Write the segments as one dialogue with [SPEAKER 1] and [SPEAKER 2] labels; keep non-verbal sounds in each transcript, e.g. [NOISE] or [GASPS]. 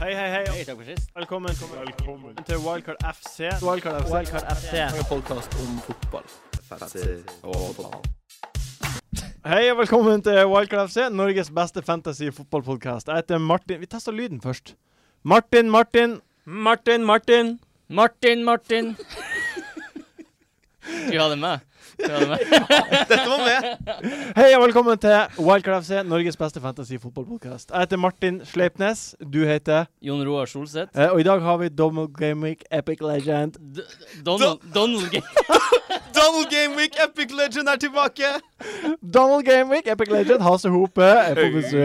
[SPEAKER 1] Hei, hei, hei.
[SPEAKER 2] Hei, takk for sist.
[SPEAKER 1] Velkommen, til Wildcard FC.
[SPEAKER 3] Wildcard FC.
[SPEAKER 1] Wildcard FC.
[SPEAKER 3] En podkast om fotball.
[SPEAKER 1] Hei og velkommen til Wildcard FC, Norges beste fantasy fotballpodkast. Jeg heter Martin Vi tester lyden først. Martin, Martin.
[SPEAKER 3] Martin, Martin.
[SPEAKER 2] Martin, Martin. [LAUGHS] Du hadde med. Du hadde med.
[SPEAKER 1] Hei og velkommen til Wildcard FC, Norges beste fantasy fotballpodkast. Jeg heter Martin Sleipnes. Du heter
[SPEAKER 2] Jon Roar Solseth.
[SPEAKER 1] eh, Og i dag har vi Dommel Gameweek Epic Legend.
[SPEAKER 2] D [LAUGHS] Donald, Donald G
[SPEAKER 3] Donald Gameweek, Epic Legend er tilbake!
[SPEAKER 1] Donald Gameweek Epic Legend, Hasse Hope er på besøk.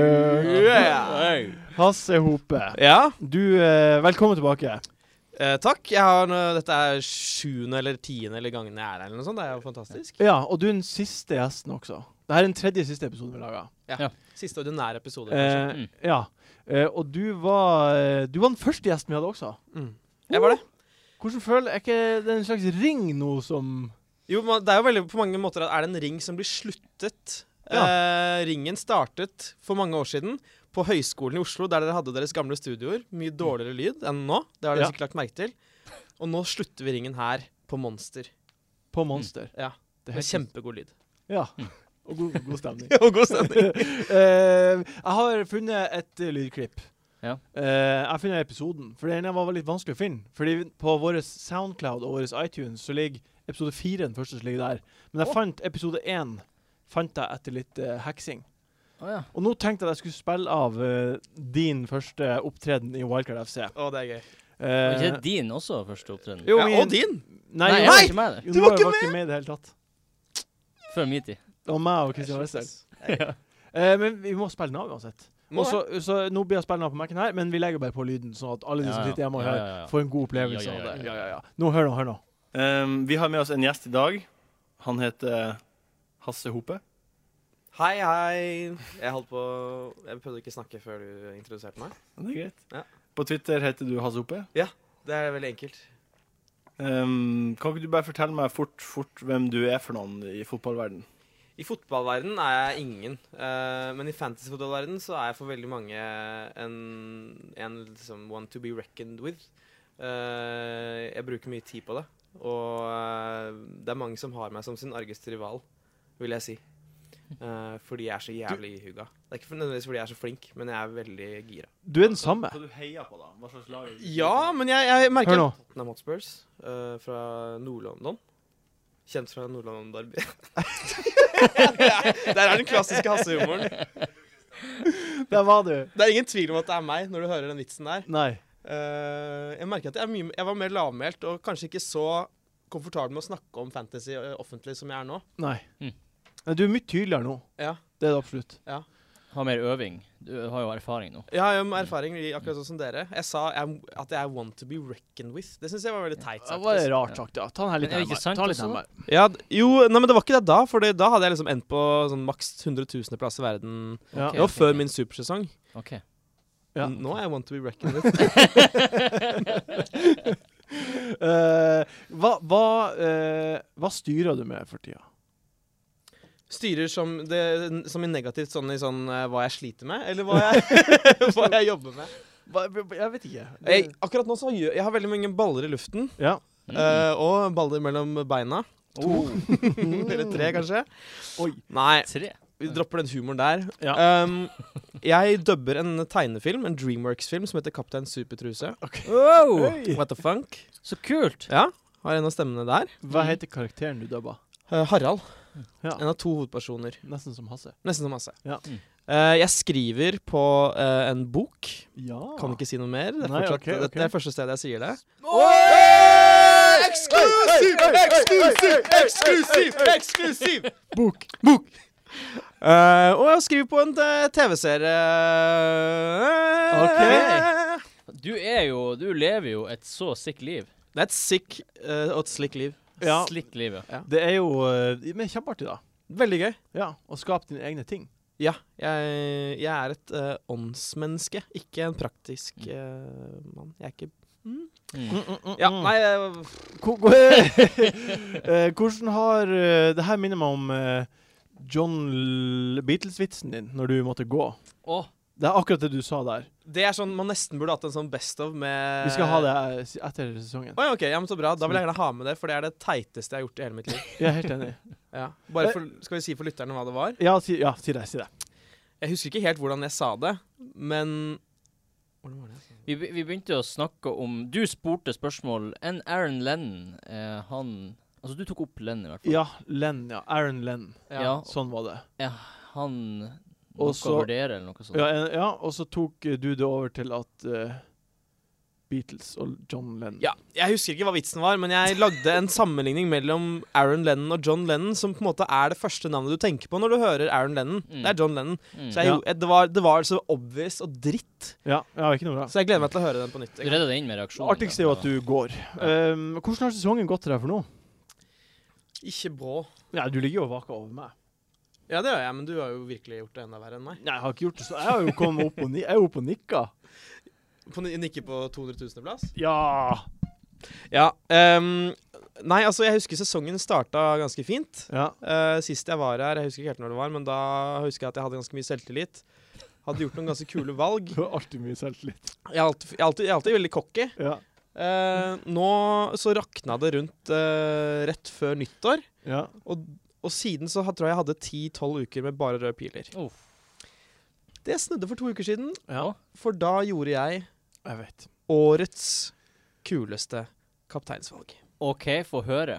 [SPEAKER 3] Yeah.
[SPEAKER 1] Hasse Hope,
[SPEAKER 3] Ja,
[SPEAKER 1] du eh, Velkommen tilbake.
[SPEAKER 3] eh, takk. Jeg har, nå- dette er sjuende eller tiende eller gangen jeg er her, eller noe sånt. Det er jo fantastisk.
[SPEAKER 1] Ja, og du er den siste gjesten også. Dette er den tredje siste episoden vi laga.
[SPEAKER 3] Siste ordinære episode. kanskje.
[SPEAKER 1] Eh, ja. Eh, og du var eh, Du var den første gjesten vi hadde også.
[SPEAKER 3] Mm. Jeg var det.
[SPEAKER 1] Hvordan føler Er ikke det en slags ring nå som
[SPEAKER 3] Jo, man, det er jo veldig på mange måter at er det en ring som blir sluttet. Eh, ringen startet for mange år siden på Høgskolen i Oslo, der dere hadde deres gamle studioer. Mye dårligere lyd enn nå. Det har dere
[SPEAKER 1] Ja.
[SPEAKER 3] sikkert lagt merke til. Og nå slutter vi ringen her, på Monster.
[SPEAKER 1] på Monster?
[SPEAKER 3] Ja.
[SPEAKER 1] Det er
[SPEAKER 3] Med
[SPEAKER 1] helt-
[SPEAKER 3] kjempegod lyd.
[SPEAKER 1] Ja. [LAUGHS] Og god, god stemning.
[SPEAKER 3] Og god stemning.
[SPEAKER 1] [LAUGHS] Eh, jeg har funnet et eh, lydklipp.
[SPEAKER 2] Ja.
[SPEAKER 1] Eh, jeg har funnet episoden, for den var litt vanskelig å finne. Fordi på vår Soundcloud og vår iTunes så ligger episode fire den første som ligger der. Men jeg fant episode én fant jeg etter litt eh, heksing.
[SPEAKER 2] Å ja.
[SPEAKER 1] Og nå tenkte jeg at jeg skulle spille av eh, din første opptreden i Wildcard FC.
[SPEAKER 3] Å, det er gøy.
[SPEAKER 2] Var
[SPEAKER 1] Eh,
[SPEAKER 2] ikke det din også, første opptreden?
[SPEAKER 1] jo,
[SPEAKER 3] Ja,
[SPEAKER 1] min-
[SPEAKER 3] og din!
[SPEAKER 1] Nei,
[SPEAKER 2] jeg
[SPEAKER 1] Jon-
[SPEAKER 2] var ikke med der.
[SPEAKER 1] Jon
[SPEAKER 3] Du var
[SPEAKER 1] Roar
[SPEAKER 3] ikke
[SPEAKER 1] var ikke med i det hele tatt.
[SPEAKER 2] Før min tid.
[SPEAKER 1] Det var meg og Kristian Wessel. Eh, men vi må spille den av uansett. Og så, så nå blir jeg spillende på Mac-en her, men vi legger bare på lyden, sånn at alle de
[SPEAKER 2] Ja,
[SPEAKER 1] som
[SPEAKER 2] ja.
[SPEAKER 1] sitter hjemme og
[SPEAKER 2] Ja,
[SPEAKER 1] hører,
[SPEAKER 2] ja, ja.
[SPEAKER 1] får en god opplevelse
[SPEAKER 2] Ja, ja, ja,
[SPEAKER 1] av det.
[SPEAKER 2] ja,
[SPEAKER 1] Ja, ja, ja. Nå, hør nå, hør nå.
[SPEAKER 4] Um, vi har med oss en gjest i dag. Han heter Hasse Hope.
[SPEAKER 3] Hei, hei. Jeg holdt på Jeg prøvde ikke å snakke før du introduserte meg.
[SPEAKER 4] Det er greit.
[SPEAKER 3] Ja.
[SPEAKER 4] På Twitter heter du Hasse Hope.
[SPEAKER 3] Det er veldig enkelt.
[SPEAKER 4] Um, kan ikke du bare fortelle meg fort, fort hvem du er for noen i fotballverden?
[SPEAKER 3] I fotballverden er jeg ingen, eh, men i fantasyfotballverden så er jeg for veldig mange en, en liksom one to be reckoned with. Eh, jeg bruker mye tid på det, og eh, det er mange som har meg som sin argeste rival, vil jeg si. Eh, fordi jeg er så jævlig ihuga. Det er ikke for- nødvendigvis fordi jeg er så flink, men jeg er veldig gira.
[SPEAKER 1] Du er den samme.
[SPEAKER 4] Hva du heier på, da? Hva slags lag er du?
[SPEAKER 3] Ja, men jeg, jeg merker
[SPEAKER 1] Hør nå.
[SPEAKER 3] Tottenham Hotspurs eh, fra Nord-London. Kjent fra Nord-London Derby. [LAUGHS] Der er den klassiske hassehumoren.
[SPEAKER 1] Der var du.
[SPEAKER 3] Det er ingen tvil om at det er meg når du hører den vitsen der.
[SPEAKER 1] Nei.
[SPEAKER 3] Eh, jeg merker at jeg, er mye, jeg var mer lavmælt og kanskje ikke så komfortabel med å snakke om fantasy eh, offentlig som jeg er nå.
[SPEAKER 1] Nei.
[SPEAKER 2] Mm.
[SPEAKER 1] Nei, Du er mye tydeligere nå.
[SPEAKER 3] Ja.
[SPEAKER 1] Det er det absolutt.
[SPEAKER 2] Ha mer øving. Du har jo erfaring nå.
[SPEAKER 3] Jeg har jo erfaring i- akkurat sånn som dere. Jeg sa jeg, at jeg er want to be reckoned with. Det syns jeg var veldig teit
[SPEAKER 1] Det
[SPEAKER 3] sagt.
[SPEAKER 1] var
[SPEAKER 3] liksom.
[SPEAKER 1] rart sagt, ja. Ta den her litt
[SPEAKER 2] Men er det ikke
[SPEAKER 1] nærmere.
[SPEAKER 2] sant
[SPEAKER 1] Ta den litt
[SPEAKER 2] også, da?
[SPEAKER 1] nærmere.
[SPEAKER 3] Ja, d- jo, nei, men det var ikke det da, for da hadde jeg liksom endt på sånn maks 100 000. plass i verden.
[SPEAKER 1] Ja.
[SPEAKER 2] Ok.
[SPEAKER 3] Det var før min supersesong.
[SPEAKER 2] OK.
[SPEAKER 1] Ja.
[SPEAKER 3] N- Nå er jeg want to be reckoned with.
[SPEAKER 1] Eh, hva, hva, eh, hva styrer du med for tida?
[SPEAKER 3] [LAUGHS] Styrer som, det, som i negativt sånn i sånn eh, hva jeg sliter med, eller hva jeg, hva jeg [LAUGHS] jobber med.
[SPEAKER 1] Hva, jeg vet ikke.
[SPEAKER 3] Jeg, akkurat nå så har jeg, jeg har veldig mange baller i luften,
[SPEAKER 1] Ja.
[SPEAKER 2] Mm.
[SPEAKER 3] eh, og baller mellom beina. Oh. [LAUGHS] Eller tre, kanskje.
[SPEAKER 1] Oi.
[SPEAKER 3] Nei,
[SPEAKER 2] Tre.
[SPEAKER 3] vi dropper den humoren der.
[SPEAKER 1] Ja.
[SPEAKER 3] Um, jeg dubber en tegnefilm, en Dreamworks-film, som heter Kaptein Supertruse.
[SPEAKER 2] Wow!
[SPEAKER 1] Oi.
[SPEAKER 3] What the funk?
[SPEAKER 2] Så kult!
[SPEAKER 3] Ja, har en av stemmene der.
[SPEAKER 1] Hva heter karakteren du dubba?
[SPEAKER 3] Eh, Harald.
[SPEAKER 1] Ja.
[SPEAKER 3] En av to hovedpersoner.
[SPEAKER 1] Nesten som Hasse.
[SPEAKER 3] Nesten som Hasse.
[SPEAKER 1] Ja.
[SPEAKER 2] Mm.
[SPEAKER 3] Eh, jeg skriver på eh, en bok.
[SPEAKER 1] Ja.
[SPEAKER 3] Kan ikke si noe mer. Det er,
[SPEAKER 1] Nei,
[SPEAKER 3] fortsatt,
[SPEAKER 1] ok, ok.
[SPEAKER 3] Dette er første stedet jeg sier det.
[SPEAKER 4] [LAUGHS]
[SPEAKER 1] Exclusive! Exclusive! Exclusive!
[SPEAKER 3] Eksklusiv!
[SPEAKER 1] Bok.
[SPEAKER 3] Eh, og jeg skriver på en eh, TV-serie.
[SPEAKER 1] Ok.
[SPEAKER 2] Du er jo Du lever jo et så sick liv.
[SPEAKER 3] Det er et sick eh, og et slick liv.
[SPEAKER 1] Ja,
[SPEAKER 2] Slick liv, ja.
[SPEAKER 1] det er jo eh, Men kjempeartig, da.
[SPEAKER 3] Veldig gøy.
[SPEAKER 1] Ja, Å skape dine egne ting.
[SPEAKER 3] Ja, jeg, jeg er et eh, åndsmenneske, ikke en praktisk eh, mann. Jeg er ikke
[SPEAKER 2] Mm.
[SPEAKER 3] Ja, nei eh,
[SPEAKER 1] Ko- [LAUGHS] ko- Eh, Hvordan har eh, Det her minner meg om eh, John L- Beatles-vitsen din når du måtte gå.
[SPEAKER 2] Å,
[SPEAKER 1] Det er akkurat det du sa der.
[SPEAKER 3] Det er sånn, Man nesten burde hatt en sånn best of med
[SPEAKER 1] Vi skal ha det eh, s- etter sesongen.
[SPEAKER 3] Å ja, ok, ja, men Så bra. Da vil jeg gjerne ha med det, for det er det teiteste jeg har gjort i hele mitt
[SPEAKER 1] [LAUGHS]
[SPEAKER 3] liv.
[SPEAKER 1] Jeg er helt enig.
[SPEAKER 3] Ja. Bare for, Skal vi si for lytterne hva det var?
[SPEAKER 1] Ja, si, ja, si det. Si det.
[SPEAKER 3] Jeg husker ikke helt hvordan jeg sa det, men Hvordan var det? jeg sa det?
[SPEAKER 2] Vi, be- vi begynte å snakke om Du spurte spørsmål. En Aaron Lennon, eh, han Altså, du tok opp Lennon, i hvert fall.
[SPEAKER 1] Ja, Len. ja. Aaron Len.
[SPEAKER 2] Ja.
[SPEAKER 1] Sånn var det.
[SPEAKER 2] Han
[SPEAKER 1] Og
[SPEAKER 2] noe å
[SPEAKER 1] så-
[SPEAKER 2] vurdere, eller noe sånt.
[SPEAKER 1] Ja, en- ja og så tok eh, du det over til at eh, Beatles og John Lennon
[SPEAKER 3] Ja, Jeg husker ikke hva vitsen var, men jeg lagde en sammenligning mellom Aaron Lennon og John Lennon, som på en måte er det første navnet du tenker på når du hører Aaron Lennon.
[SPEAKER 2] Mm.
[SPEAKER 3] Det er John Lennon.
[SPEAKER 2] Mm.
[SPEAKER 3] Så jeg, gjorde- det, var, det var så obvious og dritt.
[SPEAKER 1] Ja, ja ikke noe bra.
[SPEAKER 3] Så jeg gleder meg til å høre den på nytt.
[SPEAKER 2] Du redda det inn med reaksjonen.
[SPEAKER 1] Det artigste er jo at du går.
[SPEAKER 2] Ja.
[SPEAKER 1] Um, hvordan har sesongen gått til deg for nå?
[SPEAKER 3] Ikke brå.
[SPEAKER 1] Ja, Du ligger jo og vaker over meg.
[SPEAKER 3] Ja, det gjør jeg, men du har jo virkelig gjort det enda verre enn meg.
[SPEAKER 1] Nei, Jeg har ikke gjort det, [LAUGHS] så jeg har jo kommet opp og, ni jeg er jo oppe og nikka.
[SPEAKER 3] På, nikke på 200 000.-plass?
[SPEAKER 1] Ja!
[SPEAKER 3] Ja. ehm, nei, altså, jeg husker sesongen starta ganske fint.
[SPEAKER 1] ja.
[SPEAKER 3] Eh, sist jeg var her, jeg husker ikke helt når det var, men da husker jeg at jeg hadde ganske mye selvtillit. Hadde gjort noen ganske kule valg.
[SPEAKER 1] Du har alltid mye selvtillit.
[SPEAKER 3] Jeg er alltid, jeg er alltid, jeg er alltid veldig cocky.
[SPEAKER 1] Ja.
[SPEAKER 3] Eh, nå så rakna det rundt eh, rett før nyttår,
[SPEAKER 1] ja.
[SPEAKER 3] og, og siden så har- tror jeg jeg hadde 10-12 uker med bare røde piler.
[SPEAKER 2] Uff.
[SPEAKER 3] Det snudde for to uker siden,
[SPEAKER 2] Ja.
[SPEAKER 3] for da gjorde jeg
[SPEAKER 1] Jeg vet.
[SPEAKER 3] årets kuleste kapteinsvalg.
[SPEAKER 2] OK, få høre.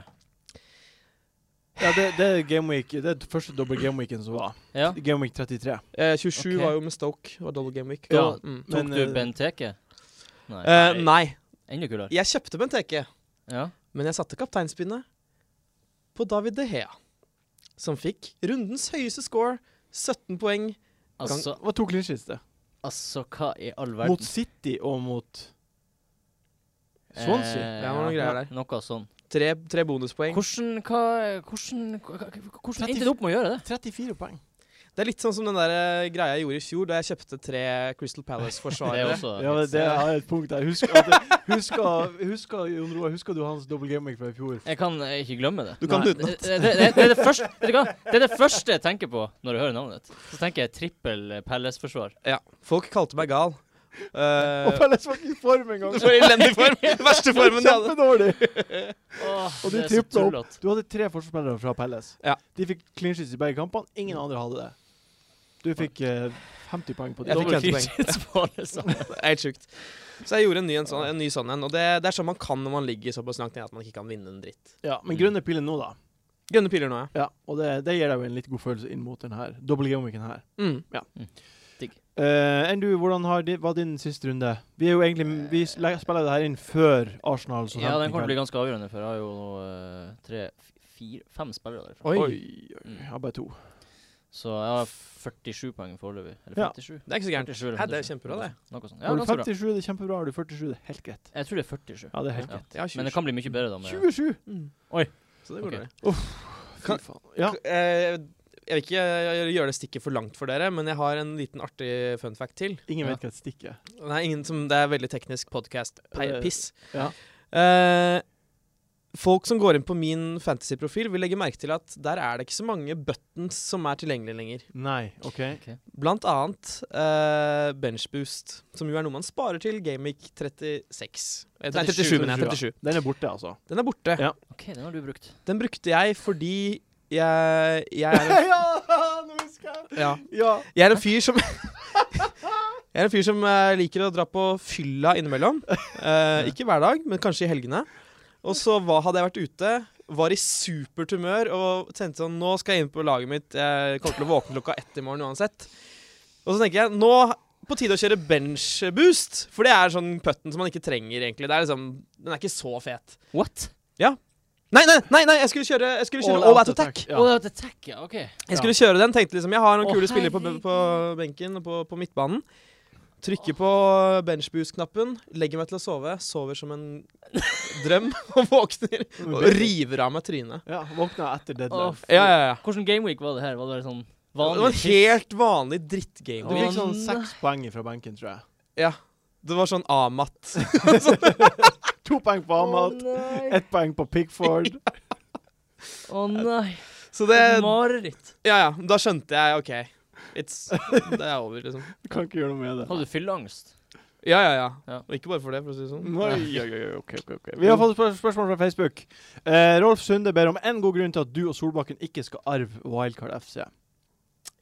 [SPEAKER 1] Ja, det, det er Game Week, det er den første dobbel Game Weeken som var.
[SPEAKER 2] Ja.
[SPEAKER 1] Game Week 33.
[SPEAKER 3] Eh, 27
[SPEAKER 2] Ok.
[SPEAKER 3] var jo med Stoke, var double game week.
[SPEAKER 1] Ja.
[SPEAKER 3] Mm.
[SPEAKER 2] Tok
[SPEAKER 1] Men,
[SPEAKER 2] du
[SPEAKER 1] eh,
[SPEAKER 2] Benteke? Nei.
[SPEAKER 3] Eh, nei,
[SPEAKER 2] Enda kulere.
[SPEAKER 3] jeg kjøpte Benteke.
[SPEAKER 2] Ja.
[SPEAKER 3] Men jeg satte kapteinspinnet på David De Hea, som fikk rundens høyeste score, 17 poeng.
[SPEAKER 2] Altså,
[SPEAKER 1] Hva tok Lynchis det?
[SPEAKER 2] altså, hva i all verden?
[SPEAKER 1] Mot City og mot Swansea?
[SPEAKER 2] Eh,
[SPEAKER 3] Ja, det var noen greier der.
[SPEAKER 2] Noe sånn.
[SPEAKER 3] Tre, tre bonuspoeng.
[SPEAKER 2] Hvordan, hva, hvordan, hvordan
[SPEAKER 1] Trettif-
[SPEAKER 2] endte du opp med å gjøre det?
[SPEAKER 1] 34 poeng.
[SPEAKER 3] Det er litt sånn som den der eh, greia jeg gjorde i fjor, da jeg kjøpte tre
[SPEAKER 2] [LAUGHS]
[SPEAKER 3] Crystal
[SPEAKER 2] Det er
[SPEAKER 3] Palace-forsvarere.
[SPEAKER 2] også
[SPEAKER 1] Ja, men det er et punkt der. Husker, at- husker, husker Jon Roar, husker du hans dobbel Game Week fra i fjor?
[SPEAKER 2] Jeg kan eh, ikke glemme det.
[SPEAKER 3] Du kan
[SPEAKER 2] Nei,
[SPEAKER 3] det utenat.
[SPEAKER 2] Det, det, det, det, er det, første, vet du hva? det er det første jeg tenker på når jeg hører navnet ditt. Så tenker jeg trippel eh, Palace-forsvar.
[SPEAKER 3] ja. Folk kalte meg gal.
[SPEAKER 1] [LAUGHS]
[SPEAKER 3] Eh,
[SPEAKER 1] Og Pelles var ikke i form engang!
[SPEAKER 3] [LAUGHS] det var elendig
[SPEAKER 2] [LAUGHS]
[SPEAKER 3] form! Den verste formen jeg hadde.
[SPEAKER 1] Kjempedårlig!
[SPEAKER 2] Åh,
[SPEAKER 1] Og du
[SPEAKER 2] det er så
[SPEAKER 1] trippet opp.
[SPEAKER 2] tullete.
[SPEAKER 1] Du hadde tre forsvarsspillere fra Pelles.
[SPEAKER 3] Ja.
[SPEAKER 1] De fikk clean sheets i begge kampene. Ingen andre hadde det. Du fikk eh, 50 poeng på det.
[SPEAKER 3] Jeg fikk
[SPEAKER 2] Dobbel
[SPEAKER 3] 50 poeng.
[SPEAKER 2] [LAUGHS] kryssets på alle sammen.
[SPEAKER 3] Det er helt sjukt. Så jeg gjorde en ny en sånn en. Ny sånn en og det, det er sånn man kan når man ligger såpass langt ned at man ikke kan vinne en dritt.
[SPEAKER 1] Ja, men grønne piler nå, da.
[SPEAKER 3] Grønne piler nå, ja.
[SPEAKER 1] Ja, Og det, det gir deg jo en litt god følelse inn mot den her dobbel Game Weeken her.
[SPEAKER 3] Mm.
[SPEAKER 1] Eh, Enn du, hvordan har di, var din siste runde? Vi er jo egentlig Vi sle- spiller det her inn før Arsenal. så
[SPEAKER 2] Ja,
[SPEAKER 1] sant
[SPEAKER 2] den
[SPEAKER 1] i
[SPEAKER 2] kommer til å bli
[SPEAKER 1] kveld.
[SPEAKER 2] ganske avgjørende, for jeg har jo nå eh, tre, f- fire, fem spillere derfra.
[SPEAKER 1] Oi.
[SPEAKER 3] Oi.
[SPEAKER 1] Oi, oi. Jeg har bare to.
[SPEAKER 2] Så jeg har 47 poeng foreløpig. Eller
[SPEAKER 1] Ja.
[SPEAKER 2] 57?
[SPEAKER 3] Det er ikke så gærent.
[SPEAKER 2] 47 eller
[SPEAKER 3] Hæ, det er
[SPEAKER 2] 57,
[SPEAKER 3] kjempebra,
[SPEAKER 2] noe
[SPEAKER 3] det.
[SPEAKER 2] sånt. Noe sånt. Ja,
[SPEAKER 1] har du
[SPEAKER 2] ganske bra.
[SPEAKER 1] 57, det er kjempebra. Har du 47, det er helt greit.
[SPEAKER 2] Jeg tror det er 47.
[SPEAKER 1] Ja, det er helt
[SPEAKER 2] Ja.
[SPEAKER 1] greit.
[SPEAKER 3] Jeg har
[SPEAKER 2] Men eh, det
[SPEAKER 3] 20.
[SPEAKER 2] kan bli mye bedre da. Med,
[SPEAKER 1] 27!
[SPEAKER 3] Mm.
[SPEAKER 2] Oi.
[SPEAKER 3] Så det går
[SPEAKER 2] Ok.
[SPEAKER 3] dårlig.
[SPEAKER 1] Fy
[SPEAKER 3] Kan-
[SPEAKER 1] faen. Ja.
[SPEAKER 3] Eh, Jeg vil ikke eh, gjøre det stikket for langt for dere, men jeg har en liten artig fun fact til.
[SPEAKER 1] Ingen
[SPEAKER 2] Ja.
[SPEAKER 1] vet hva et stikk er.
[SPEAKER 3] Det er, ingen som, det er veldig teknisk podkast-piss.
[SPEAKER 1] Eh, Ja.
[SPEAKER 3] Eh, folk som går inn på min fantasyprofil, vil legge merke til at der er det ikke så mange buttons som er tilgjengelige lenger.
[SPEAKER 1] Nei, OK.
[SPEAKER 3] Blant annet eh, benchboost, som jo er noe man sparer til Gamic 36. Eh, Nei, 37, mener jeg. 37.
[SPEAKER 1] Den er borte, altså.
[SPEAKER 3] Den er borte.
[SPEAKER 1] Ja.
[SPEAKER 2] OK, den har du brukt.
[SPEAKER 3] Den brukte jeg fordi jeg, jeg er en
[SPEAKER 1] ja! Nå husker jeg!
[SPEAKER 3] Ja.
[SPEAKER 1] Ja.
[SPEAKER 3] Jeg er en fyr som [LAUGHS] Jeg er en fyr som eh, liker å dra på fylla innimellom. Eh, ikke hver dag, men kanskje i helgene. Og så hva hadde jeg vært ute, var i supert humør og tenkte sånn Nå skal jeg inn på laget mitt. Jeg kommer til å våkne klokka ett i morgen uansett. Og så tenker jeg nå på tide å kjøre bench boost, for det er sånn putten som man ikke trenger, egentlig. Det er liksom, den er ikke så fet.
[SPEAKER 2] What?
[SPEAKER 3] Nei, nei, nei, nei jeg skulle kjøre, jeg skulle kjøre all, out attack.
[SPEAKER 2] Å,
[SPEAKER 1] Ja.
[SPEAKER 2] det var et attack, ja. OK.
[SPEAKER 3] Jeg skulle kjøre den, tenkte liksom Jeg har noen
[SPEAKER 2] Å,
[SPEAKER 3] kule spillere på, på
[SPEAKER 2] herregud.
[SPEAKER 3] benken og på, på midtbanen. Trykker på benchboost-knappen, legger meg til å sove, sover som en drøm [LAUGHS] og våkner og river av meg trynet.
[SPEAKER 1] ja. Våkna etter
[SPEAKER 2] Å,
[SPEAKER 1] deadline.
[SPEAKER 2] fy-
[SPEAKER 3] Ja, ja, ja.
[SPEAKER 2] Hvordan gameweek var det her? Var det bare sånn
[SPEAKER 3] Det var en
[SPEAKER 2] vanlig?
[SPEAKER 3] helt vanlig drittgame.
[SPEAKER 1] Du
[SPEAKER 2] Å,
[SPEAKER 1] fikk sånn
[SPEAKER 2] nei.
[SPEAKER 1] seks poeng fra benken, tror jeg.
[SPEAKER 3] Ja. Det var sånn A-matt.
[SPEAKER 1] To poeng på Amat,
[SPEAKER 2] nei.
[SPEAKER 1] ett poeng på Pickford.
[SPEAKER 2] Å nei.
[SPEAKER 3] Så det
[SPEAKER 2] Et [LAUGHS] mareritt.
[SPEAKER 3] Ja, ja. Da skjønte jeg OK. It's, det er over, liksom.
[SPEAKER 1] Du kan ikke gjøre noe med det.
[SPEAKER 2] Hadde du fylleangst?
[SPEAKER 3] Ja, ja, ja,
[SPEAKER 2] [LAUGHS] Ja.
[SPEAKER 3] Og ikke bare for det, for å si det sånn.
[SPEAKER 1] Nei, ja, ja, ja, ok, ok, ok. Vi har fått spør spørsmål fra Facebook. Eh, Rolf Sunde ber om én god grunn til at du og Solbakken ikke skal arve Wildcard FC.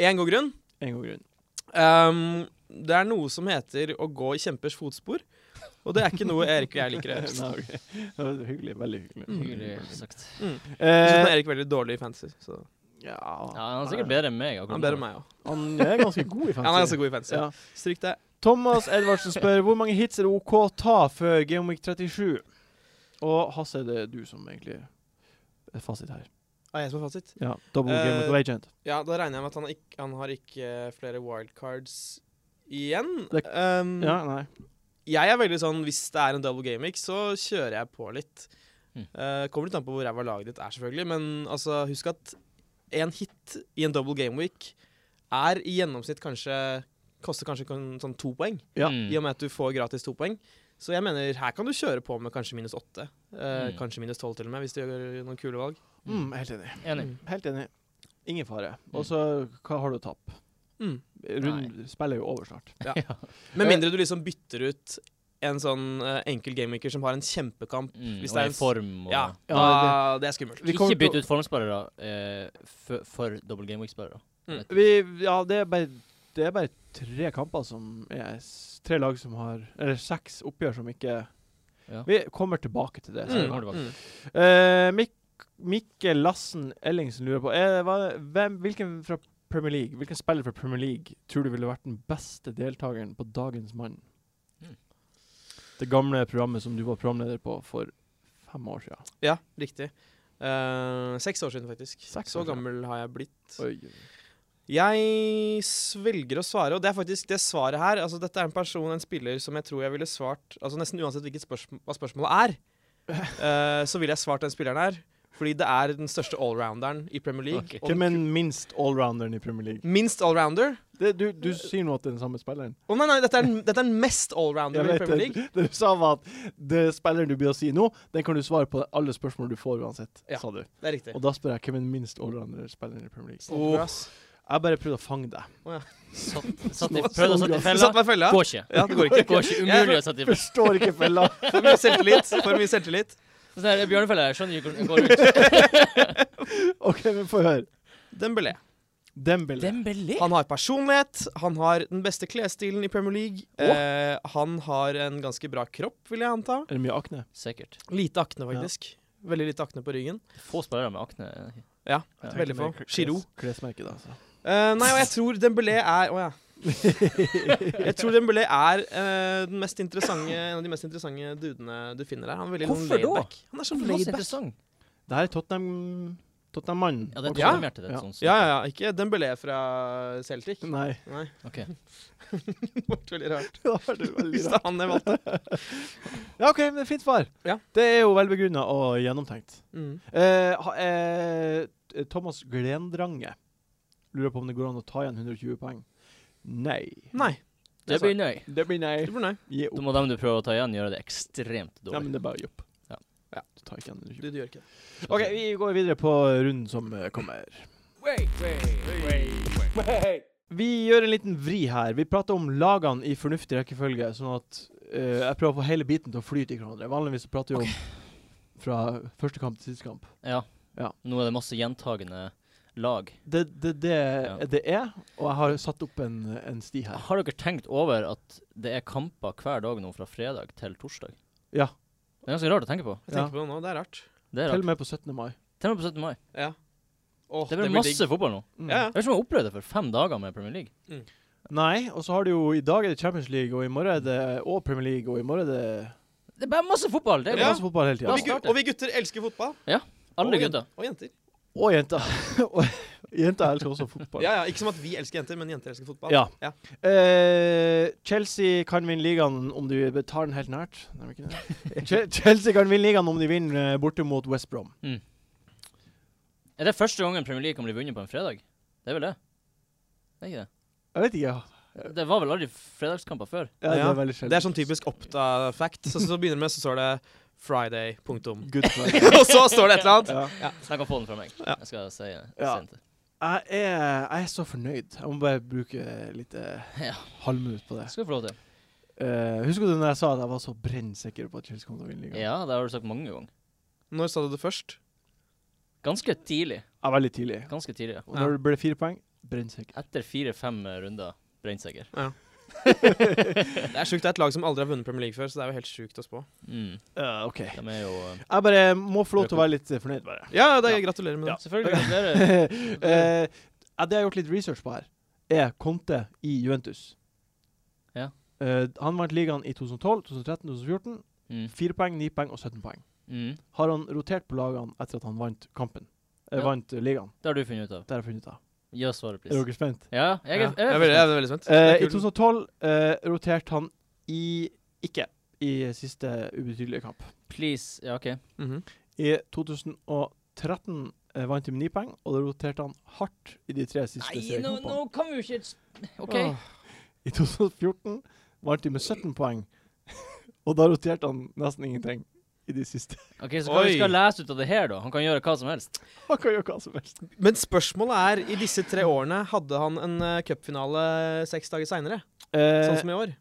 [SPEAKER 3] En god grunn
[SPEAKER 1] En god grunn.
[SPEAKER 3] Ehm, det er noe som heter å gå i kjempers fotspor. Og det er ikke noe Erik og jeg liker å
[SPEAKER 1] Nei, [LAUGHS]
[SPEAKER 3] gjøre.
[SPEAKER 1] ok. Det var hyggelig. Veldig hyggelig.
[SPEAKER 2] Hyggelig
[SPEAKER 3] Mm.
[SPEAKER 2] sagt.
[SPEAKER 3] Jeg synes
[SPEAKER 1] Eh,
[SPEAKER 3] Erik er veldig dårlig i fantasy. Så.
[SPEAKER 1] ja,
[SPEAKER 2] Ja, han er sikkert bedre enn meg. akkurat
[SPEAKER 3] Han er bedre
[SPEAKER 2] nå.
[SPEAKER 3] enn meg òg.
[SPEAKER 1] Han er ganske god i
[SPEAKER 3] Han er ganske
[SPEAKER 1] fantasy.
[SPEAKER 3] god i fantasy.
[SPEAKER 1] Ja.
[SPEAKER 3] Stryk det.
[SPEAKER 1] Thomas Edvardsen spør hvor mange hits er det OK å ta før Geomic 37? Og Hasse, det er du som egentlig er fasit her.
[SPEAKER 3] Ah, jeg som har fasit.
[SPEAKER 1] Ja, Double
[SPEAKER 3] Eh,
[SPEAKER 1] Geomic Legend.
[SPEAKER 3] Ja, da regner jeg med at han, har ikke, han har ikke flere wildcards igjen.
[SPEAKER 1] Det-
[SPEAKER 3] Ehm,
[SPEAKER 1] Ja, nei.
[SPEAKER 3] Jeg er veldig sånn Hvis det er en double gaming, så kjører jeg på litt.
[SPEAKER 2] Mm.
[SPEAKER 3] Eh, kommer litt an på hvor ræva laget ditt er, selvfølgelig. Men altså, husk at en hit i en double game week er i gjennomsnitt kanskje Koster kanskje kun sånn to poeng,
[SPEAKER 1] Ja.
[SPEAKER 2] Hmm. Mm.
[SPEAKER 3] i og med at du får gratis to poeng. Så jeg mener, her kan du kjøre på med kanskje minus åtte. eh,
[SPEAKER 2] Mm.
[SPEAKER 3] Kanskje minus tolv, til og med, hvis du gjør noen kule valg.
[SPEAKER 1] Mm, helt enig.
[SPEAKER 2] Mm. Enig.
[SPEAKER 1] Helt enig. Ingen fare. Og så, hva har du å tape?
[SPEAKER 3] Mm.
[SPEAKER 1] Runden spiller jo over snart.
[SPEAKER 3] Med mindre du liksom bytter ut en sånn eh, enkel gameweeker som har en kjempekamp.
[SPEAKER 2] Mm, Hvis
[SPEAKER 3] Hvis
[SPEAKER 2] det er
[SPEAKER 3] det er en
[SPEAKER 2] i
[SPEAKER 3] s-
[SPEAKER 2] form og
[SPEAKER 3] Ja,
[SPEAKER 1] Ja,
[SPEAKER 3] da, det er skummelt.
[SPEAKER 1] Vi kommer
[SPEAKER 2] Ikke
[SPEAKER 1] til å-
[SPEAKER 2] bytt ut formspillere eh, for, for double game
[SPEAKER 3] [LAUGHS]
[SPEAKER 2] week-spillere.
[SPEAKER 1] Vi, ja, det er bare det er bare tre kamper som er s- Tre lag som har Eller seks oppgjør som ikke
[SPEAKER 2] Ja.
[SPEAKER 1] Vi kommer tilbake til det.
[SPEAKER 2] Mm.
[SPEAKER 1] senere.
[SPEAKER 3] Hmm.
[SPEAKER 1] Eh, Mik Mikkel Lassen Ellingsen lurer på er, hva, hvem, Hvilken fra Premier League Hvilken spiller fra Premier League tror du ville vært den beste deltakeren på Dagens Mann?
[SPEAKER 2] Mm.
[SPEAKER 1] Det gamle programmet som du var programleder på for fem år siden.
[SPEAKER 3] Ja, riktig. Eh, seks år siden, faktisk.
[SPEAKER 1] Seks
[SPEAKER 3] så
[SPEAKER 1] år siden.
[SPEAKER 3] gammel har jeg blitt.
[SPEAKER 1] Oi.
[SPEAKER 3] Jeg svelger å svare, og det er faktisk det svaret her. Altså, dette er en person, en spiller, som jeg tror jeg ville svart Altså Nesten uansett hvilket spørsm hva
[SPEAKER 1] [LAUGHS]
[SPEAKER 3] spørsmålet er, eh, så ville jeg svart den spilleren her. Fordi det er den største allrounderen i Premier League.
[SPEAKER 2] Ok.
[SPEAKER 3] og
[SPEAKER 1] Hvem er den minst allrounderen i Premier League?
[SPEAKER 3] Minst allrounder?
[SPEAKER 1] Det, du, du sier nå at det er den samme spilleren. [LAUGHS]
[SPEAKER 3] Å nei, nei, dette er den, dette er den mest
[SPEAKER 1] Jeg
[SPEAKER 3] allrounderen i
[SPEAKER 1] vet
[SPEAKER 3] Premier League.
[SPEAKER 1] det. Det du sa var at det spilleren du blir å si nå, den kan du svare på alle spørsmål du får uansett,
[SPEAKER 3] Ja.
[SPEAKER 1] sa du.
[SPEAKER 3] Det er riktig.
[SPEAKER 1] Og da spør jeg hvem er den minst allrounder spilleren i Premier League.
[SPEAKER 3] Snakk bra, ass.
[SPEAKER 1] Jeg bare prøvde å fange deg. [LAUGHS]
[SPEAKER 2] Satt, satt i,
[SPEAKER 1] Sånn
[SPEAKER 2] prøvde å satt i
[SPEAKER 1] gass.
[SPEAKER 3] Du
[SPEAKER 2] fella.
[SPEAKER 3] satt meg i fella?
[SPEAKER 2] Går ikke.
[SPEAKER 3] Ja, det går ikke.
[SPEAKER 2] Går ikke. Umulig å
[SPEAKER 3] [LAUGHS]
[SPEAKER 2] sette i fella.
[SPEAKER 1] Forstår ikke fella. [LAUGHS]
[SPEAKER 3] For mye selvtillit. For mye selvtillit.
[SPEAKER 2] Sånn her, Bjørnefella jeg skjønner ikke hvordan
[SPEAKER 3] [LAUGHS]
[SPEAKER 2] det går ut.
[SPEAKER 1] OK, men få høre.
[SPEAKER 3] Dembélé.
[SPEAKER 1] Dembélé.
[SPEAKER 2] Dembélé?
[SPEAKER 3] Han har personlighet, han har den beste klesstilen i Premier League. Eh, han har en ganske bra kropp, vil jeg anta.
[SPEAKER 1] er det mye akne?
[SPEAKER 2] Sikkert.
[SPEAKER 3] Lite akne, faktisk. Veldig lite akne på ryggen.
[SPEAKER 2] Få spillere med akne.
[SPEAKER 3] Ja,
[SPEAKER 2] Ja.
[SPEAKER 3] veldig få.
[SPEAKER 1] Kles-
[SPEAKER 3] Giroud.
[SPEAKER 1] Klesmerke, da. Så.
[SPEAKER 3] Eh, nei, og jeg tror Dembélé er Å
[SPEAKER 1] [LAUGHS]
[SPEAKER 3] ja. Jeg tror Dembélé er eh, den mest interessante, en av de mest interessante dudene du finner her. Han er veldig
[SPEAKER 2] Hvorfor da?
[SPEAKER 3] laidback. Han er sånn
[SPEAKER 2] Laid
[SPEAKER 3] laidback.
[SPEAKER 2] interessant.
[SPEAKER 1] Det her er Tottenham Tottenham-mannen.
[SPEAKER 2] Ja, det er
[SPEAKER 1] Ok.
[SPEAKER 3] Ja.
[SPEAKER 2] drømmehjertet ditt.
[SPEAKER 1] Ja.
[SPEAKER 2] Sånn,
[SPEAKER 3] Ja, ja, ja. Ikke Dembélé fra Celtic.
[SPEAKER 1] Nei. [LAUGHS]
[SPEAKER 3] Nei,
[SPEAKER 2] Ok.
[SPEAKER 3] [LAUGHS] det ble veldig rart.
[SPEAKER 1] Da var det veldig
[SPEAKER 3] [LAUGHS] Hvis det
[SPEAKER 1] rart. [LAUGHS]
[SPEAKER 3] er han jeg valgte.
[SPEAKER 1] Ja, OK, men fint svar.
[SPEAKER 3] Ja.
[SPEAKER 1] Det er jo velbegrunna og gjennomtenkt.
[SPEAKER 3] Mm.
[SPEAKER 1] Eh, ha- eh, Thomas Glendrange lurer på om det går an å ta igjen 120 poeng. Nei.
[SPEAKER 3] Nei.
[SPEAKER 2] Det blir nøy.
[SPEAKER 1] Det blir nei.
[SPEAKER 3] Du blir nei.
[SPEAKER 1] Gi
[SPEAKER 2] Da
[SPEAKER 1] opp.
[SPEAKER 2] må dem du prøver å ta igjen, gjøre det ekstremt
[SPEAKER 1] Nei, men
[SPEAKER 2] dårlig.
[SPEAKER 1] det er bare å gi opp.
[SPEAKER 2] Ja.
[SPEAKER 3] Ja.
[SPEAKER 1] Du tar ikke igjen
[SPEAKER 3] Du,
[SPEAKER 1] 120.
[SPEAKER 3] du gjør ikke det.
[SPEAKER 1] OK, vi går videre på runden som eh, kommer. Vi gjør en liten vri her. Vi prater om lagene i fornuftig rekkefølge, sånn at eh, jeg prøver å få hele biten til å flyte i hverandre. Vanligvis så prater vi om fra første kamp til siste kamp.
[SPEAKER 2] Ja.
[SPEAKER 1] Ja.
[SPEAKER 2] Nå er det masse gjentagende lag.
[SPEAKER 1] Det, det, det,
[SPEAKER 2] Ja.
[SPEAKER 1] det er, og jeg har satt opp en, en sti her.
[SPEAKER 2] Har dere tenkt over at det er kamper hver dag nå fra fredag til torsdag?
[SPEAKER 1] Ja.
[SPEAKER 2] Det er ganske rart å tenke på.
[SPEAKER 3] Jeg
[SPEAKER 1] Ja.
[SPEAKER 3] tenker på det nå. Det er rart.
[SPEAKER 2] Det er
[SPEAKER 1] Til
[SPEAKER 2] rart.
[SPEAKER 1] og med på 17. mai.
[SPEAKER 2] Til og med på 17. mai.
[SPEAKER 3] Ja. Åh,
[SPEAKER 2] Det blir
[SPEAKER 3] blir digg.
[SPEAKER 2] masse fotball nå.
[SPEAKER 1] Mm.
[SPEAKER 3] Ja, ja.
[SPEAKER 2] Jeg vet ikke om jeg har opplevd det for fem dager med Premier League.
[SPEAKER 1] Nei, og så har du jo I dag er det Champions League, og i morgen er det og Premier League, og i morgen er det
[SPEAKER 2] Det er bare masse fotball!
[SPEAKER 1] Det
[SPEAKER 2] Det er
[SPEAKER 1] er
[SPEAKER 2] bra.
[SPEAKER 1] masse fotball hele
[SPEAKER 2] Ja.
[SPEAKER 3] Og
[SPEAKER 1] tida.
[SPEAKER 3] vi, gu- og vi gutter elsker fotball.
[SPEAKER 2] Alle
[SPEAKER 3] og
[SPEAKER 2] gutter.
[SPEAKER 3] jen- Og jenter.
[SPEAKER 1] Og jenter. [LAUGHS] Og jenter elsker også fotball.
[SPEAKER 3] Ja, ja, Ikke som at vi elsker jenter, men jenter elsker fotball.
[SPEAKER 1] Ja.
[SPEAKER 3] Ja.
[SPEAKER 1] Eh, Chelsea kan vinne ligaen om de tar den helt nært. Nei, men ikke det. Che- Chelsea kan vinne ligaen om de vinner eh, borte mot West Brom.
[SPEAKER 2] Er det første gangen Premier League kan bli vunnet på en fredag? Det er vel det? Det er ikke det.
[SPEAKER 1] Jeg vet ikke. Ja,
[SPEAKER 2] Det var vel aldri fredagskamper før.
[SPEAKER 1] ja, det
[SPEAKER 3] Ja.
[SPEAKER 1] er veldig
[SPEAKER 3] Det er
[SPEAKER 1] sjeldent.
[SPEAKER 3] sånn typisk Oppda-fact. Så, så begynner det med, så står det Friday, punktum. [LAUGHS]
[SPEAKER 1] Good for
[SPEAKER 3] og så står det et eller annet.
[SPEAKER 1] ja.
[SPEAKER 2] Så jeg kan få den fra meg.
[SPEAKER 3] Ja.
[SPEAKER 2] Jeg skal si det
[SPEAKER 1] Ja.
[SPEAKER 2] sent.
[SPEAKER 1] Jeg er, jeg er så fornøyd. Jeg må bare bruke litt eh,
[SPEAKER 2] [LAUGHS] Ja.
[SPEAKER 1] halvminutt på det.
[SPEAKER 2] Skal du få lov til.
[SPEAKER 1] Eh, husker du når jeg sa at jeg var så brennsikker på at Chelsea kom til å vinne ligaen?
[SPEAKER 2] Ja, det har du sagt mange ganger.
[SPEAKER 3] Når sa du det først?
[SPEAKER 2] Ganske tidlig.
[SPEAKER 1] Jeg var veldig tidlig.
[SPEAKER 2] Ganske tidlig. ja.
[SPEAKER 1] Og når det ble fire poeng, brennsikker.
[SPEAKER 2] Etter fire-fem runder brennsikker.
[SPEAKER 3] Det er sjukt. Det er et lag som aldri har vunnet Premier League før, så det er jo helt sjukt å spå.
[SPEAKER 2] Mm.
[SPEAKER 1] Eh, OK.
[SPEAKER 2] De er jo eh,
[SPEAKER 1] Jeg bare må få lov til å være litt eh, fornøyd, bare.
[SPEAKER 3] Ja, ja, det, gratulerer med det.
[SPEAKER 1] [LAUGHS]
[SPEAKER 2] Selvfølgelig. Gratulerer.
[SPEAKER 1] Eh, ja, det jeg har gjort litt research på her, er Conte i Juventus.
[SPEAKER 2] Ja.
[SPEAKER 1] Eh, han vant ligaen i 2012, 2013, 2014.
[SPEAKER 2] Mm.
[SPEAKER 1] 4 poeng, 9 poeng og 17 poeng.
[SPEAKER 2] Mm.
[SPEAKER 1] Har han rotert på lagene etter at han vant kampen? Eh,
[SPEAKER 2] Ja.
[SPEAKER 1] Vant eh, ligaen.
[SPEAKER 2] Det har du funnet ut av.
[SPEAKER 1] Det har jeg funnet ut av.
[SPEAKER 2] Gi oss svaret,
[SPEAKER 1] Er
[SPEAKER 2] please.
[SPEAKER 1] dere spent?
[SPEAKER 2] Ja, jeg
[SPEAKER 3] Ja.
[SPEAKER 2] er,
[SPEAKER 3] Jeg er veldig, jeg er veldig spent.
[SPEAKER 1] Eh,
[SPEAKER 3] Det
[SPEAKER 1] I
[SPEAKER 3] er kult.
[SPEAKER 1] 2012 eh, roterte han i ikke i siste ubetydelige kamp.
[SPEAKER 2] Please. Ja, OK.
[SPEAKER 3] Mhm.
[SPEAKER 1] I 2013 eh, vant de med 9 poeng, og da roterte han hardt i de tre siste
[SPEAKER 2] Nei, nå
[SPEAKER 1] seriekampene.
[SPEAKER 2] nå kan vi jo ikke s- OK.
[SPEAKER 1] Åh. I 2014 vant de med 17 poeng, [LAUGHS] og da roterte han nesten ingenting i de siste. [LAUGHS]
[SPEAKER 2] Ok, Så hva vi
[SPEAKER 3] Oi.
[SPEAKER 2] skal lese ut av det her, da? Han kan gjøre hva som helst.
[SPEAKER 1] Han kan gjøre hva som helst.
[SPEAKER 3] Men spørsmålet er, i disse tre årene, hadde han en eh, cupfinale seks dager seinere?
[SPEAKER 1] Eh,
[SPEAKER 3] Sånn som i år?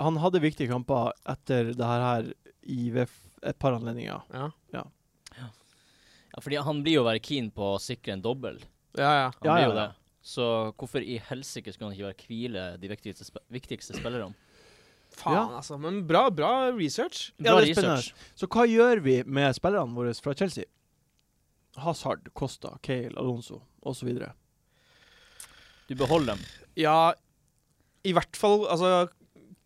[SPEAKER 1] han hadde viktige kamper etter det her her i ved f- et par anledninger.
[SPEAKER 3] Ja.
[SPEAKER 2] Ja, fordi han blir jo å være keen på å sikre en dobbel.
[SPEAKER 3] Ja, ja.
[SPEAKER 1] Ja,
[SPEAKER 2] Han blir
[SPEAKER 1] ja,
[SPEAKER 2] jo
[SPEAKER 1] ja.
[SPEAKER 2] det. Så hvorfor i helsike skulle han ikke være hvile de viktigste, spe viktigste spillerne?
[SPEAKER 3] Faen, altså. Men bra, bra research.
[SPEAKER 1] [CLEARS THROAT] Ja,
[SPEAKER 2] Bra
[SPEAKER 1] det er spennende.
[SPEAKER 2] research.
[SPEAKER 1] Så hva gjør vi med spillerne våre fra Chelsea? Hazard, Costa, Cale, Alonso osv.
[SPEAKER 2] Du beholder dem.
[SPEAKER 3] Ja, i hvert fall Altså,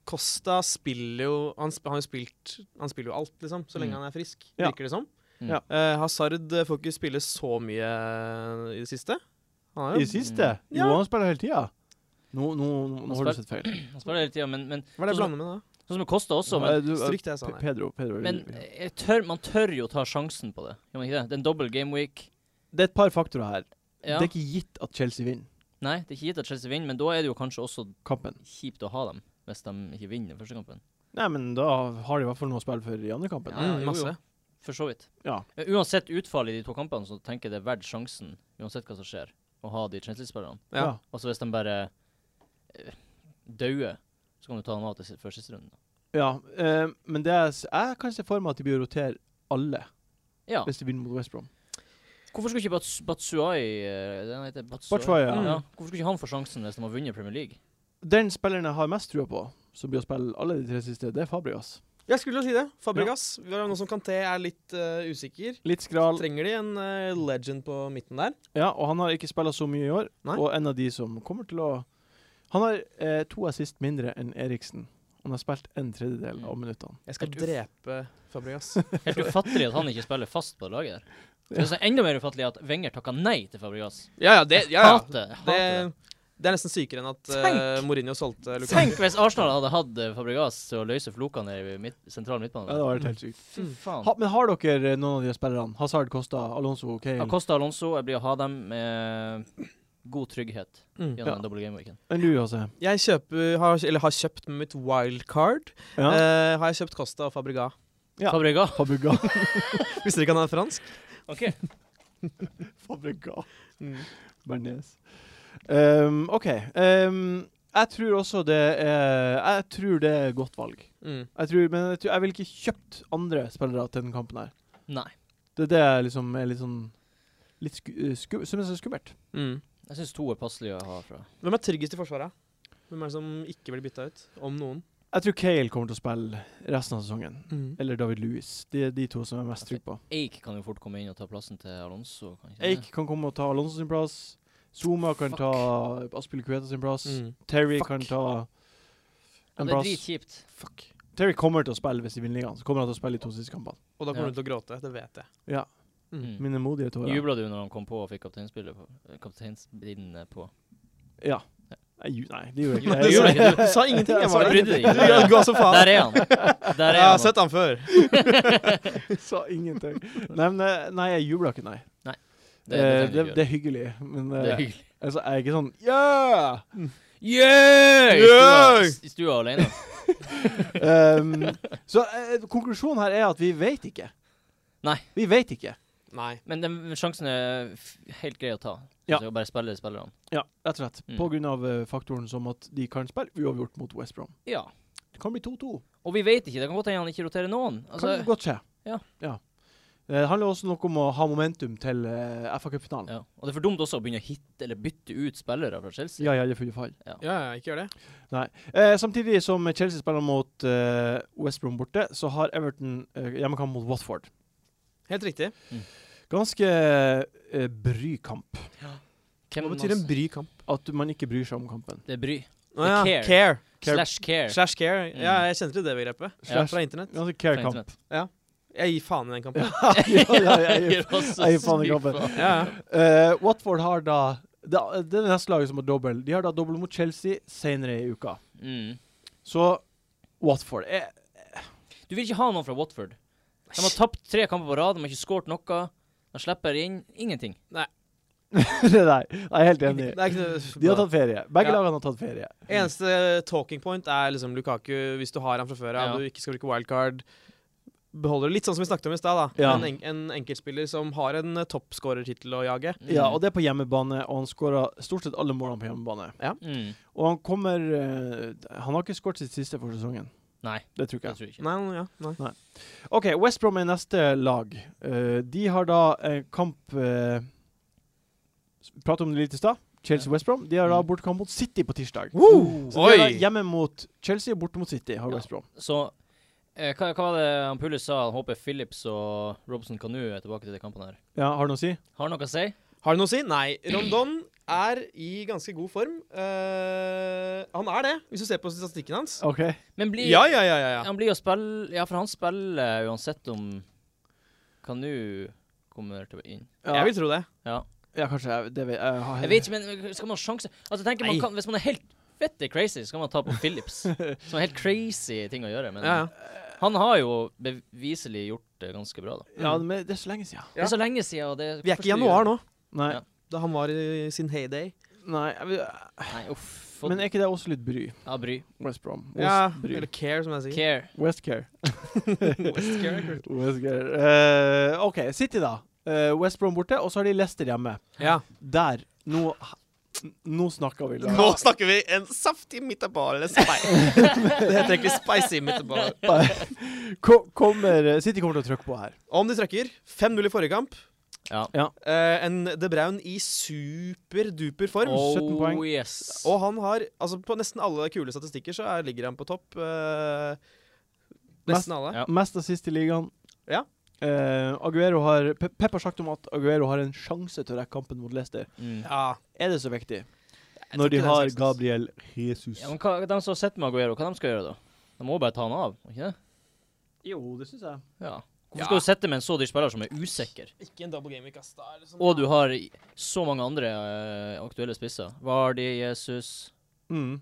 [SPEAKER 3] Costa spiller jo Han, sp han, har jo spilt, han spiller jo alt, liksom, så lenge
[SPEAKER 2] Mm.
[SPEAKER 3] han er frisk,
[SPEAKER 1] Ja.
[SPEAKER 3] virker det som.
[SPEAKER 2] Ja.
[SPEAKER 3] Eh, Hazard eh, får ikke spille så mye eh, i det siste.
[SPEAKER 1] I
[SPEAKER 3] Han er
[SPEAKER 1] det
[SPEAKER 3] jo
[SPEAKER 1] siste? Jo,
[SPEAKER 3] Ja.
[SPEAKER 1] han spiller hele tida. Nå, nå, nå har du sett feil.
[SPEAKER 2] Han spiller hele tida, men, men
[SPEAKER 3] Hva er det jeg blander med da?
[SPEAKER 2] sånn [CLEARS THROAT] som det koster også.
[SPEAKER 1] Eh,
[SPEAKER 2] Men,
[SPEAKER 1] du, eh,
[SPEAKER 3] Stryk det jeg sa.
[SPEAKER 1] Pe-
[SPEAKER 3] Nei.
[SPEAKER 1] Pedro, Pedro.
[SPEAKER 2] men jeg tør, man tør jo ta sjansen på det. Gjør man ikke det? Det er en dobbel game week.
[SPEAKER 1] det er et par faktorer her.
[SPEAKER 2] Ja.
[SPEAKER 1] Det er ikke gitt at Chelsea vinner
[SPEAKER 2] Nei, det er ikke gitt at Chelsea vinner, men da er det jo kanskje også
[SPEAKER 1] kampen.
[SPEAKER 2] kjipt å ha dem hvis de ikke vinner første kampen.
[SPEAKER 1] Nei, men da har de i hvert fall noe å spille for i andre kampen.
[SPEAKER 2] Ja, jo,
[SPEAKER 3] Mm,
[SPEAKER 2] jo.
[SPEAKER 3] masse.
[SPEAKER 2] For så vidt.
[SPEAKER 1] Ja.
[SPEAKER 2] Men Uansett utfall i de to kampene, så tenker jeg det er verdt sjansen, uansett hva som skjer, å ha de Chelsea-spillerne.
[SPEAKER 3] Ja.
[SPEAKER 1] Ja.
[SPEAKER 2] Altså hvis de bare eh, dauer, så kan du ta dem av til si- før siste runde.
[SPEAKER 1] Ja, eh, men det er, s- jeg kan se for meg at de blir å rotere alle
[SPEAKER 2] Ja.
[SPEAKER 1] hvis de vinner mot West Brom.
[SPEAKER 2] Hvorfor skulle ikke Bats Batsuai eh, den heter Batshuayi?
[SPEAKER 1] Batshuayi, ja.
[SPEAKER 2] Mm.
[SPEAKER 3] Mm.
[SPEAKER 2] Hvorfor skulle ikke han få sjansen hvis de har vunnet Premier League?
[SPEAKER 1] Den spilleren jeg har mest trua på, som blir å spille alle de tre siste, det er Fabregas.
[SPEAKER 3] Jeg skulle jo si det. Fabregas. Vi har jo noen som Kanté er litt eh, usikker.
[SPEAKER 1] Litt skral.
[SPEAKER 3] Trenger de en eh, legend på midten der?
[SPEAKER 1] Ja, og han har ikke spilla så mye i år.
[SPEAKER 3] Nei.
[SPEAKER 1] Og en av de som kommer til å Han har eh, to assist mindre enn Eriksen. Han har spilt en tredjedel av minuttene.
[SPEAKER 3] Jeg skal
[SPEAKER 2] Helt uff.
[SPEAKER 3] drepe Fabregas.
[SPEAKER 2] Helt ufattelig at han ikke spiller fast på det laget der. Så Det er så enda mer ufattelig at Wenger takka nei til Fabregas.
[SPEAKER 3] ja, ja, det, ja,
[SPEAKER 2] [LAUGHS]
[SPEAKER 3] ja.
[SPEAKER 2] Hater, hater
[SPEAKER 3] Det,
[SPEAKER 2] det.
[SPEAKER 3] det er nesten sykere enn at eh,
[SPEAKER 2] Tenk!
[SPEAKER 3] Mourinho solgte Lukaku.
[SPEAKER 2] Tenk hvis Arsenal hadde hatt eh, Fabregas til å løse floka nede i midt, sentral
[SPEAKER 1] Ja, det
[SPEAKER 2] midtbane.
[SPEAKER 1] var helt helt sykt.
[SPEAKER 2] Fy faen.
[SPEAKER 1] Ha, men har dere eh, noen av de spillerne? Hazard, Costa, Alonso, Kane?
[SPEAKER 2] Acosta Alonso, jeg blir å ha dem med god trygghet
[SPEAKER 3] Mm.
[SPEAKER 2] gjennom
[SPEAKER 1] Ja.
[SPEAKER 2] den doble gameweeken.
[SPEAKER 1] Enn du, Hasse?
[SPEAKER 3] Jeg kjøper, har, eller har kjøpt med mitt wildcard.
[SPEAKER 1] Ja.
[SPEAKER 3] Eh, har jeg kjøpt Costa og Fabregas.
[SPEAKER 1] Ja.
[SPEAKER 2] Fabrega.
[SPEAKER 1] [LAUGHS] Fabregas.
[SPEAKER 3] Visste ikke han er fransk.
[SPEAKER 2] Ok.
[SPEAKER 1] Fabregas.
[SPEAKER 3] Mm.
[SPEAKER 1] Bernes. Um, OK. Um, jeg tror også det er Jeg tror det er godt valg.
[SPEAKER 3] Mm.
[SPEAKER 1] Jeg tror, men jeg, tror, jeg vil ikke kjøpt andre spillere til den kampen her.
[SPEAKER 2] Nei.
[SPEAKER 1] Det er det jeg liksom er litt sånn Litt sku, eh, sku, som er så skummelt.
[SPEAKER 3] Mm.
[SPEAKER 2] Jeg syns to er passelige å ha fra.
[SPEAKER 3] Hvem er tryggest i forsvaret? Hvem er det som ikke blir bytta ut? Om noen.
[SPEAKER 1] Jeg tror Kale kommer til å spille resten av sesongen. Eller David Lewis. De er de to som jeg er mest trygg på.
[SPEAKER 2] Eik kan jo fort komme inn og ta plassen til Alonso. Kan ikke
[SPEAKER 1] Eik kan komme og ta Alonso sin plass. Zuma kan
[SPEAKER 2] Fuck.
[SPEAKER 1] ta Aspille Kueta sin plass.
[SPEAKER 3] Mm.
[SPEAKER 1] Terry
[SPEAKER 3] Fuck.
[SPEAKER 1] kan ta
[SPEAKER 2] Ja,
[SPEAKER 1] en
[SPEAKER 2] det er
[SPEAKER 1] plass.
[SPEAKER 2] dritkjipt.
[SPEAKER 3] Fuck.
[SPEAKER 1] Terry kommer til å spille hvis de vinner ligaen. Så kommer han til å spille de to siste kampene.
[SPEAKER 3] Og da kommer
[SPEAKER 2] Ja.
[SPEAKER 3] du til å gråte. Det vet jeg.
[SPEAKER 1] Ja.
[SPEAKER 3] Mm.
[SPEAKER 2] Mm.
[SPEAKER 1] Mine modige tårer.
[SPEAKER 2] Jubla du når han kom på og fikk kapteinspillet på? eh, Kapteinsbindet på?
[SPEAKER 1] Ja. Nei, ju- nei, det gjorde jeg
[SPEAKER 3] Jo,
[SPEAKER 1] ikke.
[SPEAKER 2] [LAUGHS]
[SPEAKER 3] det
[SPEAKER 1] Jeg
[SPEAKER 3] gjorde
[SPEAKER 1] gjorde
[SPEAKER 3] jeg ikke. Du sa ingenting. Jeg var
[SPEAKER 2] Jeg brydde deg
[SPEAKER 3] Du gjør
[SPEAKER 2] ikke.
[SPEAKER 3] det godt som faen.
[SPEAKER 2] Der er han. Der er
[SPEAKER 3] Jeg har
[SPEAKER 2] han.
[SPEAKER 3] sett han før.
[SPEAKER 1] Jeg sa [LAUGHS] ingenting. Nei, men, eh, nei jeg jubla ikke, nei. Det,
[SPEAKER 2] Det, det,
[SPEAKER 1] eh, det, det er hyggelig, men
[SPEAKER 2] det
[SPEAKER 1] eh,
[SPEAKER 2] er hyggelig.
[SPEAKER 1] altså, jeg er ikke sånn Yeah!
[SPEAKER 2] Yeah! I stua-
[SPEAKER 3] Yeah!
[SPEAKER 2] s- I stua alene.
[SPEAKER 1] Um, så eh, konklusjonen her er at vi vet ikke.
[SPEAKER 2] Nei.
[SPEAKER 1] Vi vet ikke.
[SPEAKER 3] Nei.
[SPEAKER 2] Men den sjansen er f- helt grei å ta. Ja.
[SPEAKER 1] Ja.
[SPEAKER 2] Så jeg bare spiller spillerne.
[SPEAKER 1] Ja, rett og slett.
[SPEAKER 2] Mm.
[SPEAKER 1] På grunn av eh, faktoren som at de kan spille uavgjort mot West Brom.
[SPEAKER 2] Ja.
[SPEAKER 1] Det kan bli 2-2.
[SPEAKER 2] Og vi vet ikke. Det kan godt hende han ikke roterer noen. Altså,
[SPEAKER 1] kan godt skje. Eh,
[SPEAKER 2] ja.
[SPEAKER 1] Det handler også noe om å ha momentum til eh, FA-cupfinalen. Ja.
[SPEAKER 2] ja. Og det er for dumt også å begynne å hitte eller bytte ut spillere fra Chelsea.
[SPEAKER 1] ja, i fulle fall.
[SPEAKER 3] Ja, ja, ikke gjør det.
[SPEAKER 1] Eh, samtidig som Chelsea spiller mot eh, West Brom borte, så har Everton eh, hjemmekamp mot Watford.
[SPEAKER 3] Helt riktig.
[SPEAKER 1] Ganske eh, bry kamp.
[SPEAKER 2] Hvem
[SPEAKER 3] Hva betyr en
[SPEAKER 2] man-
[SPEAKER 3] bry kamp?
[SPEAKER 1] At man ikke bryr seg om kampen.
[SPEAKER 2] Det er bry.
[SPEAKER 3] Å ja.
[SPEAKER 2] Det er
[SPEAKER 3] Care.
[SPEAKER 1] Care.
[SPEAKER 2] Slash care.
[SPEAKER 3] Slash care.
[SPEAKER 2] Mm.
[SPEAKER 3] Ja, jeg kjente til det begrepet.
[SPEAKER 1] Slash-
[SPEAKER 3] Fra internett.
[SPEAKER 1] Ganske
[SPEAKER 2] Fra
[SPEAKER 1] care kamp.
[SPEAKER 2] internett.
[SPEAKER 3] Jeg gir faen i den kampen.
[SPEAKER 1] ja, ja, jeg gir-
[SPEAKER 2] Jeg var så
[SPEAKER 1] jeg gir faen i
[SPEAKER 2] syk
[SPEAKER 1] kampen.
[SPEAKER 2] faen.
[SPEAKER 3] Ja, ja.
[SPEAKER 1] Eh, Watford har da det, det er det neste laget som har dobbel. De har da dobbel mot Chelsea senere i uka.
[SPEAKER 2] Mm.
[SPEAKER 1] Så Watford er
[SPEAKER 2] Du vil ikke ha noen fra Watford. De har tapt tre kamper på rad, de har ikke skåret noe. De slipper inn ingenting.
[SPEAKER 1] Nei, jeg er helt
[SPEAKER 3] Det
[SPEAKER 1] enig.
[SPEAKER 3] er ikke noe
[SPEAKER 1] De har tatt ferie. Begge
[SPEAKER 3] Ja.
[SPEAKER 1] lagene har tatt ferie.
[SPEAKER 3] Eneste talking point er liksom Lukaku, hvis du har han fra før av,
[SPEAKER 2] Ja.
[SPEAKER 3] du ikke skal bruke wildcard. Beholder det litt sånn som vi snakket om i stad, da.
[SPEAKER 1] Ja.
[SPEAKER 3] En, en, en enkeltspiller som har en eh, toppskårertittel å jage.
[SPEAKER 2] Mm.
[SPEAKER 1] Ja, og det er på hjemmebane, og han skåra stort sett alle målene på hjemmebane.
[SPEAKER 2] mm.
[SPEAKER 1] Og han kommer eh, Han har ikke skåret sitt siste for sesongen.
[SPEAKER 2] Nei,
[SPEAKER 1] Det tror ikke
[SPEAKER 2] det
[SPEAKER 1] jeg.
[SPEAKER 2] tror jeg ikke.
[SPEAKER 3] Nei, ja, nei.
[SPEAKER 1] OK, West Brom er neste lag. Eh, de har da en kamp eh, Prate om det litt i stad. Chelsea-West Brom. De har da
[SPEAKER 2] Mm.
[SPEAKER 1] bortekamp mot City på tirsdag.
[SPEAKER 3] Woo!
[SPEAKER 1] Så de er da
[SPEAKER 3] Oi!
[SPEAKER 1] hjemme mot Chelsea og borte mot City har
[SPEAKER 2] Ja.
[SPEAKER 1] West Brom.
[SPEAKER 2] Så eh, hva, hva var det han Pulis sa? Han håper Phillips og Robson Kanu er tilbake til de kampene her.
[SPEAKER 1] Ja, har du noe å si?
[SPEAKER 2] Har han noe å si?
[SPEAKER 3] Har det noe å si? Nei. Rondon er i ganske god form. Eh, han er det, hvis du ser på statistikken hans.
[SPEAKER 1] OK.
[SPEAKER 2] Men blir
[SPEAKER 3] Ja, ja, ja, ja. ja.
[SPEAKER 2] Han blir å spille Ja, for han spiller uansett om Kanu kommer til å være inn.
[SPEAKER 1] Ja,
[SPEAKER 3] Jeg vil tro det.
[SPEAKER 2] Ja.
[SPEAKER 1] ja kanskje. Jeg, det vet, jeg, har-
[SPEAKER 2] Jeg vet ikke, men skal man ha sjanse Altså, tenker man
[SPEAKER 3] Nei.
[SPEAKER 2] kan, Hvis man er helt fette crazy, så kan man ta på
[SPEAKER 3] [LAUGHS]
[SPEAKER 2] Phillips. Som er helt crazy ting å gjøre. Men
[SPEAKER 3] Ja, ja.
[SPEAKER 2] han har jo beviselig gjort det ganske bra, da.
[SPEAKER 1] Ja, men det er så lenge siden.
[SPEAKER 2] Det er så lenge siden, og det
[SPEAKER 3] Vi er ikke i januar nå,
[SPEAKER 1] Nei.
[SPEAKER 2] Ja.
[SPEAKER 3] da han var i sin heyday.
[SPEAKER 1] Nei jeg, vil-
[SPEAKER 2] Nei, uff.
[SPEAKER 1] Men er ikke det også litt bry?
[SPEAKER 2] Ja, bry.
[SPEAKER 1] West Brom. West
[SPEAKER 3] Ja,
[SPEAKER 1] bry.
[SPEAKER 3] eller care, som jeg sier.
[SPEAKER 2] Care.
[SPEAKER 1] Westcare.
[SPEAKER 3] West care, kult.
[SPEAKER 1] Westcare. Eh, OK, City, da. Eh, West Brom borte, og så har de Leicester hjemme.
[SPEAKER 3] Ja.
[SPEAKER 1] Der. Nå Nå snakker vi. Lara.
[SPEAKER 3] Nå snakker vi en saftig midtbar eller spei.
[SPEAKER 1] [LAUGHS]
[SPEAKER 3] det heter egentlig spicy midtbar.
[SPEAKER 1] Ko- Kommer, eh, City kommer til å trykke på her.
[SPEAKER 3] Om de trøkker. 5-0 i forrige kamp.
[SPEAKER 2] Ja.
[SPEAKER 3] Eh, en De Braun i superduper form.
[SPEAKER 1] Åh. 17 poeng.
[SPEAKER 2] Oh yes.
[SPEAKER 3] Og han har altså På nesten alle kule statistikker så er, ligger han på topp. eh, nesten alle.
[SPEAKER 2] Ja.
[SPEAKER 1] Mest av sist i ligaen.
[SPEAKER 3] Ja.
[SPEAKER 1] Eh, Aguero har Pe Pep har sagt om at Aguero har en sjanse til å rekke kampen mot Leicester.
[SPEAKER 2] Mm.
[SPEAKER 3] Ja.
[SPEAKER 1] Er det så viktig?
[SPEAKER 3] Jeg tror
[SPEAKER 1] Når de
[SPEAKER 3] ikke det er
[SPEAKER 1] har
[SPEAKER 3] sjansen.
[SPEAKER 1] Gabriel Jesus.
[SPEAKER 2] Ja, men hva, de som sitter med Aguero, hva de skal gjøre da? De må bare ta han av, ikke det?
[SPEAKER 1] Jo, det syns jeg.
[SPEAKER 2] Ja. Hvorfor
[SPEAKER 3] Ja.
[SPEAKER 2] skal du sitte med en så dyr spiller som er usikker?
[SPEAKER 3] Ikke en double game i kasta.
[SPEAKER 2] Og du har i- så mange andre eh, aktuelle spisser. Vardi, Jesus,
[SPEAKER 1] Mm.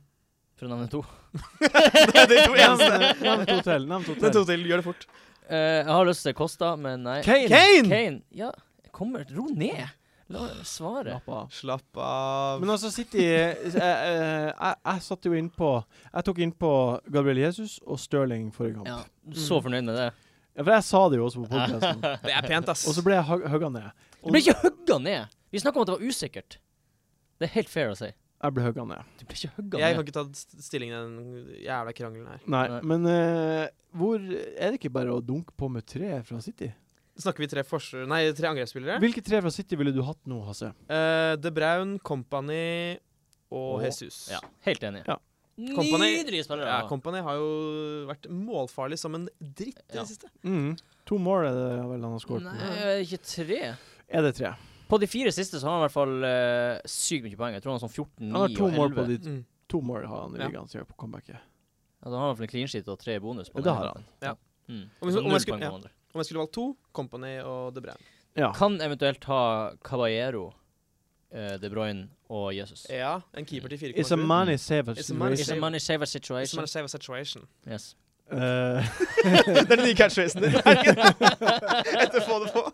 [SPEAKER 2] for å nevne to.
[SPEAKER 3] [LAUGHS] det er to
[SPEAKER 1] [LAUGHS] Nevn eh,
[SPEAKER 3] eneste.
[SPEAKER 1] nevn to til. Nevn
[SPEAKER 3] [LAUGHS]
[SPEAKER 1] to
[SPEAKER 3] Det
[SPEAKER 1] til.
[SPEAKER 3] tok til. Gjør det fort.
[SPEAKER 2] Eh, jeg har lyst til Kosta, men nei.
[SPEAKER 1] Kane!
[SPEAKER 3] Kane!
[SPEAKER 2] Kane. Ja, jeg kommer Ro ned. La svare.
[SPEAKER 1] Slapp av.
[SPEAKER 3] Slapp av.
[SPEAKER 1] Men altså, City eh, eh, Jeg, jeg satt jo inn på Jeg tok inn på Gabriel Jesus og Stirling forrige kamp.
[SPEAKER 2] Ja, så fornøyd med det.
[SPEAKER 1] Ja, For jeg sa det jo også på podkasten.
[SPEAKER 3] [LAUGHS] det er pent, ass.
[SPEAKER 1] Og så ble jeg hug- hugga ned.
[SPEAKER 2] Du ble ikke hugga ned! Vi snakka om at det var usikkert. Det er helt fair å si.
[SPEAKER 1] Jeg ble hugga ned.
[SPEAKER 2] Du ble ikke hugga
[SPEAKER 3] jeg kan
[SPEAKER 2] ned.
[SPEAKER 3] ikke ta st- stilling i den jævla krangelen her.
[SPEAKER 1] Nei,
[SPEAKER 2] Nei.
[SPEAKER 1] men eh, hvor Er det ikke bare å dunke på med tre fra City?
[SPEAKER 3] Snakker vi tre forsvar... Nei, tre angrepsspillere?
[SPEAKER 1] Hvilke tre fra City ville du hatt nå, Hasse?
[SPEAKER 3] Eh, De Braun, Company og
[SPEAKER 2] Og-
[SPEAKER 3] Jesus.
[SPEAKER 2] Ja, helt enig.
[SPEAKER 1] Ja.
[SPEAKER 3] Company-
[SPEAKER 2] Nydelige spillere.
[SPEAKER 3] Ja, Company har jo vært målfarlig som en dritt i det
[SPEAKER 2] Ja.
[SPEAKER 3] siste.
[SPEAKER 1] Mm. To mål er det vel han har skåret på.
[SPEAKER 2] Nei, ikke tre.
[SPEAKER 1] Er det tre?
[SPEAKER 2] På de fire siste så har han i hvert fall eh, sykt mye poeng. Jeg tror han har sånn 14, 9
[SPEAKER 1] Han har
[SPEAKER 2] og
[SPEAKER 1] to
[SPEAKER 2] 11.
[SPEAKER 1] mål på de
[SPEAKER 3] Mm.
[SPEAKER 1] to mål har han i
[SPEAKER 3] Ja.
[SPEAKER 1] ligaen siden på comebacket.
[SPEAKER 2] Ja, da har han i hvert fall en clean sheet og tre bonus. på
[SPEAKER 1] Det
[SPEAKER 2] den
[SPEAKER 1] har
[SPEAKER 2] ene.
[SPEAKER 1] han.
[SPEAKER 3] Ja.
[SPEAKER 2] Mm.
[SPEAKER 3] Om vi-
[SPEAKER 2] Så
[SPEAKER 3] om jeg
[SPEAKER 2] null poeng
[SPEAKER 3] skulle-
[SPEAKER 2] på
[SPEAKER 3] ja.
[SPEAKER 2] den andre.
[SPEAKER 3] Om jeg skulle valgt to, Company og De Braun.
[SPEAKER 1] Ja.
[SPEAKER 2] Kan eventuelt ha Caballero, eh, De Bruyne og Jesus.
[SPEAKER 3] Ja, en keeper til 4,7.
[SPEAKER 1] It's a money saver
[SPEAKER 3] It's a money
[SPEAKER 1] situation.
[SPEAKER 2] It's a
[SPEAKER 3] Eh, save-
[SPEAKER 2] money saver
[SPEAKER 3] Hvis
[SPEAKER 2] situation.
[SPEAKER 3] man er save a situation.
[SPEAKER 2] Yes.
[SPEAKER 1] Eh, [LAUGHS]
[SPEAKER 3] [LAUGHS] det er den nye catchphrasen
[SPEAKER 2] [LAUGHS]
[SPEAKER 3] din. Etter få det på.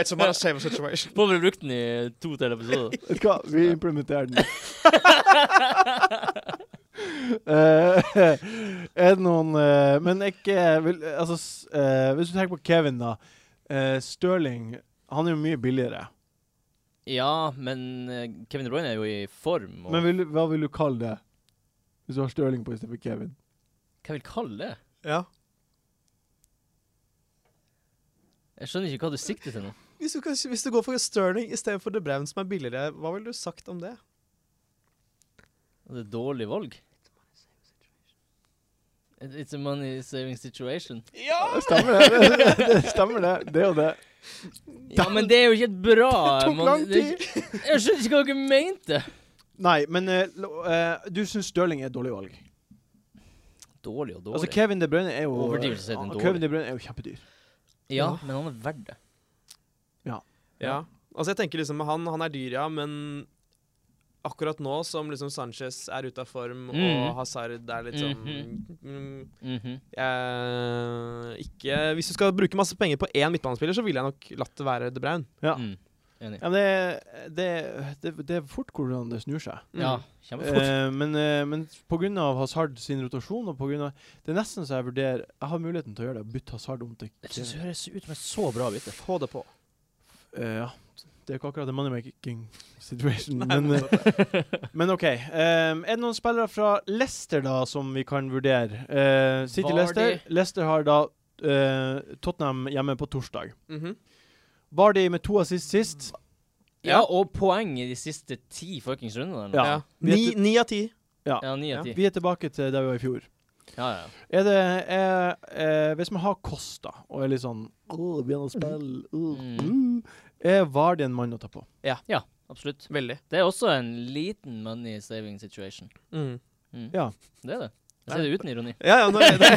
[SPEAKER 3] It's a money save a [LAUGHS] situation.
[SPEAKER 2] Må vi bruke den i to til
[SPEAKER 3] [LAUGHS]
[SPEAKER 2] episoder?
[SPEAKER 1] Vet du hva, vi implementerer den. Eh, [LAUGHS] er det noen eh, Men ikke vil, altså, s- eh, Hvis du tenker på Kevin, da. Uh, Stirling han er jo mye billigere.
[SPEAKER 2] Ja, men eh, Kevin De Bruyne er jo i form. Og
[SPEAKER 1] Men vil, hva vil du kalle det? Hvis du har Stirling på istedenfor Kevin?
[SPEAKER 2] Hva vil du kalle det?
[SPEAKER 1] Ja.
[SPEAKER 2] Jeg skjønner ikke hva du sikter til nå.
[SPEAKER 5] Hvis du, kan- hvis du går for Sterling istedenfor De Bruyne, som er billigere, hva ville du sagt om det?
[SPEAKER 2] Det er dårlig valg. It's a money saving situation.
[SPEAKER 1] Det stemmer, det. Det, det stemmer, det. Det er jo det.
[SPEAKER 2] Ja, men det er jo ikke et bra
[SPEAKER 1] [LAUGHS] Det tok
[SPEAKER 2] man-
[SPEAKER 1] lang
[SPEAKER 2] det er ikke- Jeg skjønner ikke hva dere mente.
[SPEAKER 1] Nei, men eh, lo- eh, du syns Stirling er et dårlig valg.
[SPEAKER 2] Dårlig og dårlig.
[SPEAKER 1] Altså, Kevin De Bruyne er jo
[SPEAKER 2] Overdrivelse å si den
[SPEAKER 1] Ah,
[SPEAKER 2] dårlig.
[SPEAKER 1] Kevin De Bruyne er jo kjempedyr.
[SPEAKER 2] ja, men han er verdt det.
[SPEAKER 3] Ja. Altså, jeg tenker liksom med han, han er dyr, ja, men akkurat nå som liksom Sanchez er ute av form,
[SPEAKER 2] Mm.
[SPEAKER 3] og Hazard er litt sånn mm,
[SPEAKER 2] Mhm.
[SPEAKER 3] eh, Ikke Hvis du skal bruke masse penger på én midtbanespiller, så ville jeg nok latt det være De Bruyne.
[SPEAKER 1] Ja.
[SPEAKER 2] Mm. Enig.
[SPEAKER 1] Ja, men det, det, det, det er fort hvordan det snur seg.
[SPEAKER 3] Mm.
[SPEAKER 2] Ja, kjempefort.
[SPEAKER 1] Eh, men, eh, men pga. Hazard sin rotasjon og på grunn av, Det er nesten så jeg vurderer Jeg har muligheten til å gjøre det. Bytte Hazard om til
[SPEAKER 2] Jeg synes
[SPEAKER 1] Kevin.
[SPEAKER 2] det høres ut som et så bra bytte.
[SPEAKER 3] Få det på.
[SPEAKER 1] Eh, ja. Det er jo ikke akkurat en moneymaking situation, men, eh, men OK. Eh, er det noen spillere fra Leicester da som vi kan vurdere? Eh, City
[SPEAKER 2] Vardy.
[SPEAKER 1] Leicester. Leicester har da eh, Tottenham hjemme på torsdag.
[SPEAKER 3] Mhm.
[SPEAKER 1] Vardy med to assist sist.
[SPEAKER 2] Ja, og poeng i de siste ti fuckings rundene. eller noe.
[SPEAKER 1] Ja.
[SPEAKER 3] ja.
[SPEAKER 1] Vi er
[SPEAKER 3] Ni,
[SPEAKER 1] til-
[SPEAKER 3] ni av ti.
[SPEAKER 2] Ja, ni av ti.
[SPEAKER 1] Vi er tilbake til der vi var i fjor.
[SPEAKER 2] Ja, ja.
[SPEAKER 1] Er det er, er, Hvis man har Kosta og er litt sånn Åh, begynner å spille åh,
[SPEAKER 2] Mm.
[SPEAKER 1] uh, Er Vardy en mann å ta på?
[SPEAKER 2] Absolutt.
[SPEAKER 3] Veldig.
[SPEAKER 2] Det er også en liten money saving situation.
[SPEAKER 3] Mm.
[SPEAKER 2] Mm.
[SPEAKER 1] Ja.
[SPEAKER 2] Det er det. Jeg sier det uten ironi.
[SPEAKER 3] Ja, ja, nå er det.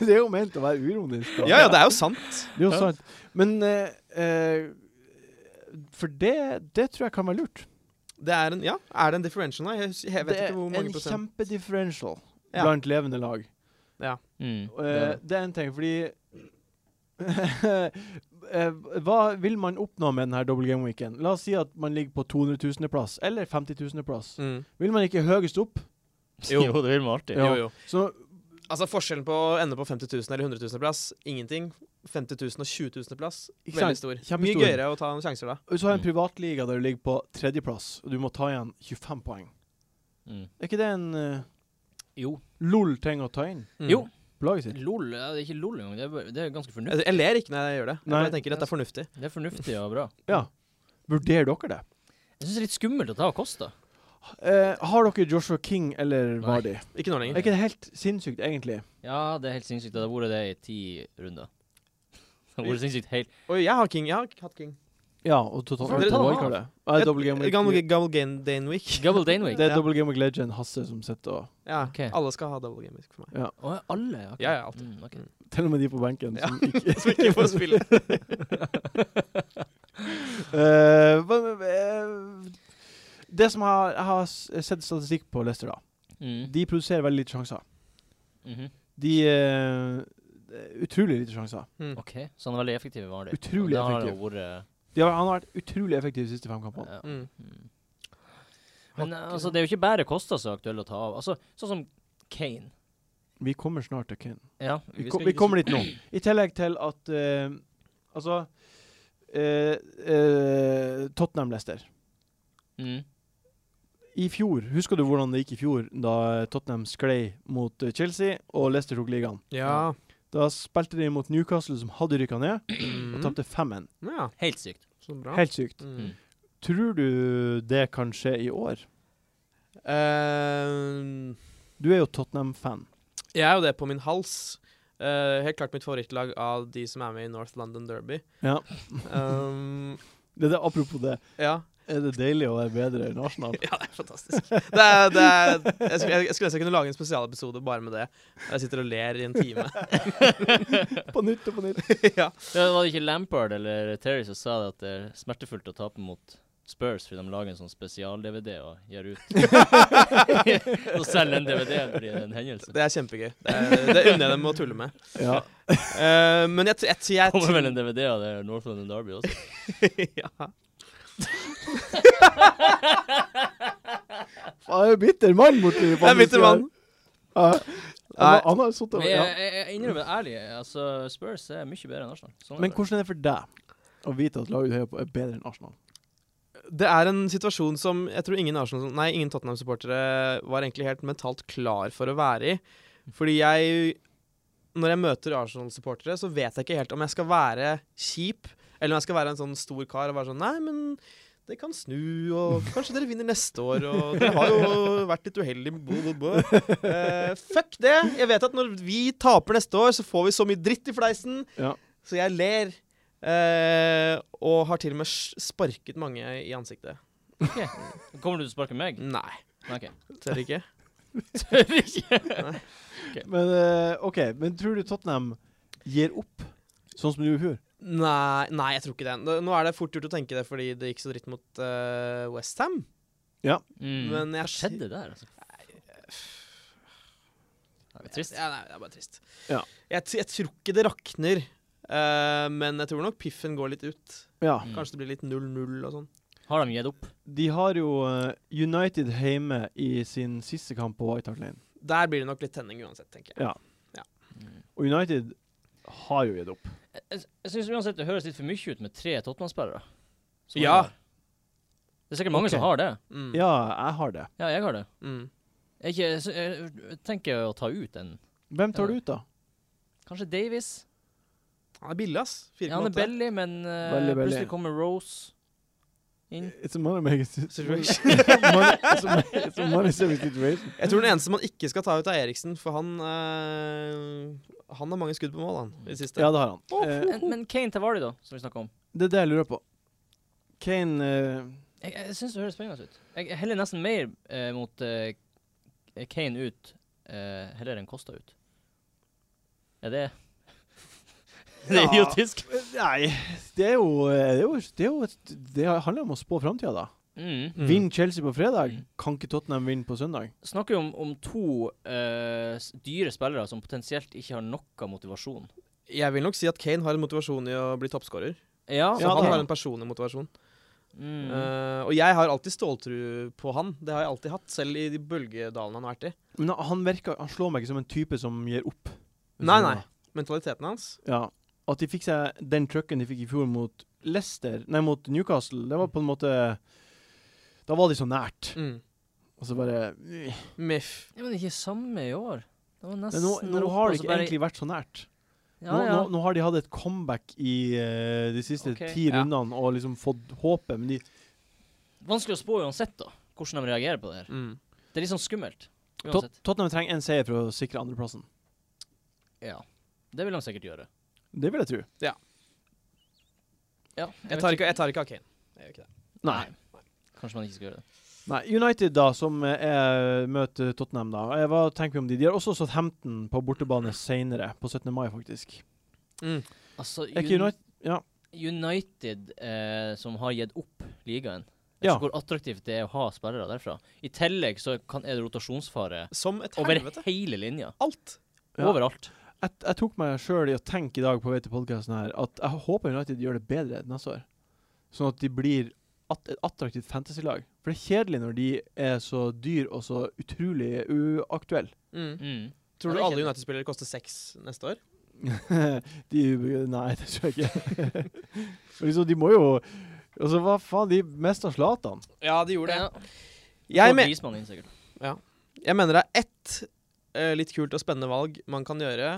[SPEAKER 1] det er jo ment å være uironisk. da.
[SPEAKER 3] ja, ja, [LAUGHS] det er jo sant.
[SPEAKER 1] Det er jo sant. Men eh, eh, For det, det tror jeg kan være lurt.
[SPEAKER 3] Det er en, ja, er det en differential, da? Jeg, hus- jeg vet
[SPEAKER 1] det er
[SPEAKER 3] ikke hvor mange
[SPEAKER 1] en
[SPEAKER 3] prosent.
[SPEAKER 1] kjempedifferential
[SPEAKER 3] Ja.
[SPEAKER 1] blant levende lag.
[SPEAKER 2] Mm.
[SPEAKER 1] Og, eh, det er en ting, fordi [LAUGHS] eh, Hva vil man oppnå med denne double game-weeken? La oss si at man ligger på 200 000.-plass, eller 50 000.-plass.
[SPEAKER 3] Mm.
[SPEAKER 1] Vil man ikke høyest opp?
[SPEAKER 2] [LAUGHS] Jo. det vil man alltid.
[SPEAKER 1] Ja.
[SPEAKER 3] Jo, jo.
[SPEAKER 1] Så
[SPEAKER 3] Altså Forskjellen på å ende på 50 000 eller 100 000 plass, ingenting. 50 000 og 20 000 plass,
[SPEAKER 1] Ikke
[SPEAKER 3] veldig
[SPEAKER 1] sant?
[SPEAKER 3] stor.
[SPEAKER 1] Kjempestor.
[SPEAKER 3] Mye gøyere å ta noen sjanser da.
[SPEAKER 1] Hvis du har en
[SPEAKER 2] Mm.
[SPEAKER 1] privatliga der du ligger på tredjeplass, og du må ta igjen 25 poeng,
[SPEAKER 2] Mm.
[SPEAKER 1] er ikke det en uh,
[SPEAKER 2] Jo.
[SPEAKER 1] LOL-ting å ta inn
[SPEAKER 3] Mm.
[SPEAKER 2] Jo.
[SPEAKER 1] på laget sitt?
[SPEAKER 2] LOL ja, Det er ikke LOL engang. Det er, bare- det er ganske
[SPEAKER 3] Jeg,
[SPEAKER 2] fornuftig.
[SPEAKER 3] Altså, jeg ler ikke når jeg gjør det. Jeg
[SPEAKER 1] Nei.
[SPEAKER 3] bare tenker dette er fornuftig.
[SPEAKER 2] Det er fornuftig og bra.
[SPEAKER 1] Ja. Vurderer dere det?
[SPEAKER 2] Jeg syns det er litt skummelt å ta Kosta.
[SPEAKER 1] Eh, har dere Joshua King eller
[SPEAKER 2] Nei.
[SPEAKER 1] Vardy?
[SPEAKER 3] Ikke nå
[SPEAKER 1] Er
[SPEAKER 3] lenger.
[SPEAKER 1] ikke det helt sinnssykt, egentlig?
[SPEAKER 2] Ja, det er helt sinnssykt. Det har vært det i ti [LAUGHS] runder. Det har vært sinnssykt [LAUGHS] helt
[SPEAKER 3] Oi, jeg har king. Jeg har hatt king.
[SPEAKER 1] Ja, og totalt
[SPEAKER 3] Hvorfor dere tar han
[SPEAKER 1] wildcardet. Ja, det er double game
[SPEAKER 3] Jeg- Gamble,
[SPEAKER 1] week.
[SPEAKER 3] gamble game Dane Week.
[SPEAKER 2] Double Danewick.
[SPEAKER 1] Det er
[SPEAKER 3] Ja.
[SPEAKER 1] double game week legend Hasse som sitter og
[SPEAKER 3] Ja,
[SPEAKER 2] Ok.
[SPEAKER 3] Alle skal ha double game week for meg.
[SPEAKER 2] Å, ja, alle? ok.
[SPEAKER 3] Ja, ja, alltid.
[SPEAKER 2] Mm, ok.
[SPEAKER 1] Til og med de på benken.
[SPEAKER 3] Ja.
[SPEAKER 1] Som [LAUGHS] ikke,
[SPEAKER 3] Som [LAUGHS] ikke får
[SPEAKER 1] [LAUGHS]
[SPEAKER 3] spille.
[SPEAKER 1] Eh, hva- eh, det som har, jeg har s- sett statistikk på Leicester, da.
[SPEAKER 2] Mm.
[SPEAKER 1] De produserer veldig lite sjanser.
[SPEAKER 2] Mhm.
[SPEAKER 1] De eh, Utrolig lite sjanser.
[SPEAKER 3] Mm.
[SPEAKER 2] OK, så han er veldig effektiv i Vardy.
[SPEAKER 1] Utrolig
[SPEAKER 2] Og da har
[SPEAKER 1] effektiv.
[SPEAKER 2] han vært-
[SPEAKER 1] De har, han har vært utrolig effektiv de siste fem kampene.
[SPEAKER 2] Ja.
[SPEAKER 3] Mm.
[SPEAKER 2] Mm. Men eh, altså, det er jo ikke bare Kosta som er aktuell å ta av. Altså, sånn som Kane.
[SPEAKER 1] Vi kommer snart til Kane.
[SPEAKER 2] Ja.
[SPEAKER 1] Vi,
[SPEAKER 3] Vi
[SPEAKER 1] kom,
[SPEAKER 3] skal
[SPEAKER 1] vi
[SPEAKER 3] ikke
[SPEAKER 1] kommer dit nå. I tillegg til at eh, Altså eh, eh, Tottenham Leicester.
[SPEAKER 2] Mm.
[SPEAKER 1] I fjor, Husker du hvordan det gikk i fjor da Tottenham sklei mot eh, Chelsea og Leicester tok ligaen?
[SPEAKER 3] Ja.
[SPEAKER 1] Da spilte de mot Newcastle, som hadde rykka ned, og
[SPEAKER 3] Mm.
[SPEAKER 1] tapte 5-1.
[SPEAKER 3] ja.
[SPEAKER 2] Helt sykt.
[SPEAKER 3] Så bra.
[SPEAKER 1] Helt sykt.
[SPEAKER 3] Mm.
[SPEAKER 1] Tror du det kan skje i år? Mm.
[SPEAKER 3] Eh,
[SPEAKER 1] Du er jo Tottenham-fan.
[SPEAKER 3] Jeg er jo det på min hals. Eh, helt klart mitt favorittlag av de som er med i North
[SPEAKER 1] [LAUGHS]
[SPEAKER 3] London Derby.
[SPEAKER 1] Ja.
[SPEAKER 3] Um,
[SPEAKER 1] Det, er det, apropos det,
[SPEAKER 3] ja.
[SPEAKER 1] er det deilig å være bedre enn Arsenal?
[SPEAKER 3] [LAUGHS] ja, det er fantastisk. Det er, det er, jeg, skulle, jeg skulle nesten kunne lage en spesialepisode bare med det. Jeg sitter og ler i en time.
[SPEAKER 1] [LAUGHS] på nytt og på nytt.
[SPEAKER 3] [LAUGHS] ja.
[SPEAKER 2] Ja, var det ikke Lampard eller Terry som sa det at det er smertefullt å tape mot Spurs fordi de lager en sånn spesial-DVD og gir ut Og selger en DVD fordi det er en hendelse.
[SPEAKER 3] Det er kjempegøy. Det, er, det unner jeg dem å tulle med.
[SPEAKER 1] Ja.
[SPEAKER 3] Eh, men jeg, t- jeg, t- jeg,
[SPEAKER 2] Det kommer vel en DVD av det her North London Derby også.
[SPEAKER 3] ja.
[SPEAKER 1] Han er jo bitter mann borti på
[SPEAKER 3] Jeg er
[SPEAKER 1] andre
[SPEAKER 3] bitter mann.
[SPEAKER 1] siden. Ja.
[SPEAKER 3] Nei.
[SPEAKER 1] Han, han har sittet og
[SPEAKER 2] Men
[SPEAKER 1] ja.
[SPEAKER 2] jeg, jeg, jeg innrømmer det ærlig, altså Spurs er mye bedre enn Arsenal. Sånn er
[SPEAKER 1] Men
[SPEAKER 2] det.
[SPEAKER 1] hvordan er det for deg? å vite at laget du heier på, er bedre enn Arsenal.
[SPEAKER 3] Det er en situasjon som jeg tror ingen, Arsenal- nei, ingen Tottenham-supportere var egentlig helt mentalt klar for å være i. Fordi jeg Når jeg møter Arsenal-supportere, så vet jeg ikke helt om jeg skal være kjip, eller om jeg skal være en sånn stor kar og være sånn Nei, men det kan snu, og kanskje dere vinner neste år, og dere har jo vært litt uheldige bo, bo, bo. Eh, Fuck det! Jeg vet at når vi taper neste år, så får vi så mye dritt i fleisen,
[SPEAKER 1] Ja.
[SPEAKER 3] så jeg ler. eh, og har til og med s- sparket mange i ansiktet.
[SPEAKER 2] Kommer du til å sparke meg?
[SPEAKER 3] Nei,
[SPEAKER 2] Nei, ok.
[SPEAKER 3] tør ikke.
[SPEAKER 2] [LAUGHS] Tør ikke.
[SPEAKER 1] Men eh, OK, men tror du Tottenham gir opp, sånn som de gjorde i fjor?
[SPEAKER 3] [LAUGHS] Nei, nei, jeg tror ikke det. Nå- Nå er det fort gjort å tenke det fordi det gikk så dritt mot uh, Westham.
[SPEAKER 2] Mm.
[SPEAKER 3] Men jeg-
[SPEAKER 2] Hva skjedde der, altså? Det er trist.
[SPEAKER 3] Ja, nei, det er bare trist.
[SPEAKER 1] Ja.
[SPEAKER 3] Jeg, t- jeg tror ikke det rakner, eh, men jeg tror nok piffen går litt ut.
[SPEAKER 1] Ja.
[SPEAKER 2] Mm.
[SPEAKER 3] Kanskje det blir litt 0-0 og sånn.
[SPEAKER 2] Har de gitt opp?
[SPEAKER 1] De har jo eh, United hjemme i sin siste kamp på White Hart Lane.
[SPEAKER 3] Der blir det nok litt tenning uansett, tenker jeg.
[SPEAKER 1] Ja. Og United har jo gitt opp.
[SPEAKER 2] Jeg, jeg, jeg syns uansett det høres litt for mye ut med tre Tottenham-spillere. Som
[SPEAKER 3] Ja.
[SPEAKER 2] er der. Det er sikkert mange
[SPEAKER 1] Ok.
[SPEAKER 2] som har det.
[SPEAKER 3] Mm.
[SPEAKER 1] Ja, jeg har det.
[SPEAKER 2] Ja, jeg har det.
[SPEAKER 3] Mm.
[SPEAKER 2] Jeg, er ikke, jeg, sy- jeg, jeg tenker å ta ut en
[SPEAKER 1] Hvem tar du ut, da?
[SPEAKER 2] Kanskje Davies?
[SPEAKER 3] Han er billig, ass.
[SPEAKER 2] Ja, han er
[SPEAKER 3] 4,8.
[SPEAKER 2] belly, men eh,
[SPEAKER 1] Veldig belly.
[SPEAKER 2] plutselig kommer Rose
[SPEAKER 1] [LAUGHS]
[SPEAKER 2] inn.
[SPEAKER 1] It's a money making
[SPEAKER 3] Situation.
[SPEAKER 1] money, [LAUGHS] it's, a, money- it's a money saving
[SPEAKER 3] [LAUGHS]
[SPEAKER 1] situation.
[SPEAKER 3] jeg tror den eneste man ikke skal ta ut, er Eriksen, for han eh, Han har mange skudd på mål, han, i det siste.
[SPEAKER 1] Ja, det har han. Eh,
[SPEAKER 2] Men, men Kane til Vardy, da, som vi snakka om.
[SPEAKER 1] det er det jeg lurer på. Kane eh,
[SPEAKER 2] Jeg, jeg syns det høres spennende ut. Jeg jeg heller nesten mer eh, mot eh, Kane ut eh, heller enn Costa ut. Er det [LAUGHS] Det er
[SPEAKER 1] Ja.
[SPEAKER 2] idiotisk.
[SPEAKER 1] Nei, det er jo Det, er jo, det, er jo et, det handler om å spå framtida, da.
[SPEAKER 2] Mm.
[SPEAKER 3] Mm.
[SPEAKER 1] Vinner Chelsea på fredag,
[SPEAKER 2] Mm.
[SPEAKER 1] kan ikke Tottenham vinne på søndag?
[SPEAKER 2] Snakker jo om, om to eh, s- dyre spillere som potensielt ikke har noe motivasjon.
[SPEAKER 3] Jeg vil nok si at Kane har en motivasjon i å bli toppskårer.
[SPEAKER 2] Ja,
[SPEAKER 3] Så
[SPEAKER 1] Ja,
[SPEAKER 3] han
[SPEAKER 1] da.
[SPEAKER 3] har en personlig motivasjon.
[SPEAKER 2] mm.
[SPEAKER 3] Eh, og jeg har alltid ståltru på han. Det har jeg alltid hatt, selv i de bølgedalene han har vært i.
[SPEAKER 1] Men han, virker, han slår meg ikke som en type som gir opp.
[SPEAKER 3] Nei, nei. Mentaliteten hans.
[SPEAKER 1] Ja, At de fikk seg den trucken de fikk i fjor mot Leicester, nei, mot Newcastle, det var på en måte Da var de så nært.
[SPEAKER 3] Mm.
[SPEAKER 1] Og så bare øh.
[SPEAKER 3] Miff.
[SPEAKER 2] ja, men ikke samme i år. Det var
[SPEAKER 1] Men
[SPEAKER 2] nesten
[SPEAKER 1] nå, nå
[SPEAKER 2] opp,
[SPEAKER 1] har
[SPEAKER 2] og
[SPEAKER 1] det
[SPEAKER 2] så
[SPEAKER 1] ikke
[SPEAKER 2] bare-
[SPEAKER 1] egentlig vært så nært.
[SPEAKER 2] ja,
[SPEAKER 1] Nå,
[SPEAKER 2] ja.
[SPEAKER 1] nå, nå har de hatt et comeback i eh, de siste
[SPEAKER 2] Ok.
[SPEAKER 1] ti
[SPEAKER 3] Ja.
[SPEAKER 1] rundene og liksom fått håpet, men de
[SPEAKER 2] Vanskelig å spå uansett, da. Hvordan de reagerer på det her.
[SPEAKER 3] Mm.
[SPEAKER 2] Det er litt sånn skummelt.
[SPEAKER 1] Tot
[SPEAKER 2] Uansett.
[SPEAKER 1] Tottenham trenger en seier for å sikre andreplassen.
[SPEAKER 2] Ja. Det vil de sikkert gjøre.
[SPEAKER 1] Det vil jeg tro.
[SPEAKER 2] Ja,
[SPEAKER 3] Jeg,
[SPEAKER 2] vet
[SPEAKER 3] tar ikke, jeg tar ikke av Kane. Jeg gjør ikke det.
[SPEAKER 1] Nei.
[SPEAKER 2] Kanskje man ikke skal gjøre det.
[SPEAKER 1] Nei. United, da, som eh, er, møter Tottenham, da. Eh, Hva tenker vi om de? De har også Southampton på bortebane senere, på 17. mai, faktisk.
[SPEAKER 3] Mm.
[SPEAKER 2] Altså,
[SPEAKER 1] Er ikke
[SPEAKER 2] Un-
[SPEAKER 1] United Ja.
[SPEAKER 2] United eh, som har gitt opp ligaen.
[SPEAKER 1] Ja.
[SPEAKER 2] Ja. Hvor attraktivt det er å ha spillere derfra. I tillegg så kan, er det rotasjonsfare
[SPEAKER 3] Som et
[SPEAKER 2] over
[SPEAKER 3] helvete.
[SPEAKER 2] hele linja.
[SPEAKER 3] Alt.
[SPEAKER 1] Ja.
[SPEAKER 2] Overalt.
[SPEAKER 1] Jeg, jeg tok meg sjøl i å tenke i dag på vei til podkasten her at jeg håper United gjør det bedre neste år. Sånn at de blir at, et attraktivt fantasy-lag. For det er kjedelig når de er så dyr og så utrolig uaktuelle.
[SPEAKER 3] Mm.
[SPEAKER 2] Mm. Ja, det
[SPEAKER 3] Tror du
[SPEAKER 2] er
[SPEAKER 3] alle
[SPEAKER 2] kjedelig.
[SPEAKER 3] United-spillere koster seks neste år?
[SPEAKER 1] de Nei, det tror jeg ikke. [LAUGHS] Men liksom, de må jo Altså, hva faen? De mista Zlatan.
[SPEAKER 3] Ja, de gjorde
[SPEAKER 2] Ja.
[SPEAKER 3] Jeg,
[SPEAKER 2] Få
[SPEAKER 3] me
[SPEAKER 2] Griezmann inn, sikkert.
[SPEAKER 3] jeg mener det er ett eh, litt kult og spennende valg man kan gjøre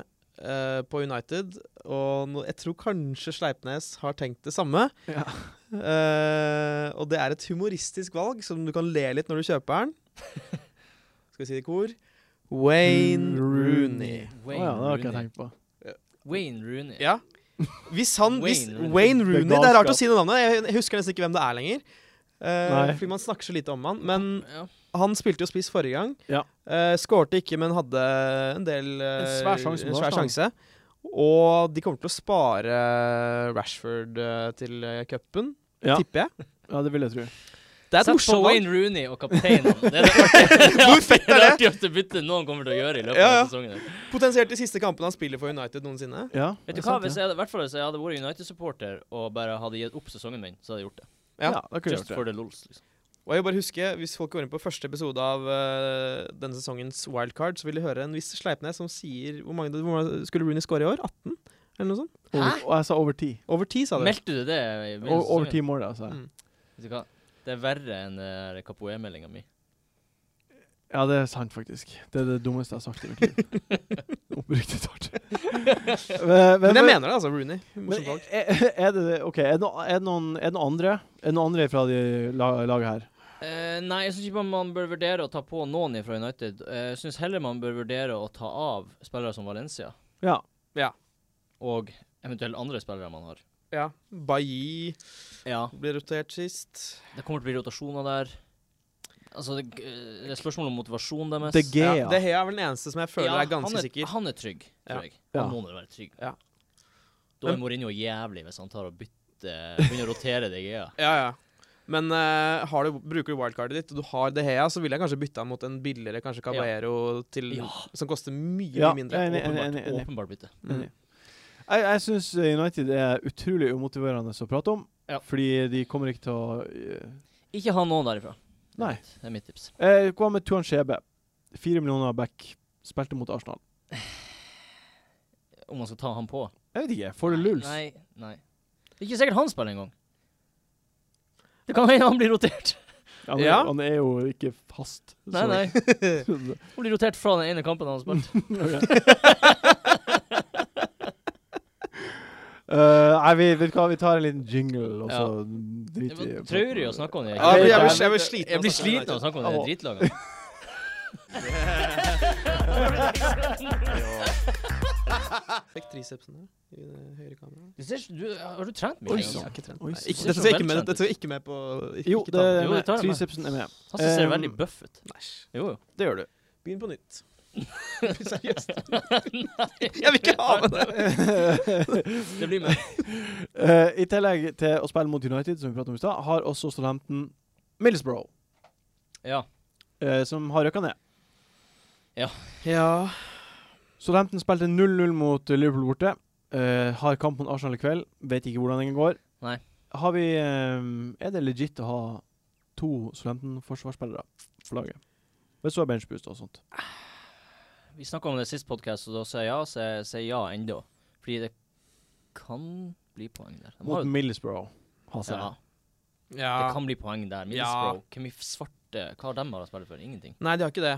[SPEAKER 3] eh, på United. Og nå- jeg tror kanskje Sleipnes har tenkt det samme.
[SPEAKER 1] Ja.
[SPEAKER 3] Eh, og det er et humoristisk valg som du kan le litt når du kjøper
[SPEAKER 1] [LAUGHS]
[SPEAKER 3] den. Skal vi si det i kor? Wayne Rooney.
[SPEAKER 1] Å ja, det har ikke jeg tenkt på.
[SPEAKER 2] Wayne Rooney.
[SPEAKER 3] Ja. Hvis han hvis
[SPEAKER 2] Wayne
[SPEAKER 3] Wayne,
[SPEAKER 2] Rooney.
[SPEAKER 3] Rooney
[SPEAKER 1] Det er
[SPEAKER 3] Det er rart å
[SPEAKER 1] galskap.
[SPEAKER 3] si noe navnet. Jeg jeg husker nesten ikke hvem det er lenger. Eh,
[SPEAKER 1] Nei.
[SPEAKER 3] fordi man snakker så lite om han. Men
[SPEAKER 2] Ja.
[SPEAKER 3] han spilte jo spiss forrige gang.
[SPEAKER 1] Ja.
[SPEAKER 3] Eh, skårte ikke, men hadde en del eh,
[SPEAKER 1] En svær sjanse mot
[SPEAKER 3] en svær
[SPEAKER 1] Arsenal.
[SPEAKER 3] sjanse. Og de kommer til å spare Rashford eh, til eh, cupen,
[SPEAKER 1] Ja.
[SPEAKER 3] tipper jeg.
[SPEAKER 1] ja, det vil jeg tro.
[SPEAKER 3] Det er et
[SPEAKER 2] Sett på
[SPEAKER 3] morsomt valg.
[SPEAKER 2] Wayne Rooney og
[SPEAKER 3] [LAUGHS]
[SPEAKER 2] kapteinen. Det er det artigste-
[SPEAKER 3] Hvor fett er det?
[SPEAKER 2] artigste byttet noen kommer til å gjøre i løpet
[SPEAKER 3] Ja, ja.
[SPEAKER 2] av sesongen. her.
[SPEAKER 3] Potensielt de siste kampene han spiller for United noensinne.
[SPEAKER 1] Ja,
[SPEAKER 2] Vet
[SPEAKER 1] det er
[SPEAKER 2] du hva,
[SPEAKER 1] sant,
[SPEAKER 2] hvis
[SPEAKER 1] det.
[SPEAKER 2] jeg, hadde- i hvert fall hvis jeg hadde vært United-supporter og bare hadde gitt opp sesongen min, så hadde jeg gjort det.
[SPEAKER 3] Ja,
[SPEAKER 1] Ja, da kunne jeg
[SPEAKER 2] Just
[SPEAKER 1] gjort det.
[SPEAKER 2] for the lols, liksom.
[SPEAKER 3] Og jeg vil bare husker, Hvis folk går inn på første episode av eh, denne sesongens Wildcard, så vil de høre en viss Sleipnes som sier Hvor mange, hvor mange skulle Rooney score i år? 18? eller noe sånt.
[SPEAKER 1] Over, og jeg sa over ti.
[SPEAKER 3] Over ti, sa du.
[SPEAKER 2] Meldte du det? i begynnelsen av
[SPEAKER 1] O- Over
[SPEAKER 2] sesongen?
[SPEAKER 1] ti mål, altså.
[SPEAKER 3] Mm.
[SPEAKER 2] Vet du hva? Det er verre enn uh, Kapoe-meldinga mi.
[SPEAKER 1] Ja, det er sant, faktisk. Det er det dummeste jeg har sagt i
[SPEAKER 2] [LAUGHS]
[SPEAKER 1] mitt liv. Oppriktig talt. Men,
[SPEAKER 3] Men jeg mener det, altså. Rooney. Morsomt
[SPEAKER 1] Men
[SPEAKER 3] valg.
[SPEAKER 1] er, er det OK, er det, noe- er det noen, er det noen andre Er det noen andre fra de la, laget her?
[SPEAKER 2] Eh, nei, jeg syns ikke man- man bør vurdere å ta på noen fra United. Eh, Jeg syns heller man bør vurdere å ta av spillere som Valencia,
[SPEAKER 1] Ja.
[SPEAKER 2] og eventuelt andre spillere man har.
[SPEAKER 3] Ja. Bailly
[SPEAKER 2] Ja.
[SPEAKER 3] ble rotert sist.
[SPEAKER 2] Det kommer til å bli rotasjoner der. Altså, det, eh, det er spørsmål om motivasjon deres.
[SPEAKER 1] De Gea.
[SPEAKER 3] Ja, De Gea er vel den eneste som jeg føler
[SPEAKER 2] Ja,
[SPEAKER 3] er ganske
[SPEAKER 2] han er,
[SPEAKER 3] sikker.
[SPEAKER 2] Han er trygg, tror
[SPEAKER 3] Ja.
[SPEAKER 2] jeg. Han
[SPEAKER 1] Ja.
[SPEAKER 2] må nå være trygg.
[SPEAKER 3] Ja.
[SPEAKER 2] Da er
[SPEAKER 3] Men-
[SPEAKER 2] Mourinho jævlig hvis han tar og bytter Begynner å rotere De Gea.
[SPEAKER 3] Ja, ja. Men eh, har du, bruker du wildcardet ditt, og du har De Hea, så ville jeg kanskje bytta mot en billigere kanskje Caballero til,
[SPEAKER 2] Ja.
[SPEAKER 3] som koster mye,
[SPEAKER 1] Ja,
[SPEAKER 3] mye mindre.
[SPEAKER 1] jeg er enig, enig,
[SPEAKER 2] Åpenbart,
[SPEAKER 1] enig, enig.
[SPEAKER 2] åpenbart bytte.
[SPEAKER 3] Mm.
[SPEAKER 1] Enig. Jeg, jeg syns United er utrolig umotiverende å prate om,
[SPEAKER 2] Ja.
[SPEAKER 1] fordi de kommer ikke til å eh,
[SPEAKER 2] Ikke ha noen derifra. Det er
[SPEAKER 1] Nei.
[SPEAKER 2] mitt- Det er mitt tips.
[SPEAKER 1] eh, Hva med Tuan Shebe? Fire millioner back. Spilte mot Arsenal.
[SPEAKER 2] Om man skal ta han på.
[SPEAKER 1] Jeg vet ikke. Får det lulls?
[SPEAKER 2] Nei, nei. Det er ikke sikkert han spiller engang. Det kan hende han blir
[SPEAKER 1] [LAUGHS]
[SPEAKER 2] rotert.
[SPEAKER 1] Han, er-
[SPEAKER 3] Ja.
[SPEAKER 1] han er jo ikke fast. [LAUGHS]
[SPEAKER 2] Nei, nei. [LAUGHS] Han blir rotert fra den ene kampen han har spilt.
[SPEAKER 1] Eh, nei, vi, vet du hva, vi tar en liten jingle, og
[SPEAKER 2] Ja.
[SPEAKER 1] så
[SPEAKER 2] Jeg
[SPEAKER 1] driter
[SPEAKER 2] var
[SPEAKER 1] vi
[SPEAKER 2] Traurig å snakke om det.
[SPEAKER 3] Ja,
[SPEAKER 1] jeg blir- jeg
[SPEAKER 3] blir- jeg blir sliten
[SPEAKER 2] Jeg blir sliten
[SPEAKER 3] av å snakke om
[SPEAKER 2] av å snakke om det drittlaget.
[SPEAKER 3] Sjekk tricepsene i det høyre kameraet.
[SPEAKER 2] Du ser, du, har du trent mye?
[SPEAKER 1] Oi,
[SPEAKER 3] Jeg
[SPEAKER 1] sann.
[SPEAKER 3] har ikke trent.
[SPEAKER 1] Oi,
[SPEAKER 3] Nei,
[SPEAKER 1] sann.
[SPEAKER 3] ikke, dette ser jeg ikke med,
[SPEAKER 2] Veltrent
[SPEAKER 3] dette ser jeg ikke med på ikke,
[SPEAKER 1] Jo,
[SPEAKER 3] ikke
[SPEAKER 1] det
[SPEAKER 3] ta
[SPEAKER 1] er
[SPEAKER 3] den.
[SPEAKER 2] Jo, vi
[SPEAKER 1] med.
[SPEAKER 2] tar det med.
[SPEAKER 1] Tricepsen er
[SPEAKER 2] [LAUGHS]
[SPEAKER 1] med.
[SPEAKER 2] Han ser
[SPEAKER 1] Um,
[SPEAKER 2] veldig buff ut. Jo, jo.
[SPEAKER 1] Det gjør du.
[SPEAKER 3] Begynn på nytt. [LAUGHS] Seriøst? [LAUGHS] jeg vil ikke ha med det!
[SPEAKER 2] Det blir med.
[SPEAKER 1] [LAUGHS] Eh, I tillegg til å spille mot United, som vi pratet om i stad, har også Southampton Middlesbrough,
[SPEAKER 2] Ja.
[SPEAKER 1] eh, som har røkka ned.
[SPEAKER 3] Ja.
[SPEAKER 1] Southampton spilte 0-0 mot Liverpool borte. Eh, har kamp mot Arsenal i kveld. Vet ikke hvordan den går.
[SPEAKER 2] Nei.
[SPEAKER 1] Har vi eh, Er det legit å ha to Southampton-forsvarsspillere for laget? Hvis du har benchboost og sånt.
[SPEAKER 2] Vi snakka om det sist podkast, og da sier jeg ja, så jeg sier ja ennå. Fordi det kan bli poeng der. De har
[SPEAKER 1] Mot
[SPEAKER 2] jo-
[SPEAKER 1] Middlesbrough. Hasse.
[SPEAKER 2] ja,
[SPEAKER 3] ja.
[SPEAKER 2] det kan bli poeng der.
[SPEAKER 3] Ja.
[SPEAKER 2] Middlesbrough, hvem i f- svarte Hva har de har å spille for? Ingenting.
[SPEAKER 3] Nei, de har ikke det.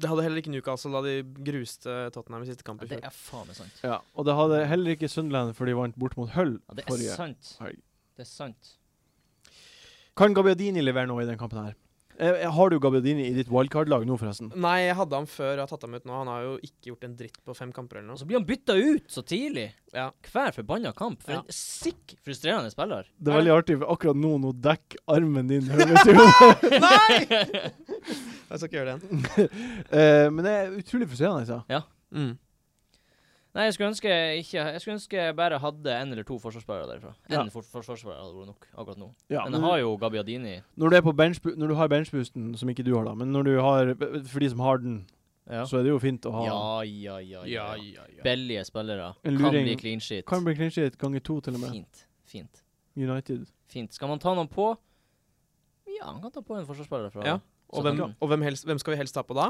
[SPEAKER 3] Det hadde heller ikke Newcastle da de gruste Tottenham i siste kamp i
[SPEAKER 2] Det
[SPEAKER 3] fjor.
[SPEAKER 2] er faen meg sant.
[SPEAKER 1] Ja, og det hadde heller ikke Sunderland, for de vant bort mot Hull
[SPEAKER 2] Ja, det er
[SPEAKER 1] forrige.
[SPEAKER 2] sant.
[SPEAKER 1] helg.
[SPEAKER 2] Det er sant.
[SPEAKER 1] Kan Gabbiadini levere noe i den kampen her? Eh, har du Gabbiadini i ditt wildcard-lag nå, forresten?
[SPEAKER 3] Nei, jeg hadde ham før jeg har tatt ham ut nå. Han har jo ikke gjort en dritt på fem kamper [LAUGHS] eller
[SPEAKER 2] Og
[SPEAKER 3] noe.
[SPEAKER 2] så blir han bytta ut så tidlig.
[SPEAKER 3] Ja.
[SPEAKER 2] Hver forbanna kamp. For
[SPEAKER 3] Ja.
[SPEAKER 2] en sikk frustrerende spiller.
[SPEAKER 1] Det er veldig artig, for akkurat nå nå dekker armen din høyre til
[SPEAKER 2] [LAUGHS]
[SPEAKER 1] hodet.
[SPEAKER 3] Jeg skal ikke gjøre det igjen.
[SPEAKER 1] Eh, men det er utrolig frustrerende. Altså.
[SPEAKER 3] Mm.
[SPEAKER 2] Nei, jeg skulle ønske jeg ikke Jeg skulle ønske jeg bare hadde en eller to forsvarsspillere derifra.
[SPEAKER 1] Ja.
[SPEAKER 2] En for forsvarsspiller hadde vært nok akkurat nå.
[SPEAKER 1] Ja,
[SPEAKER 2] Men jeg har jo Gabbiadini.
[SPEAKER 1] Når du, er på bench, når du har benchboosten, som ikke du har, da, men når du har, for de som har den,
[SPEAKER 2] Ja.
[SPEAKER 1] så er det jo fint å ha
[SPEAKER 2] Ja, ja, ja. ja, ja. Billige spillere.
[SPEAKER 1] En
[SPEAKER 2] Kan
[SPEAKER 1] luring.
[SPEAKER 2] bli clean sheet.
[SPEAKER 1] Kan bli clean sheet ganger to, til og med.
[SPEAKER 2] Fint. Fint.
[SPEAKER 1] United.
[SPEAKER 2] Fint. Skal man ta noen på? Ja, han kan ta på en forsvarsspiller fra
[SPEAKER 3] Ja. Og, hvem,
[SPEAKER 2] Southampton.
[SPEAKER 3] og hvem, helst, hvem skal vi helst ta på da?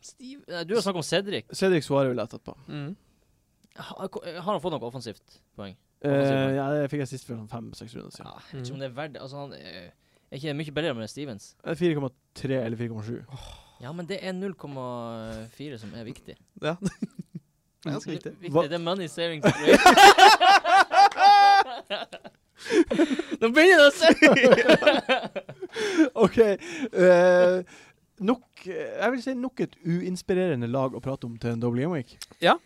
[SPEAKER 2] Steve Nei, Du har snakket om Cedric.
[SPEAKER 1] Cedric Suare ville jeg tatt på.
[SPEAKER 3] Mm.
[SPEAKER 2] Ha- Har han fått noe offensivt poeng?
[SPEAKER 1] Eh, ja, det fikk jeg sist for sånn fem-seks runder siden.
[SPEAKER 2] Ja, jeg vet ikke om det er verdt det. Altså, han eh, er ikke mye bedre med Stevens.
[SPEAKER 1] Eh, 4,3 eller 4,7.
[SPEAKER 2] Ja, men det er 0,4 som er viktig.
[SPEAKER 3] Ja. det er
[SPEAKER 2] Mm.
[SPEAKER 3] ganske viktig.
[SPEAKER 1] Hva-
[SPEAKER 2] Det er money savings. [LAUGHS] Nå begynner det å se
[SPEAKER 1] [LAUGHS] OK. eh, nok eh, Jeg vil si nok et uinspirerende lag å prate om til en double game week.
[SPEAKER 2] Ja,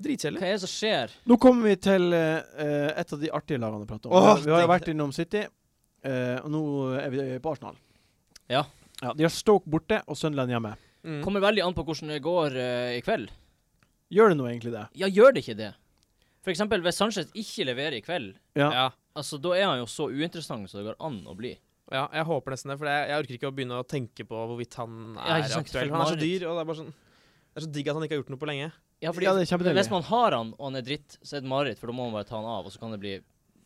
[SPEAKER 3] Dritkjedelig.
[SPEAKER 2] hva er det som skjer?
[SPEAKER 1] Nå kommer vi til eh, eh, et av de artige lagene å prate om.
[SPEAKER 3] Åh,
[SPEAKER 1] vi har jo
[SPEAKER 3] det-
[SPEAKER 1] vært innom City, eh, og nå er vi på Arsenal.
[SPEAKER 2] Ja.
[SPEAKER 1] ja. De har Stoke borte og Sunderland hjemme.
[SPEAKER 3] Mm.
[SPEAKER 2] Kommer veldig an på hvordan det går eh, i kveld.
[SPEAKER 1] Gjør det nå egentlig det?
[SPEAKER 2] Ja, gjør det ikke det? For eksempel, hvis Sanchez ikke leverer i kveld,
[SPEAKER 1] Ja.
[SPEAKER 3] Ja.
[SPEAKER 2] altså, da er han jo så uinteressant som det går an å bli.
[SPEAKER 3] ja, jeg håper nesten det, for jeg, jeg orker ikke å begynne å tenke på hvorvidt han
[SPEAKER 2] Ja,
[SPEAKER 3] er
[SPEAKER 2] ikke sant,
[SPEAKER 3] aktuell.
[SPEAKER 2] for
[SPEAKER 3] Han er så
[SPEAKER 2] Marit.
[SPEAKER 3] dyr, og det er bare sånn Det er så digg at han ikke har gjort noe på lenge.
[SPEAKER 2] Ja, fordi
[SPEAKER 1] Ja, det er kjempedeilig.
[SPEAKER 2] Hvis man har han, og han er dritt, så er det mareritt, for da må man bare ta han av, og så kan det bli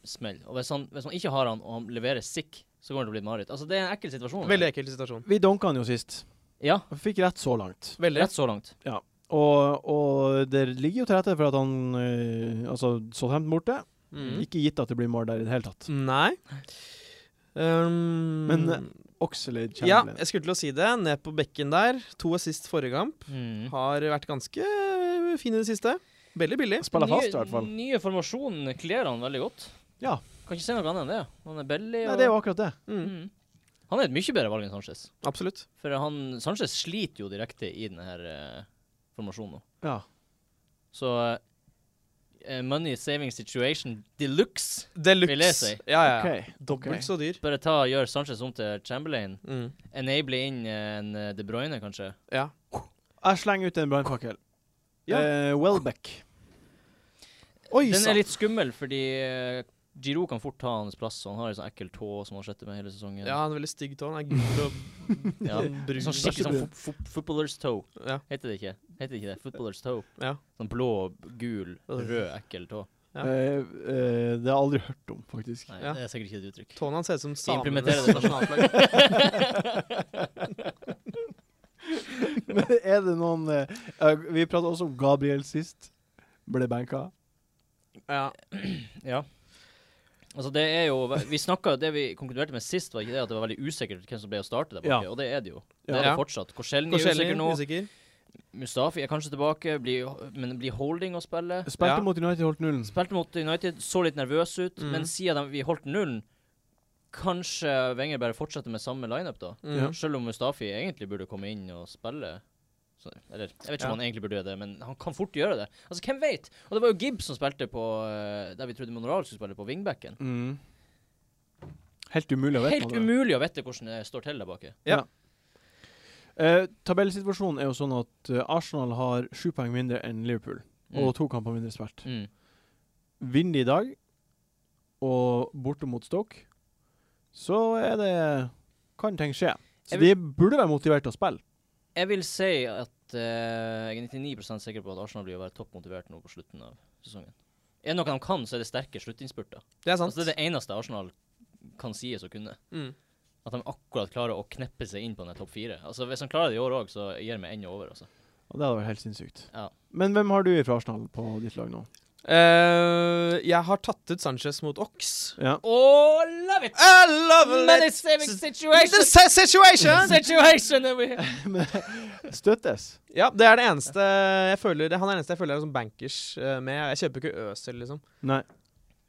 [SPEAKER 2] smell. Og hvis, han, hvis man ikke har han, og han leverer sick, så kommer det til å bli et mareritt. Altså, det er en ekkel situasjon.
[SPEAKER 3] Veldig ekkel situasjon.
[SPEAKER 1] Vi donka han jo sist.
[SPEAKER 2] Ja,
[SPEAKER 1] Og fikk rett så langt.
[SPEAKER 3] Veldig.
[SPEAKER 2] rett så langt.
[SPEAKER 1] Og, og det ligger jo til rette for at han øh, Altså, Southampton borte.
[SPEAKER 3] Mm.
[SPEAKER 2] Mm.
[SPEAKER 1] Ikke gitt at det blir mål der i det hele tatt.
[SPEAKER 3] Nei. Um,
[SPEAKER 1] Men, eh, Oxlade
[SPEAKER 3] ja,
[SPEAKER 1] Chamberlain.
[SPEAKER 3] jeg skulle til å si det. Ned på bekken der. To assist forrige kamp.
[SPEAKER 2] Mm.
[SPEAKER 3] Har vært ganske eh, fin i det siste. Veldig billig.
[SPEAKER 1] Spiller fast, i
[SPEAKER 2] Nye-
[SPEAKER 1] hvert fall.
[SPEAKER 2] Nye formasjonen kler han veldig godt.
[SPEAKER 1] Ja.
[SPEAKER 2] Kan ikke si noe annet enn det. Han er billig.
[SPEAKER 1] Nei, det er jo akkurat det.
[SPEAKER 3] Mm,
[SPEAKER 2] mm. Han er et mye bedre valg enn Sanchez.
[SPEAKER 3] absolutt.
[SPEAKER 2] For han, Sanchez sliter jo direkte i denne her, eh, formasjonen nå.
[SPEAKER 1] Ja.
[SPEAKER 2] Så eh, money saving situation deluxe.
[SPEAKER 3] Deluxe.
[SPEAKER 2] Vil jeg si.
[SPEAKER 3] Ja, ja.
[SPEAKER 1] OK.
[SPEAKER 3] Dobbelt så dyr.
[SPEAKER 2] Bare ta og gjør Sanchez om til Chamberlain.
[SPEAKER 3] Mm.
[SPEAKER 2] Enable inn eh, en eh, De Bruyne, kanskje.
[SPEAKER 3] Ja.
[SPEAKER 1] Jeg slenger ut en brannfakkel.
[SPEAKER 3] Ja.
[SPEAKER 1] Eh, Welbeck.
[SPEAKER 3] Oi
[SPEAKER 2] Den
[SPEAKER 3] sann!
[SPEAKER 2] er litt skummel, fordi eh, Giroud kan fort ta hans plass. Og han har en sånn ekkel tå som han sletter med hele sesongen.
[SPEAKER 3] Ja, han er veldig stygg tå. Han er gul og [LAUGHS]
[SPEAKER 2] Ja.
[SPEAKER 3] brun.
[SPEAKER 2] Sånn skikkelig sånn fo- fo- footballer's toe.
[SPEAKER 3] Ja.
[SPEAKER 2] Heter det ikke Heter det ikke det? Footballer's toe.
[SPEAKER 3] Ja.
[SPEAKER 2] Sånn blå, gul, rød, ekkel tå.
[SPEAKER 3] Ja.
[SPEAKER 1] Eh, eh, det har jeg aldri hørt om, faktisk.
[SPEAKER 2] Nei,
[SPEAKER 3] Ja.
[SPEAKER 2] det er sikkert ikke et uttrykk.
[SPEAKER 3] Tåene hans ser ut som
[SPEAKER 2] Vi implementerer
[SPEAKER 3] samenes
[SPEAKER 2] det.
[SPEAKER 3] nasjonalflagg.
[SPEAKER 1] Men er det noen eh, eh, Vi pratet også om Gabriel sist. Ble banka.
[SPEAKER 3] Ja.
[SPEAKER 2] [LAUGHS] Ja. Altså, det er jo Vi snakka Det vi konkluderte med sist, var ikke det at det var veldig usikkert hvem som ble å starte der
[SPEAKER 1] Ja.
[SPEAKER 2] borte, og det er det jo. Det
[SPEAKER 1] Ja.
[SPEAKER 2] er det
[SPEAKER 3] Ja.
[SPEAKER 2] fortsatt. Korselny er
[SPEAKER 3] Korselny
[SPEAKER 2] usikker nå.
[SPEAKER 3] usikker.
[SPEAKER 2] Mustafi er kanskje tilbake, blir, men blir holding å spille.
[SPEAKER 1] Spilte
[SPEAKER 3] Ja.
[SPEAKER 1] mot United, holdt nullen.
[SPEAKER 2] Spilte mot United, så litt nervøs ut,
[SPEAKER 1] Mhm.
[SPEAKER 3] Mm.
[SPEAKER 2] men siden de, vi holdt nullen Kanskje Wenger bare fortsetter med samme lineup, da.
[SPEAKER 3] Mm.
[SPEAKER 1] Mhm. Ja.
[SPEAKER 2] Selv om Mustafi egentlig burde komme inn og spille. Så, eller, jeg vet ikke om han egentlig burde gjøre det, men han kan fort gjøre det. Altså, hvem vet? Og det var jo Gibbs som spilte på eh, der vi trodde Monoral skulle spille, på wingbacken.
[SPEAKER 1] Mm. Helt umulig å vite.
[SPEAKER 2] Helt umulig å vite hvordan det står til der bake.
[SPEAKER 1] Eh, tabellsituasjonen er jo sånn at eh, Arsenal har sju poeng mindre enn Liverpool.
[SPEAKER 2] Mm.
[SPEAKER 1] Og to kamper mindre spilt.
[SPEAKER 2] Mm.
[SPEAKER 1] Vinner de i dag, og borte mot Stoke, så er det Kan ting skje. Så
[SPEAKER 2] Jeg
[SPEAKER 1] de
[SPEAKER 2] vil-
[SPEAKER 1] burde være motivert til å spille.
[SPEAKER 2] Jeg vil si at eh, jeg er 99 sikker på at Arsenal blir å være toppmotivert nå på slutten av sesongen. Er det noe de kan, så er det sterke sluttinnspurter.
[SPEAKER 3] Det er sant.
[SPEAKER 2] Altså, det er det eneste Arsenal kan sies å kunne.
[SPEAKER 3] Mm.
[SPEAKER 2] At de akkurat klarer å kneppe seg inn på den her topp fire. Altså, hvis de klarer det i år òg, så gir de meg enda over. altså.
[SPEAKER 1] Og det hadde vært helt sinnssykt.
[SPEAKER 2] Ja.
[SPEAKER 1] Men hvem har du fra Arsenal på ditt lag nå?
[SPEAKER 3] Eh, jeg har tatt ut Sanchez mot Ox.
[SPEAKER 1] Ja.
[SPEAKER 2] Oh, love it!
[SPEAKER 3] I love it!
[SPEAKER 2] saving
[SPEAKER 3] The si- situation!
[SPEAKER 2] situation that we
[SPEAKER 1] Støttes.
[SPEAKER 3] Ja, det er det eneste jeg føler Han er den eneste jeg føler er sånn bankers eh, med. Jeg kjøper ikke Øsel, liksom.
[SPEAKER 1] Nei.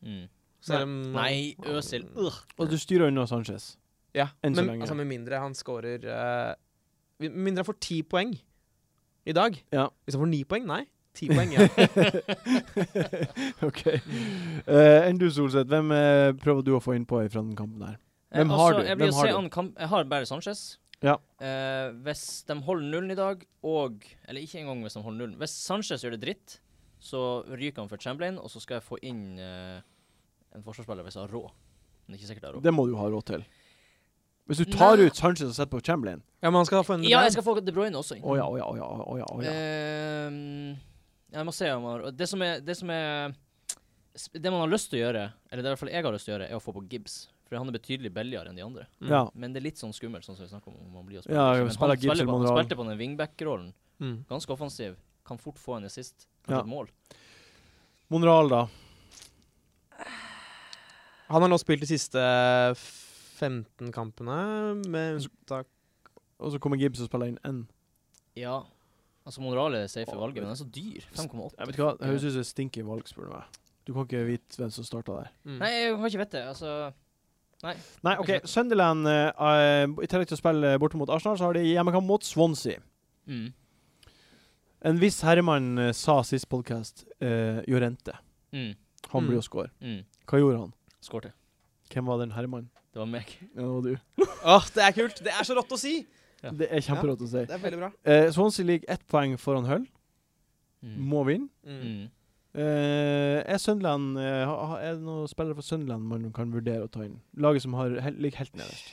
[SPEAKER 2] mm.
[SPEAKER 3] Selv om
[SPEAKER 2] Nei, Øsil. Ugh.
[SPEAKER 1] Og du styrer unna Sanchez.
[SPEAKER 3] Ja,
[SPEAKER 1] Enn så
[SPEAKER 3] men,
[SPEAKER 1] lenge.
[SPEAKER 3] Altså, med mindre han scorer eh, Med mindre han får ti poeng i dag.
[SPEAKER 1] Ja.
[SPEAKER 3] Hvis han får ni poeng, nei. Ti poeng, ja.
[SPEAKER 1] [LAUGHS] OK. Eh, Enn du, Solseth, hvem eh, prøver du å få innpå fra den kampen her? Hvem
[SPEAKER 2] Eh,
[SPEAKER 1] har
[SPEAKER 2] altså,
[SPEAKER 1] du?
[SPEAKER 2] Jeg, blir
[SPEAKER 1] Hvem
[SPEAKER 2] å
[SPEAKER 1] har
[SPEAKER 2] se
[SPEAKER 1] du?
[SPEAKER 2] an kamp- jeg har bare Sanchez.
[SPEAKER 1] Ja.
[SPEAKER 2] Eh, hvis de holder nullen i dag, og Eller ikke engang hvis de holder nullen. Hvis Sanchez gjør det dritt, så ryker han for Chamberlain, og så skal jeg få inn eh, en forsvarsspiller hvis jeg har råd. Men det er ikke sikkert jeg har råd.
[SPEAKER 1] Det må du ha råd til. Hvis du tar
[SPEAKER 2] Nei.
[SPEAKER 1] ut Sanchez og setter på Chamberlain
[SPEAKER 3] [LAUGHS] ja men han skal få en
[SPEAKER 2] Ja, jeg skal få De Bruyne også inn.
[SPEAKER 1] Å ja, å ja, å ja. å ja, å
[SPEAKER 2] Eh,
[SPEAKER 1] ja.
[SPEAKER 2] Ehm, jeg må se om han og det som, er, det som er sp- Det man har lyst til å gjøre, eller det er i hvert fall jeg har lyst til å gjøre, er å få på Gibbs. For han er betydelig billigere enn de andre.
[SPEAKER 3] Mm.
[SPEAKER 1] ja.
[SPEAKER 2] Men det er litt sånn skummelt, sånn som vi snakker om om han blir å spille.
[SPEAKER 1] Ja, jo,
[SPEAKER 2] eller ikke. Men
[SPEAKER 1] spiller Gibbs
[SPEAKER 2] han, spiller
[SPEAKER 1] eller
[SPEAKER 2] på, han
[SPEAKER 1] Monreal.
[SPEAKER 2] spilte på den wingback-rollen.
[SPEAKER 3] Mm.
[SPEAKER 2] Ganske offensiv. Kan fort få en assist.
[SPEAKER 1] Ja.
[SPEAKER 2] Kanskje et mål.
[SPEAKER 1] Monreal, da.
[SPEAKER 3] Han har nå spilt de siste 15 kampene, med
[SPEAKER 2] Altså,
[SPEAKER 3] unntak
[SPEAKER 1] Og så kommer Gibbs og spiller inn én.
[SPEAKER 2] Ja. Altså, Monreal er safe i valget, men den er så dyr. 5,8.
[SPEAKER 1] Jeg vet ikke hva, Det høres ut som et stinky valg, spør du meg. Du kan ikke vite hvem som starta der.
[SPEAKER 3] mm.
[SPEAKER 2] Nei, jeg har ikke vett det. Altså
[SPEAKER 1] Nei, OK. Sunderland, eh, eh, i tillegg til å spille borte mot Arsenal, så har de hjemmekamp mot Swansea.
[SPEAKER 2] mm.
[SPEAKER 1] En viss herremann eh, sa sist podkast uh, Jorente.
[SPEAKER 2] Mm.
[SPEAKER 1] Han blir å
[SPEAKER 3] Mm.
[SPEAKER 1] score.
[SPEAKER 2] Mm.
[SPEAKER 1] Hva gjorde han?
[SPEAKER 2] Skårte.
[SPEAKER 1] Hvem var den herremannen?
[SPEAKER 2] Det var meg.
[SPEAKER 1] Ja, det var du.
[SPEAKER 3] Åh, det er kult! Det er så rått å si!
[SPEAKER 2] Ja.
[SPEAKER 1] Det er kjemperått å si.
[SPEAKER 3] Det er veldig bra.
[SPEAKER 1] Eh, Swansea ligger ett poeng foran Hull.
[SPEAKER 2] Mm.
[SPEAKER 1] Må vinne.
[SPEAKER 3] Mm.
[SPEAKER 2] Mm.
[SPEAKER 1] Eh, er Sunderland eh, ha- ha- Er det noen spillere fra Sunderland man kan vurdere å ta inn? Laget som har, hel, ligger helt nederst.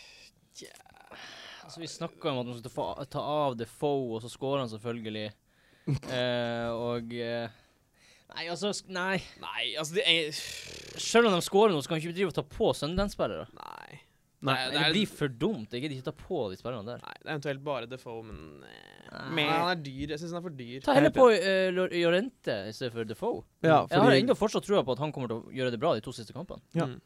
[SPEAKER 2] Altså, vi snakka om at man skulle få, ta av Defoe, og så scorer han selvfølgelig. Eh, og eh, Nei, altså sk- Nei.
[SPEAKER 3] Nei, altså det er
[SPEAKER 2] Selv om de scorer nå, så kan vi ikke drive og ta på Sunderland-spillere.
[SPEAKER 3] Nei.
[SPEAKER 2] Nei, Det blir for dumt. Jeg gidder ikke ta på de spillerne der.
[SPEAKER 3] Nei, det er eventuelt bare Defoe, men eh, Nei, han er dyr. Jeg syns han er for dyr.
[SPEAKER 2] Ta heller på eh, Lor- Llorente i stedet for Defoe.
[SPEAKER 1] Ja,
[SPEAKER 2] Jeg har
[SPEAKER 1] fordi-
[SPEAKER 2] ennå fortsatt trua på at han kommer til å gjøre det bra de to siste kampene.
[SPEAKER 1] Ja.
[SPEAKER 3] Mm.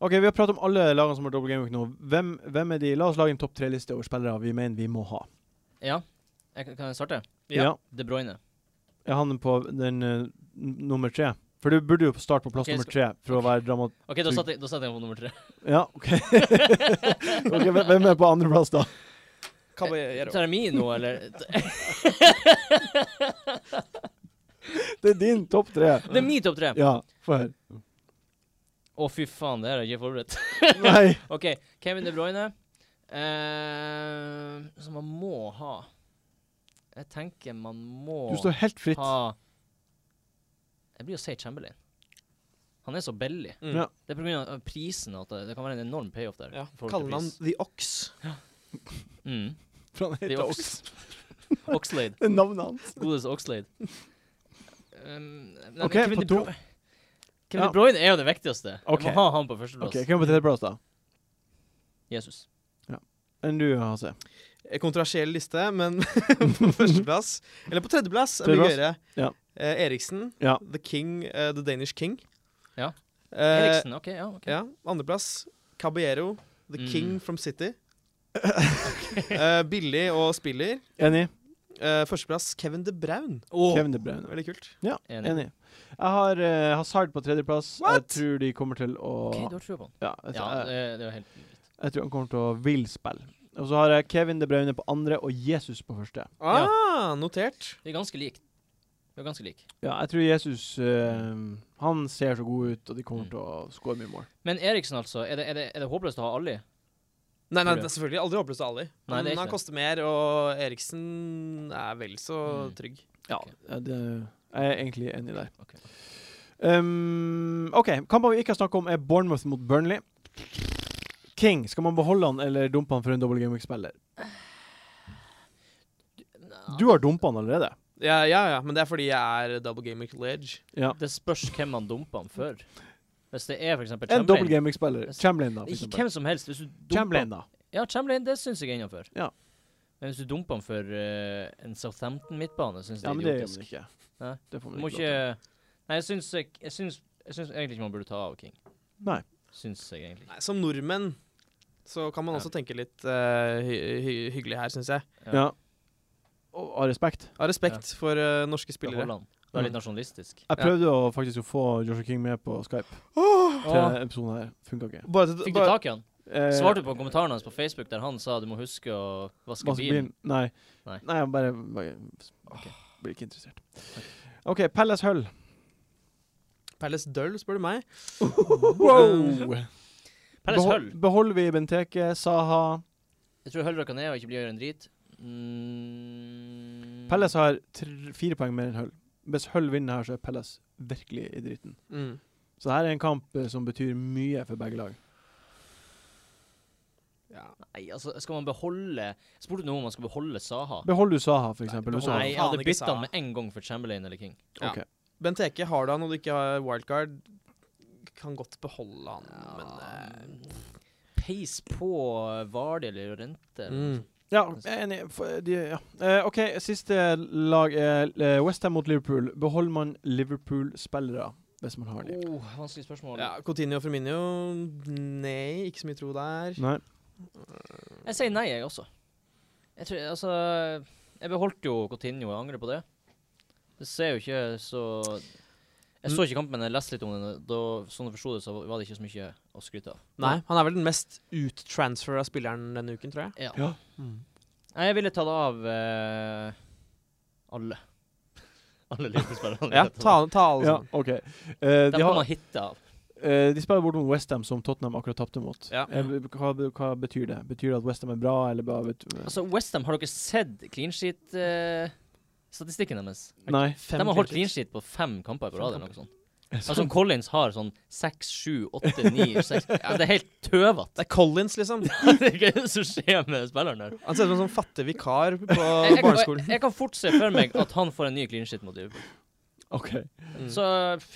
[SPEAKER 1] OK, vi har pratet om alle lagene som har double gameweek nå. Hvem, hvem er de? La oss lage en topp tre-liste over spillere vi mener vi må ha.
[SPEAKER 2] Ja, jeg, kan- kan jeg starte?
[SPEAKER 6] Ja.
[SPEAKER 2] De Bruyne.
[SPEAKER 1] Jeg havner på den eh, n- nummer tre. For du burde jo starte på plass
[SPEAKER 2] Ok,
[SPEAKER 1] nummer
[SPEAKER 2] skal-
[SPEAKER 1] tre for å være dramat...
[SPEAKER 2] OK, da satte jeg, da satte jeg på nummer tre.
[SPEAKER 1] Ja,
[SPEAKER 2] [LAUGHS]
[SPEAKER 1] OK. ok, hvem- Hvem er på andreplass, da?
[SPEAKER 3] Caballero.
[SPEAKER 2] Termino, eller
[SPEAKER 1] Det er din topp tre.
[SPEAKER 2] Det er min topp tre.
[SPEAKER 1] Ja, få høre.
[SPEAKER 2] Å, fy faen, det her er ikke forberedt.
[SPEAKER 1] [LAUGHS] Nei.
[SPEAKER 2] OK, Kevin De Bruyne, eh, som man må ha Jeg tenker man må
[SPEAKER 1] Du står helt fritt.
[SPEAKER 2] ha Jeg blir å si Chamberlain. Han er så billig.
[SPEAKER 3] Mm.
[SPEAKER 1] Ja.
[SPEAKER 2] Det er pga. prisen at det, det kan være en enorm payoff der.
[SPEAKER 3] Ja.
[SPEAKER 2] i forhold til
[SPEAKER 3] Kaller han
[SPEAKER 2] pris.
[SPEAKER 3] The Ox?
[SPEAKER 2] mm.
[SPEAKER 1] For han
[SPEAKER 2] Det
[SPEAKER 1] heter
[SPEAKER 2] er
[SPEAKER 1] Ox.
[SPEAKER 2] Ox. [LAUGHS] Oxlade.
[SPEAKER 1] Det er navnet hans.
[SPEAKER 2] Godeste Oxlade. Um, nei, men
[SPEAKER 1] Ok,
[SPEAKER 2] Kevin
[SPEAKER 1] på
[SPEAKER 2] De
[SPEAKER 1] to.
[SPEAKER 2] Bru- Kevin
[SPEAKER 1] Ja.
[SPEAKER 2] De Bruyne er jo det viktigste.
[SPEAKER 1] Ok.
[SPEAKER 2] Jeg må ha han på førsteplass.
[SPEAKER 1] OK, hvem er på tredjeplass, da?
[SPEAKER 2] Jesus.
[SPEAKER 1] Enn du, Hase.
[SPEAKER 3] Eh, Kontroversiell liste, men [LAUGHS] på førsteplass Eller på tredjeplass er mye gøyere.
[SPEAKER 1] Tredjeplass, ja.
[SPEAKER 3] Eh, Eriksen.
[SPEAKER 1] Ja.
[SPEAKER 3] The King. eh, the Danish King.
[SPEAKER 2] Ja.
[SPEAKER 3] Eh,
[SPEAKER 2] Eriksen, OK. Ja, ok.
[SPEAKER 3] Ja, andreplass Caballero, The
[SPEAKER 2] Mm.
[SPEAKER 3] King from City.
[SPEAKER 2] [LAUGHS]
[SPEAKER 3] Eh, billig og spiller.
[SPEAKER 1] Enig?
[SPEAKER 3] Eh, førsteplass Kevin De Braun.
[SPEAKER 2] Oh.
[SPEAKER 1] Kevin De Bruyne.
[SPEAKER 3] Veldig kult.
[SPEAKER 2] Enig.
[SPEAKER 1] Enig. Jeg har eh, Hazard på tredjeplass. Jeg
[SPEAKER 3] What?
[SPEAKER 1] tror de kommer til å
[SPEAKER 2] OK, du har trua på han.
[SPEAKER 1] ja, jeg,
[SPEAKER 2] Ja,
[SPEAKER 1] jeg,
[SPEAKER 2] det, det var helt
[SPEAKER 1] jeg tror han kommer til å vil spille. Og så har jeg Kevin De Bruyne på andre og Jesus på første.
[SPEAKER 3] Ah, Notert.
[SPEAKER 2] Vi er ganske like. Vi er ganske like.
[SPEAKER 1] Ja, jeg tror Jesus eh, Han ser så god ut, og de kommer
[SPEAKER 2] Mm.
[SPEAKER 1] til å skåre mye mål.
[SPEAKER 2] Men Eriksen, altså. Er det, er det, er det håpløst å ha alle? i?
[SPEAKER 3] Nei,
[SPEAKER 2] Tror
[SPEAKER 3] nei,
[SPEAKER 2] jeg.
[SPEAKER 3] det er selvfølgelig aldri håpløst av Ali.
[SPEAKER 2] Nei, det er
[SPEAKER 3] Men
[SPEAKER 2] ikke
[SPEAKER 3] han
[SPEAKER 2] det.
[SPEAKER 3] koster mer, og Eriksen er vel så
[SPEAKER 2] Mm.
[SPEAKER 3] trygg.
[SPEAKER 1] Ja,
[SPEAKER 2] Ok.
[SPEAKER 1] eh, det, jeg er egentlig enig der.
[SPEAKER 2] Ok.
[SPEAKER 1] Um, OK, kamper vi ikke har snakket om, er Bournemouth mot Burnley. King, skal man beholde han eller dumpe han for en double gameweek-spiller? Du har dumpa han allerede.
[SPEAKER 3] Ja, ja, ja, men det er fordi jeg er double gamer college.
[SPEAKER 1] Ja.
[SPEAKER 2] Det spørs hvem man dumper han for. Hvis det er for eksempel
[SPEAKER 1] En double
[SPEAKER 2] Chamberlain
[SPEAKER 1] gameweek-spiller. Chamberlain, da. for
[SPEAKER 2] Altså, Ikke
[SPEAKER 1] eksempel.
[SPEAKER 2] hvem som helst. Hvis du dumper
[SPEAKER 1] Chamberlain, da.
[SPEAKER 2] Ja, Chamberlain, det syns jeg er innafor.
[SPEAKER 1] Ja.
[SPEAKER 2] Men hvis du dumper han for eh, en Southampton-midtbane, syns
[SPEAKER 1] Ja,
[SPEAKER 2] jeg det
[SPEAKER 1] men det gjør
[SPEAKER 2] er
[SPEAKER 1] man
[SPEAKER 2] idiotisk.
[SPEAKER 1] ikke.
[SPEAKER 2] Nei.
[SPEAKER 1] Det får
[SPEAKER 2] Du
[SPEAKER 1] man
[SPEAKER 2] må
[SPEAKER 1] ikke lov til.
[SPEAKER 2] ikke Nei, jeg syns jeg, jeg, syns- jeg syns egentlig ikke man burde ta av King.
[SPEAKER 1] Nei.
[SPEAKER 2] Syns jeg egentlig.
[SPEAKER 3] Nei, som nordmenn så kan man
[SPEAKER 2] Ja.
[SPEAKER 3] også tenke litt eh, hy hy hyggelig her, syns jeg.
[SPEAKER 2] Ja.
[SPEAKER 1] Ja. Og av respekt.
[SPEAKER 3] Av respekt for eh, norske spillere.
[SPEAKER 2] Beholde han. Du er litt nasjonalistisk.
[SPEAKER 1] Jeg
[SPEAKER 3] Ja.
[SPEAKER 1] prøvde å faktisk å få Joshua King med på
[SPEAKER 2] [GASPS]
[SPEAKER 1] Skype til
[SPEAKER 2] Åh,
[SPEAKER 1] episoden her. Funka ikke.
[SPEAKER 3] Bare til-
[SPEAKER 2] Fikk du
[SPEAKER 3] bare-
[SPEAKER 2] tak i han?
[SPEAKER 1] Eh,
[SPEAKER 2] Svarte du på kommentaren hans på Facebook der han sa du må huske å vaske
[SPEAKER 1] Vaske
[SPEAKER 2] bilen?
[SPEAKER 1] bilen? Nei.
[SPEAKER 2] Nei.
[SPEAKER 1] Nei, jeg bare, bare ok, Blir ikke interessert. OK, Palace Hull.
[SPEAKER 3] Palace Døll, spør du meg.
[SPEAKER 1] Wow!
[SPEAKER 2] Palace Hull.
[SPEAKER 1] Eh,
[SPEAKER 2] Mm.
[SPEAKER 1] beholder vi Benteke, Saha
[SPEAKER 2] Jeg tror Hull røkker ned og ikke blir å gjøre en drit. Mm.
[SPEAKER 1] Palace har tr fire poeng mer enn Hull. Hvis Hull vinner her, så er Palace virkelig i dritten.
[SPEAKER 3] Mm.
[SPEAKER 1] Så her er en kamp eh, som betyr mye for begge lag.
[SPEAKER 3] Ja.
[SPEAKER 2] Nei, altså, skal man beholde Spurte du noe om man skal beholde Saha?
[SPEAKER 1] Beholder du Saha, for eksempel?
[SPEAKER 3] Nei,
[SPEAKER 1] Du sa-
[SPEAKER 2] Nei, jeg hadde
[SPEAKER 3] Faen ikke
[SPEAKER 2] bytta
[SPEAKER 3] Saha.
[SPEAKER 2] med en gang for Chamberlain eller King.
[SPEAKER 3] Ja.
[SPEAKER 1] Ok.
[SPEAKER 3] Benteke har du han, og du ikke har wildcard, kan godt beholde han, men eh,
[SPEAKER 2] Peis på Vardi eller Rente.
[SPEAKER 3] mm.
[SPEAKER 1] Ja, jeg er enig. For de, ja. Eh, OK, siste lag er eh, Westham mot Liverpool. Beholder man Liverpool-spillere hvis man har dem?
[SPEAKER 2] Oh, vanskelig spørsmål.
[SPEAKER 3] ja, Coutinho og Firmino Nei, ikke så mye tro der.
[SPEAKER 1] Nei.
[SPEAKER 2] Jeg sier nei, jeg også. Jeg tror, altså Jeg beholdt jo Coutinho, jeg angrer på det. Det ser jo ikke så Jeg
[SPEAKER 3] Mm.
[SPEAKER 2] så ikke kampen, men jeg leste litt om den. og Da, sånn jeg forsto det, så var det ikke så mye å skryte av.
[SPEAKER 3] Nei, Han er vel den mest uttransfera spilleren denne uken, tror jeg.
[SPEAKER 2] Ja.
[SPEAKER 1] Ja.
[SPEAKER 2] Nei, jeg ville tatt av eh, alle. [LAUGHS] alle Liverpool-spillerne.
[SPEAKER 3] Ja, ta, ta alle
[SPEAKER 1] Ja,
[SPEAKER 3] sammen.
[SPEAKER 1] OK. Eh,
[SPEAKER 2] De
[SPEAKER 1] de,
[SPEAKER 2] kan man
[SPEAKER 1] har,
[SPEAKER 2] hitte av.
[SPEAKER 1] eh, de spiller bort mot Westham, som Tottenham akkurat tapte mot.
[SPEAKER 3] Ja.
[SPEAKER 1] Eh, hva, hva betyr det? Betyr det at Westham er bra, eller bare vet,
[SPEAKER 2] Altså, Westham, har dere sett clean sheet-statistikken deres?
[SPEAKER 1] Nei.
[SPEAKER 3] Fem
[SPEAKER 2] De har holdt clean
[SPEAKER 1] [LAUGHS]
[SPEAKER 3] clean sheets.
[SPEAKER 2] sheet på fem kamper på
[SPEAKER 3] Fem
[SPEAKER 2] rad. eller noe sånt. Altså, Collins har sånn seks, sju, åtte,
[SPEAKER 3] [LAUGHS]
[SPEAKER 2] ni seks Altså, Det er helt tøvete.
[SPEAKER 3] Det er Collins, liksom.
[SPEAKER 2] Det er ikke det som skjer med spilleren der.
[SPEAKER 3] Han ser ut som en sånn fattig vikar på
[SPEAKER 2] [LAUGHS] Jeg, jeg, jeg,
[SPEAKER 3] barneskolen.
[SPEAKER 2] jeg kan fort se for meg at han får en ny clean sheet mot Liverpool.
[SPEAKER 1] OK.
[SPEAKER 3] Mm.
[SPEAKER 2] Så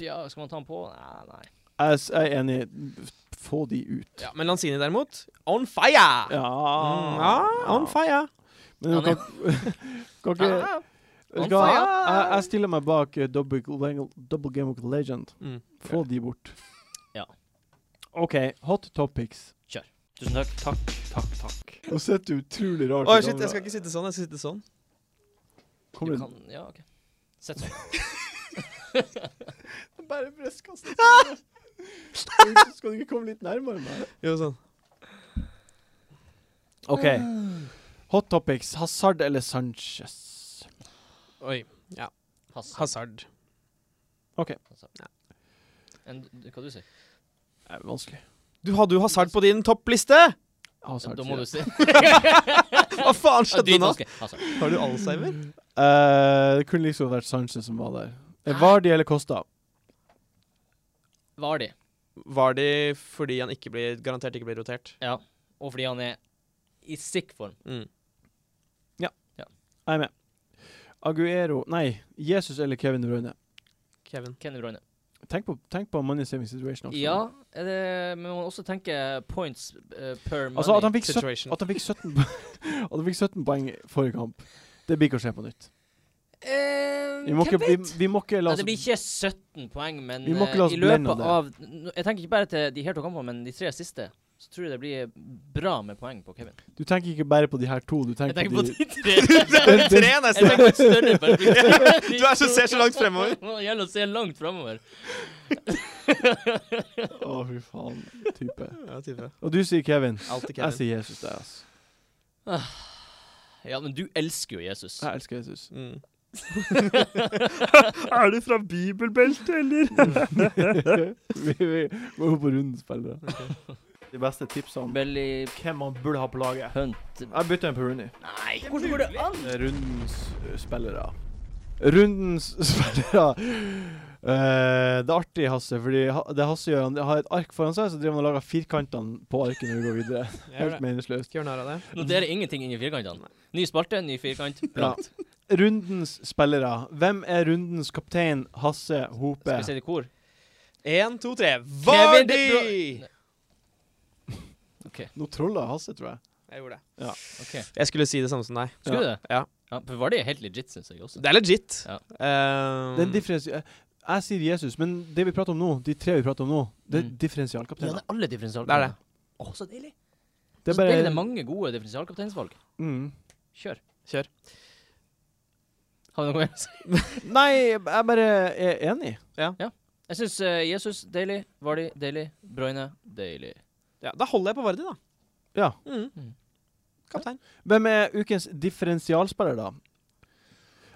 [SPEAKER 2] ja, skal man ta han på? Nei, nei.
[SPEAKER 1] Jeg s- jeg er enig. Få de ut.
[SPEAKER 3] Mm. Ja, Ah. men Lanzini derimot, on fire!
[SPEAKER 1] Ja.
[SPEAKER 3] Mm, ja on fire.
[SPEAKER 1] Men du
[SPEAKER 2] Han er-
[SPEAKER 1] kan, kan ikke [LAUGHS]
[SPEAKER 2] Ah,
[SPEAKER 1] Vet du
[SPEAKER 2] on
[SPEAKER 1] hva?
[SPEAKER 2] fire.
[SPEAKER 1] jeg, jeg stiller meg bak eh, Double, Gle- Double Game of Legend.
[SPEAKER 3] Mm.
[SPEAKER 1] Få de bort.
[SPEAKER 2] Ja.
[SPEAKER 1] OK, hot topics.
[SPEAKER 2] Tusen takk. Takk, takk, takk.
[SPEAKER 1] Nå sitter du utrolig rart.
[SPEAKER 3] Oi,
[SPEAKER 1] i
[SPEAKER 3] shit,
[SPEAKER 1] kamera.
[SPEAKER 3] jeg skal ikke sitte sånn. Jeg skal sitte sånn.
[SPEAKER 1] Kommer
[SPEAKER 2] Du
[SPEAKER 1] det-
[SPEAKER 2] kan Ja, OK. Sett sånn.
[SPEAKER 1] Bare brystkasse. Skal du ikke komme litt nærmere meg?
[SPEAKER 3] Jo, sånn.
[SPEAKER 1] OK. Hot topics. Hazard eller Sanchez?
[SPEAKER 3] Oi.
[SPEAKER 2] Pass.
[SPEAKER 3] Hazard.
[SPEAKER 2] En, hva du sier
[SPEAKER 1] Det er vanskelig.
[SPEAKER 3] Du hadde jo Hazard på din toppliste!
[SPEAKER 1] Hazard.
[SPEAKER 2] Da må du si [LAUGHS]
[SPEAKER 3] [LAUGHS] Hva faen skjedde nå?
[SPEAKER 2] Dritvanskelig. Altså,
[SPEAKER 3] Har du Alzheimer?
[SPEAKER 1] Eh, det kunne liksom vært Sanchez som var der. Eh, Vardi eller Costa?
[SPEAKER 2] var de.
[SPEAKER 3] Var det fordi han ikke blir, garantert ikke blir rotert?
[SPEAKER 2] Ja. Og fordi han er i sick form.
[SPEAKER 3] Mm.
[SPEAKER 1] Jeg er med. Aguero Nei, Jesus eller Kevin De Bruyne?
[SPEAKER 3] Kevin.
[SPEAKER 2] Kenny Bruyne.
[SPEAKER 1] Tenk på, tenk på money saving situation. også.
[SPEAKER 2] Ja, er det, men man må også tenke points eh, per money.
[SPEAKER 1] Altså at han fikk 17
[SPEAKER 3] Situation.
[SPEAKER 1] At han fikk 17, po- [LAUGHS] at han fikk 17 poeng forrige kamp, det blir ikke å skje på nytt.
[SPEAKER 2] Eh,
[SPEAKER 1] Vi må
[SPEAKER 2] hvem
[SPEAKER 1] ikke, vi,
[SPEAKER 2] vet?
[SPEAKER 1] vi må ikke la
[SPEAKER 2] Nei,
[SPEAKER 1] oss
[SPEAKER 2] det blir ikke 17 poeng, men
[SPEAKER 1] Vi må ikke
[SPEAKER 2] eh,
[SPEAKER 1] la oss
[SPEAKER 2] i
[SPEAKER 1] blende
[SPEAKER 2] løpet av Nå- Jeg tenker ikke bare til de her to kampene, men de tre siste. Så tror jeg det blir bra med poeng på Kevin.
[SPEAKER 1] Du tenker ikke bare på de her to, du
[SPEAKER 2] Jeg
[SPEAKER 1] tenker,
[SPEAKER 2] tenker
[SPEAKER 1] på
[SPEAKER 2] på
[SPEAKER 1] de
[SPEAKER 2] [LAUGHS] de tre.
[SPEAKER 1] den- den-
[SPEAKER 3] [LAUGHS] Tre,
[SPEAKER 2] Jeg
[SPEAKER 3] nesten.
[SPEAKER 2] tenker på et større
[SPEAKER 1] [LAUGHS]
[SPEAKER 2] perspektiv.
[SPEAKER 3] Du er så- ser så langt fremover.
[SPEAKER 2] Det gjelder å se langt
[SPEAKER 1] [LAUGHS]
[SPEAKER 2] fremover.
[SPEAKER 1] Å, fy faen. Type.
[SPEAKER 3] [LAUGHS] Ja, type.
[SPEAKER 1] Og du sier Kevin.
[SPEAKER 3] Alltid
[SPEAKER 1] Jeg
[SPEAKER 3] Kevin.
[SPEAKER 1] sier Jesus. Det, er, ass.
[SPEAKER 2] Ja, men du elsker jo Jesus. [LAUGHS]
[SPEAKER 1] [LAUGHS] Jeg elsker Jesus.
[SPEAKER 3] Mm.
[SPEAKER 7] Er du fra bibelbeltet, eller?
[SPEAKER 1] [LAUGHS] vi, vi må jo på rundens spillere. De beste tipsene om
[SPEAKER 2] Belly
[SPEAKER 1] hvem man burde ha på laget.
[SPEAKER 2] Hunt
[SPEAKER 1] Jeg bytter en på Rooney.
[SPEAKER 2] Nei, hvordan går det an?
[SPEAKER 1] Rundens eh, spillere. Rundens spillere. [LAUGHS] Eh, det er artig, Hasse, fordi ha- det Hasse gjør, han har et ark foran seg, så driver han og lager firkantene på arket når vi går
[SPEAKER 2] [LAUGHS]
[SPEAKER 1] videre.
[SPEAKER 3] Jeg
[SPEAKER 1] Helt
[SPEAKER 3] gjør det.
[SPEAKER 1] meningsløst.
[SPEAKER 3] Ikke gjør narr av det.
[SPEAKER 2] Noterer ingenting inni firkantene. Ny spalte, ny
[SPEAKER 1] [LAUGHS]
[SPEAKER 2] firkant. Blankt.
[SPEAKER 1] Rundens spillere. Hvem er rundens kaptein? Hasse Hope.
[SPEAKER 2] Skal vi si det i kor?
[SPEAKER 3] Én, to, tre.
[SPEAKER 2] Kevin De
[SPEAKER 3] Vardi!
[SPEAKER 1] Nå troller Hasse, tror jeg.
[SPEAKER 3] Jeg gjorde det.
[SPEAKER 2] OK.
[SPEAKER 3] Jeg skulle si det samme som deg.
[SPEAKER 2] Skulle du det?
[SPEAKER 3] Ja.
[SPEAKER 2] ja. For var det helt legit, syns jeg også.
[SPEAKER 3] Det er legit.
[SPEAKER 2] Ja. Mm.
[SPEAKER 3] Ehm,
[SPEAKER 1] Det er en differens- eh, jeg sier Jesus, men det vi prater om nå, de tre vi prater om nå, det er
[SPEAKER 2] Mm. Ja, det
[SPEAKER 1] differensialkapteiner.
[SPEAKER 2] er alle differensialkapteiner.
[SPEAKER 3] Det er
[SPEAKER 2] Å,
[SPEAKER 3] det.
[SPEAKER 2] så deilig.
[SPEAKER 1] Det er
[SPEAKER 2] så deilig
[SPEAKER 1] bare
[SPEAKER 2] det er mange gode differensialkapteinsvalg.
[SPEAKER 1] mm.
[SPEAKER 2] Kjør.
[SPEAKER 3] Kjør.
[SPEAKER 2] Har vi noe mer å si?
[SPEAKER 1] Nei, jeg bare er enig.
[SPEAKER 2] Jeg syns Jesus deilig, Vardi deilig, Brøyne deilig.
[SPEAKER 3] ja, da holder jeg på Vardi, da.
[SPEAKER 1] Ja.
[SPEAKER 3] Mm. Kaptein.
[SPEAKER 1] Hvem er ukens differensialspiller, da?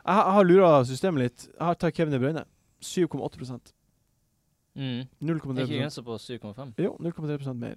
[SPEAKER 1] Jeg, har- jeg har lura systemet litt. Jeg har tatt Kevin De Bruyne. 7,8
[SPEAKER 2] Mm. Er ikke
[SPEAKER 1] 0,3
[SPEAKER 2] grensa på 7,5.
[SPEAKER 1] Jo, 0,3 mer. sånn-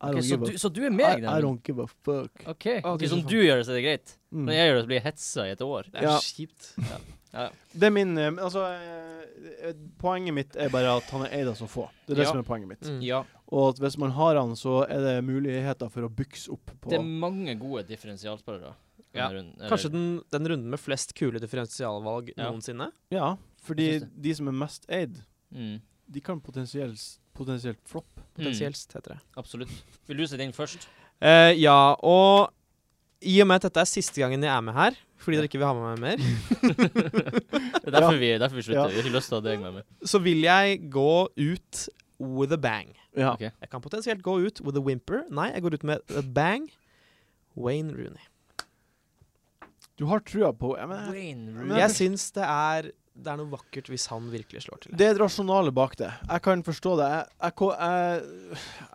[SPEAKER 1] I
[SPEAKER 2] Ok,
[SPEAKER 1] don't
[SPEAKER 2] så,
[SPEAKER 1] give a-
[SPEAKER 2] du- så du er
[SPEAKER 1] I-
[SPEAKER 2] med i
[SPEAKER 1] I
[SPEAKER 2] den?
[SPEAKER 1] don't give a fuck.
[SPEAKER 2] OK.
[SPEAKER 3] Å,
[SPEAKER 2] Ok,
[SPEAKER 3] du er
[SPEAKER 2] så
[SPEAKER 3] så
[SPEAKER 2] om du gjør det, så er sånn. det greit.
[SPEAKER 1] Mm.
[SPEAKER 2] Når jeg gjør det, så blir jeg hetsa i et år.
[SPEAKER 3] Det er
[SPEAKER 1] Ja.
[SPEAKER 3] kjipt.
[SPEAKER 1] Det er min eh, men Altså, eh, eh, poenget mitt er bare at han er eid av så få. Det er det
[SPEAKER 2] Ja.
[SPEAKER 1] som er poenget mitt.
[SPEAKER 3] Mm.
[SPEAKER 2] Ja.
[SPEAKER 1] Og at hvis man har han, så er det muligheter for å bykse opp på
[SPEAKER 2] Det er mange gode differensialspillere. denne
[SPEAKER 3] Ja.
[SPEAKER 2] runden, eller-
[SPEAKER 3] Kanskje den, den runden med flest kule differensialvalg
[SPEAKER 2] Ja.
[SPEAKER 3] noensinne.
[SPEAKER 1] Ja, fordi
[SPEAKER 2] Jeg synes
[SPEAKER 1] de som er mest eid,
[SPEAKER 2] mm.
[SPEAKER 1] de kan potensielt, potensielt floppe.
[SPEAKER 3] Potensielt, heter det.
[SPEAKER 2] Mm, Absolutt. Vil du se den
[SPEAKER 1] [LAUGHS]
[SPEAKER 2] først?
[SPEAKER 3] Mm. Eh, ja, og i og med at dette er siste gangen jeg er med her, fordi dere ikke vil ha med meg mer,
[SPEAKER 2] Det er derfor, vi, derfor vi
[SPEAKER 1] Ja.
[SPEAKER 2] slutter. Vi har ikke lyst til å ha deg med meg.
[SPEAKER 3] så vil jeg gå ut with a bang.
[SPEAKER 1] Ja.
[SPEAKER 2] Ok.
[SPEAKER 3] Jeg kan potensielt gå ut with a whimper. Nei, jeg går ut med a bang. Wayne Rooney.
[SPEAKER 1] Du har trua på ja, men,
[SPEAKER 2] Wayne
[SPEAKER 1] Men-
[SPEAKER 3] Jeg syns det er det er noe vakkert hvis han virkelig slår til.
[SPEAKER 1] Det er det rasjonale bak det. Jeg kan forstå det. Jeg, jeg, ko- jeg,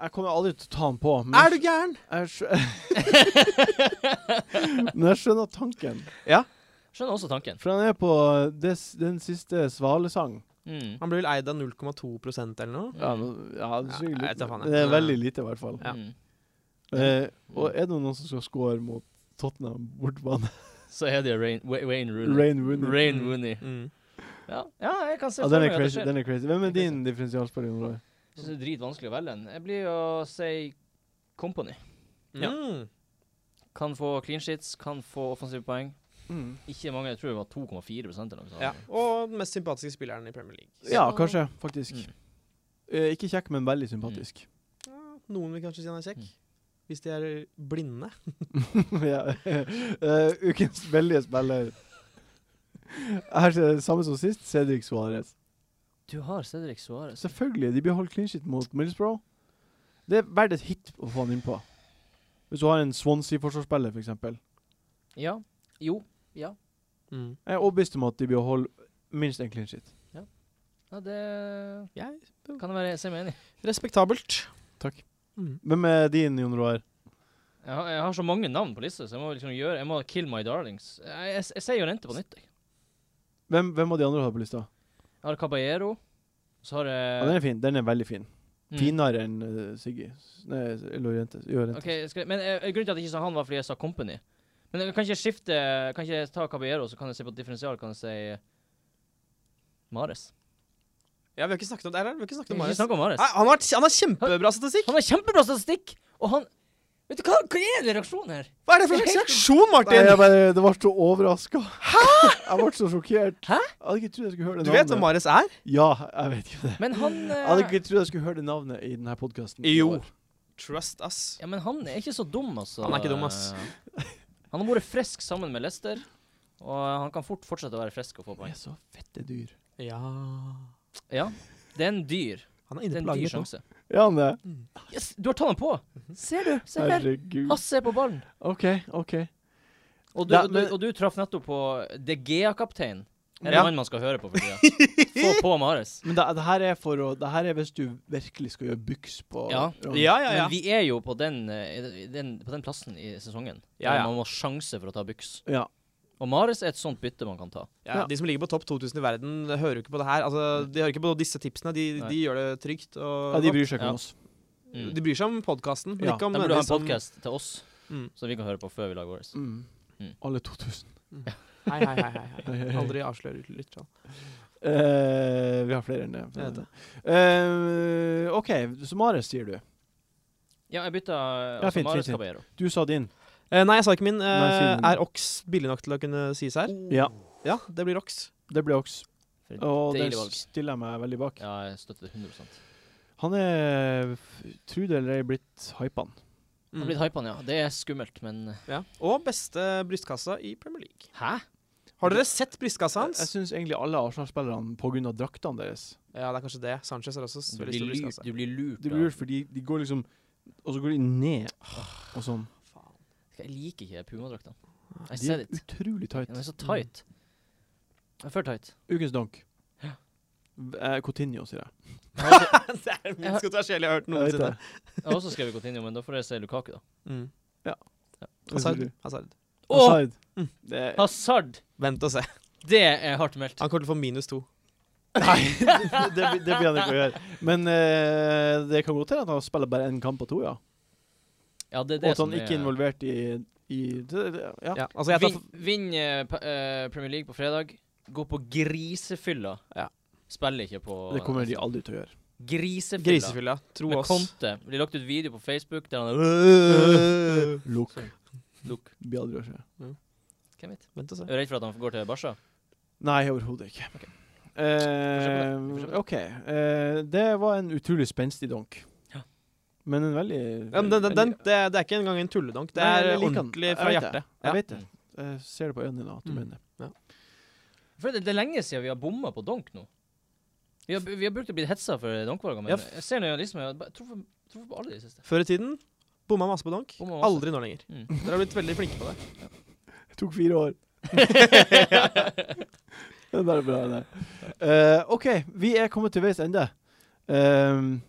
[SPEAKER 1] jeg kommer aldri til å ta han på. Men
[SPEAKER 3] Er du gæren?
[SPEAKER 1] [LAUGHS] jeg, skjø men jeg skjønner tanken.
[SPEAKER 2] [LAUGHS] Skjønner også tanken.
[SPEAKER 1] For han er på det, s- den siste svalesang.
[SPEAKER 2] Mm.
[SPEAKER 3] Han blir vel eid av 0,2 eller noe.
[SPEAKER 1] Ja, men- ja, det, er sikkert
[SPEAKER 3] Ja, jeg
[SPEAKER 1] litt,
[SPEAKER 3] vet da faen, jeg.
[SPEAKER 1] det er veldig lite, i hvert fall.
[SPEAKER 3] Ja.
[SPEAKER 2] Mm.
[SPEAKER 1] Eh, og er det noen som skal score mot Tottenham bortebane?
[SPEAKER 2] Så er det Rain, Wa- Wayne Rooney.
[SPEAKER 1] Rain Rooney.
[SPEAKER 2] Rain Rooney.
[SPEAKER 3] Mm.
[SPEAKER 2] Ja. ja, jeg kan se
[SPEAKER 1] Ja,
[SPEAKER 2] for
[SPEAKER 1] den
[SPEAKER 2] meg
[SPEAKER 1] er
[SPEAKER 2] at det
[SPEAKER 1] crazy.
[SPEAKER 2] skjer.
[SPEAKER 1] Den er crazy. Hvem er
[SPEAKER 2] Det er
[SPEAKER 1] din differensialspiller? Jon Roy?
[SPEAKER 2] Jeg synes det er dritvanskelig å velge en. Jeg blir å si Company.
[SPEAKER 3] Ja.
[SPEAKER 2] Kan få clean sheets, kan få offensive poeng.
[SPEAKER 3] Mm.
[SPEAKER 2] Ikke mange, jeg tror det var 2,4 eller noe sånt.
[SPEAKER 3] ja. Og den mest sympatiske spilleren i Premier League.
[SPEAKER 1] Ja, kanskje, faktisk.
[SPEAKER 2] Mm.
[SPEAKER 1] Eh, ikke kjekk, men veldig sympatisk.
[SPEAKER 3] Noen vil kanskje si han er kjekk. hvis de er blinde.
[SPEAKER 1] [LAUGHS] ja. Eh, ukens veldige spiller. Her ser det samme som sist, Cedric Suárez.
[SPEAKER 2] Du har Cedric Suárez.
[SPEAKER 1] Selvfølgelig, de beholder clean shit mot Middlesbrough. Det er verdt et hit å få han innpå. Hvis du har en Swansea-forsvarsspiller, f.eks. Jeg
[SPEAKER 2] Ja. Jo.
[SPEAKER 3] Mm.
[SPEAKER 1] er overbevist om at de beholder minst én clean shit.
[SPEAKER 2] Ja, det
[SPEAKER 3] Jeg
[SPEAKER 2] kan jeg være se meg enig i.
[SPEAKER 3] Respektabelt.
[SPEAKER 1] Takk.
[SPEAKER 3] Mm.
[SPEAKER 1] Hvem er din, Jon Roar?
[SPEAKER 2] Jeg har, jeg har så mange navn på lista, så jeg må liksom gjøre Jeg må kill my darlings. Jeg, jeg, jeg sier Jorente på nytt. Jeg,
[SPEAKER 1] Hvem, hvem av de andre har på lista?
[SPEAKER 2] jeg har Caballero. Så har
[SPEAKER 1] Ja,
[SPEAKER 2] jeg
[SPEAKER 1] den er fin. Den er veldig fin.
[SPEAKER 2] Mm.
[SPEAKER 1] Finere enn eh, Siggy. Nei, eller Orientes. Orientes.
[SPEAKER 2] Ok, skal, men eh, Grunnen til at jeg ikke sa han, var fordi jeg sa Company. Men jeg kan ikke skifte Kan ikke jeg ta Caballero, så kan jeg se på differensial, kan jeg si eh, Mares.
[SPEAKER 3] Ja, vi har ikke snakket om det her, vi har ikke snakket
[SPEAKER 2] Ikke
[SPEAKER 3] om Marius.
[SPEAKER 2] snakk om Mares.
[SPEAKER 3] Nei, han, har, han har kjempebra statistikk!
[SPEAKER 2] Han har kjempebra statistikk, og han Vet du hva, hva er det reaksjonen her?
[SPEAKER 3] Hva er det for slags reaksjon,
[SPEAKER 1] Nei,
[SPEAKER 3] Martin?
[SPEAKER 1] jeg bare, det ble så overraska. Hæ?! Jeg ble så sjokkert.
[SPEAKER 2] Hæ?
[SPEAKER 1] Jeg hadde ikke trodd jeg skulle høre det
[SPEAKER 3] Du vet hvem Marius er?
[SPEAKER 1] Ja, jeg vet ikke det.
[SPEAKER 2] Men han
[SPEAKER 3] [LAUGHS]
[SPEAKER 2] eh,
[SPEAKER 1] Jeg hadde ikke trodd jeg skulle høre det navnet i denne podkasten.
[SPEAKER 3] Jo. Trust us.
[SPEAKER 2] Ja, men han er ikke så dum, altså.
[SPEAKER 3] Han er ikke dum, ass.
[SPEAKER 2] [LAUGHS] Han har vært frisk sammen med Lester, og han kan fort fortsette å være frisk og få
[SPEAKER 1] Jeg
[SPEAKER 2] poeng.
[SPEAKER 1] er så fette dyr.
[SPEAKER 3] Ja
[SPEAKER 2] Ja, det er en dyr.
[SPEAKER 3] Han er
[SPEAKER 2] Det
[SPEAKER 3] inne
[SPEAKER 2] er
[SPEAKER 3] på
[SPEAKER 2] en dyr
[SPEAKER 3] laget nå.
[SPEAKER 2] sjanse.
[SPEAKER 1] Ja, han er.
[SPEAKER 2] Yes, du har tatt han på! Ser du? Se der.
[SPEAKER 1] Herregud.
[SPEAKER 2] Hasse er på ballen.
[SPEAKER 1] OK, OK.
[SPEAKER 2] Og du,
[SPEAKER 1] Ja,
[SPEAKER 2] og du,
[SPEAKER 1] men-
[SPEAKER 2] og du traff nettopp på De Gea-kapteinen. Er det
[SPEAKER 3] Ja.
[SPEAKER 2] han man skal høre på for tida?
[SPEAKER 3] [LAUGHS]
[SPEAKER 2] Få på Mares.
[SPEAKER 1] Men det, det her er for å Det her er hvis du virkelig skal gjøre byks på
[SPEAKER 2] Ja.
[SPEAKER 3] Ja, ja, ja.
[SPEAKER 2] Men vi er jo på den, eh, i den, på den plassen i sesongen.
[SPEAKER 3] Ja, ja.
[SPEAKER 2] Der man må ha sjanse for å ta byks.
[SPEAKER 1] Ja.
[SPEAKER 2] Og Mares er et sånt bytte man kan ta.
[SPEAKER 3] Ja, de som ligger på topp 2000 i verden, hører jo ikke på det her. Altså, de hører ikke på disse tipsene. De,
[SPEAKER 2] Nei.
[SPEAKER 3] de gjør det trygt. Og,
[SPEAKER 1] ja de bryr seg ikke
[SPEAKER 2] Ja.
[SPEAKER 1] om oss.
[SPEAKER 2] Mm.
[SPEAKER 3] De bryr seg om podkasten, men
[SPEAKER 1] Ja.
[SPEAKER 3] ikke om
[SPEAKER 2] Da burde du ha en
[SPEAKER 3] nødvendigvis om-
[SPEAKER 2] podkast til oss,
[SPEAKER 3] Mm.
[SPEAKER 2] som vi kan høre på før vi lager vår.
[SPEAKER 1] Mm.
[SPEAKER 2] Mm.
[SPEAKER 1] Alle 2000.
[SPEAKER 3] Hei, hei, hei. hei,
[SPEAKER 1] Hei, hei,
[SPEAKER 3] hei.
[SPEAKER 1] hei.
[SPEAKER 3] Aldri avslør sånn. lytterne.
[SPEAKER 1] Eh, vi har flere enn det. for
[SPEAKER 3] Ja.
[SPEAKER 1] dette. Eh, OK, så Mares sier du.
[SPEAKER 2] Ja, jeg bytta eh,
[SPEAKER 1] Ja,
[SPEAKER 2] altså,
[SPEAKER 1] fint,
[SPEAKER 2] Mares
[SPEAKER 1] fint, fint.
[SPEAKER 2] Caballero.
[SPEAKER 1] Du sa din.
[SPEAKER 3] Eh, nei, jeg sa ikke min. Eh,
[SPEAKER 1] Nei, si min.
[SPEAKER 3] er Ox billig nok til å kunne sies her?
[SPEAKER 1] Ja,
[SPEAKER 3] Ja, det blir Ox.
[SPEAKER 1] det ble Ox.
[SPEAKER 2] For et
[SPEAKER 1] Og den
[SPEAKER 2] Deilig valg.
[SPEAKER 1] stiller jeg meg veldig bak.
[SPEAKER 2] Ja, jeg støtter det 100 Han
[SPEAKER 1] Han er f- Tro det eller ei blitt hypan.
[SPEAKER 3] Mm.
[SPEAKER 2] har blitt hypa, ja. Det er skummelt, men eh,
[SPEAKER 3] Ja. Og beste brystkassa i Premier League.
[SPEAKER 2] Hæ?
[SPEAKER 3] Har dere sett brystkassa
[SPEAKER 1] Jeg, jeg
[SPEAKER 3] hans?
[SPEAKER 1] syns egentlig alle Arsenal-spillerne pga. draktene deres.
[SPEAKER 3] Ja, det er kanskje det. altså. Sanchez har også s-
[SPEAKER 2] Du
[SPEAKER 3] veldig
[SPEAKER 2] blir
[SPEAKER 3] stor
[SPEAKER 2] lurt.
[SPEAKER 3] brystkasse.
[SPEAKER 2] Du blir lurt
[SPEAKER 1] Det
[SPEAKER 2] av-
[SPEAKER 1] blir lurt, fordi de går liksom Og så går de ned og sånn.
[SPEAKER 2] Ah, Jeg liker ikke pumadraktene. I
[SPEAKER 1] De
[SPEAKER 2] said
[SPEAKER 1] er
[SPEAKER 2] it.
[SPEAKER 1] utrolig tight.
[SPEAKER 2] Den er så tight. Den er For tight.
[SPEAKER 1] Ukens donk. Eh, Coutinho, sier jeg.
[SPEAKER 2] Jeg har også-
[SPEAKER 3] [LAUGHS] det er den minst kontroversielle jeg har hørt noensinne.
[SPEAKER 2] jeg har også skrevet Coutinho, men da får jeg se Lukaku, da.
[SPEAKER 3] Mm.
[SPEAKER 1] Ja.
[SPEAKER 3] Hazard. Hazard.
[SPEAKER 2] Å!
[SPEAKER 1] Offside. Det [LAUGHS]
[SPEAKER 2] [LAUGHS]
[SPEAKER 1] er-
[SPEAKER 2] Hazard!
[SPEAKER 3] Vent og se.
[SPEAKER 2] Det er hardt meldt.
[SPEAKER 3] [LAUGHS] Han kommer til å få minus to.
[SPEAKER 1] Nei, det, det, det blir han ikke å gjøre. Men eh, det kan godt hende at han spiller bare én kamp på to, ja.
[SPEAKER 2] Ja, det er
[SPEAKER 1] Og
[SPEAKER 2] det
[SPEAKER 1] at
[SPEAKER 2] som
[SPEAKER 1] han
[SPEAKER 2] er
[SPEAKER 1] ikke er involvert i, i det, det, ja.
[SPEAKER 3] Ja. Altså, jeg tar
[SPEAKER 2] Vinn vinn, eh, pa- eh, Premier League på fredag. Gå på grisefylla.
[SPEAKER 3] Ja.
[SPEAKER 2] Spiller ikke på
[SPEAKER 1] Det kommer de aldri til å gjøre.
[SPEAKER 2] Grisefylla.
[SPEAKER 3] grisefylla. Tro
[SPEAKER 1] [LAUGHS]
[SPEAKER 2] Med
[SPEAKER 3] oss.
[SPEAKER 2] Conte. Det blir lagt ut video på Facebook der han er
[SPEAKER 1] Look.
[SPEAKER 2] Look.
[SPEAKER 1] Det blir aldri å skje.
[SPEAKER 2] Hvem vet?
[SPEAKER 3] Vent og se.
[SPEAKER 2] Er du redd for at han går til Barca?
[SPEAKER 1] Nei, overhodet ikke. Eh,
[SPEAKER 2] Vi får se på det. Vi får se på det.
[SPEAKER 1] OK. Eh, det var en utrolig spenstig donk.
[SPEAKER 2] Ja.
[SPEAKER 1] Men en veldig
[SPEAKER 3] Ja, men den, den, den, det, det er ikke engang en tulledonk. Det
[SPEAKER 1] Nei,
[SPEAKER 3] er
[SPEAKER 1] jeg liker den.
[SPEAKER 3] ordentlig
[SPEAKER 1] Jeg
[SPEAKER 3] fra
[SPEAKER 1] vet
[SPEAKER 3] hjertet.
[SPEAKER 1] det. Jeg vet det. Jeg ser det på øynene dine at du
[SPEAKER 3] Mm.
[SPEAKER 1] mener det.
[SPEAKER 2] For det, det er lenge siden vi har bomma på donk nå. Vi har, vi har brukt å bli hetsa for donkvalgene, men
[SPEAKER 3] Ja, f-
[SPEAKER 2] jeg ser nå liksom, jeg bare truffer truffer på alle de siste.
[SPEAKER 3] Før i tiden bomma masse på donk.
[SPEAKER 2] Bomma masse.
[SPEAKER 3] Aldri nå lenger.
[SPEAKER 2] Mm.
[SPEAKER 3] [LAUGHS] Dere har blitt veldig flinke på det.
[SPEAKER 1] Det tok fire år. den der er bra, den der. Eh, OK, vi er kommet til veis ende. Um,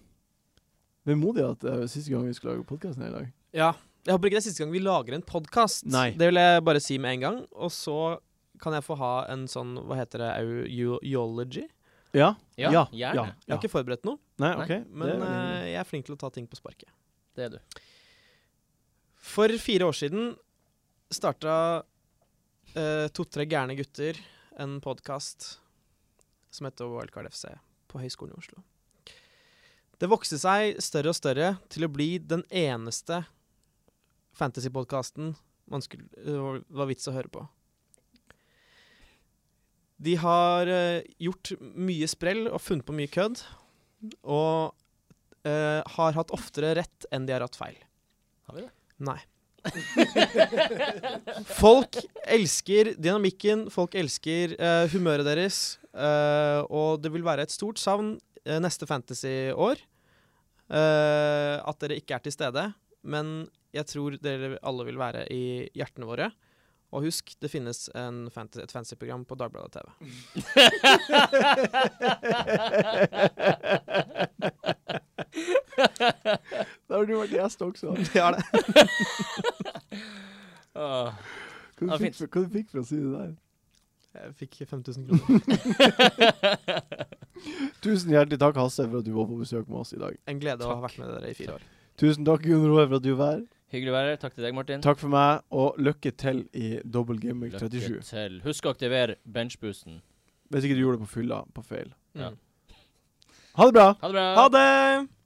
[SPEAKER 1] Vemodig at det er siste gang vi skulle lage podkasten i dag.
[SPEAKER 3] Ja. Jeg håper ikke det er siste gang vi lager en podkast.
[SPEAKER 1] Nei.
[SPEAKER 3] Det vil jeg bare si med en gang. Og så kan jeg få ha en sånn, hva heter det, eu- eu- eology?
[SPEAKER 1] Ja?
[SPEAKER 2] Ja,
[SPEAKER 1] ja,
[SPEAKER 2] gjerne.
[SPEAKER 1] ja,
[SPEAKER 3] Jeg har ikke forberedt noe,
[SPEAKER 1] Nei,
[SPEAKER 2] Nei,
[SPEAKER 1] OK. det er
[SPEAKER 3] men
[SPEAKER 1] veldig hyggelig.
[SPEAKER 3] eh, jeg er flink til å ta ting på sparket.
[SPEAKER 2] Det er du.
[SPEAKER 3] For fire år siden starta eh, to-tre gærne gutter en podkast som heter Wildcard FC på Høgskolen i Oslo. Det vokste seg større og større til å bli den eneste fantasypodkasten man skulle, eh, var vits å høre på. De har eh, gjort mye sprell og funnet på mye kødd, og eh, har hatt oftere rett enn de har hatt feil.
[SPEAKER 2] Har vi det?
[SPEAKER 3] Nei. folk elsker dynamikken, folk elsker eh, humøret deres. eh, og det vil være et stort savn eh, neste Fantasy-år eh, at dere ikke er til stede. Men jeg tror dere alle vil være i hjertene våre. Og husk, det finnes en fantasy, et fantasyprogram på Dagbladet TV.
[SPEAKER 1] Da har du vært gjest
[SPEAKER 3] [LAUGHS]
[SPEAKER 1] også.
[SPEAKER 3] Det er det.
[SPEAKER 2] [LAUGHS]
[SPEAKER 1] Hva
[SPEAKER 2] Åh. Ja,
[SPEAKER 1] du fikk,
[SPEAKER 2] fint.
[SPEAKER 1] for- hva du fikk for å si det der?
[SPEAKER 3] Jeg fikk 5000 kroner.
[SPEAKER 1] Tusen hjertelig takk, Hasse, for at du var på besøk med oss i dag.
[SPEAKER 3] En glede å ha vært med dere i fire år.
[SPEAKER 1] Tusen takk, Gunn Roar, for at du var her.
[SPEAKER 2] Hyggelig å være her. Takk til deg, Martin.
[SPEAKER 1] Takk for meg, og lykke til i Double Game Week 37.
[SPEAKER 2] til. Husk å aktivere benchboosten.
[SPEAKER 3] Mm.
[SPEAKER 1] Hvis ikke du gjorde det på fylla, på feil.
[SPEAKER 2] Ja.
[SPEAKER 1] Ha det bra!
[SPEAKER 2] Ha det bra.
[SPEAKER 3] Ha det!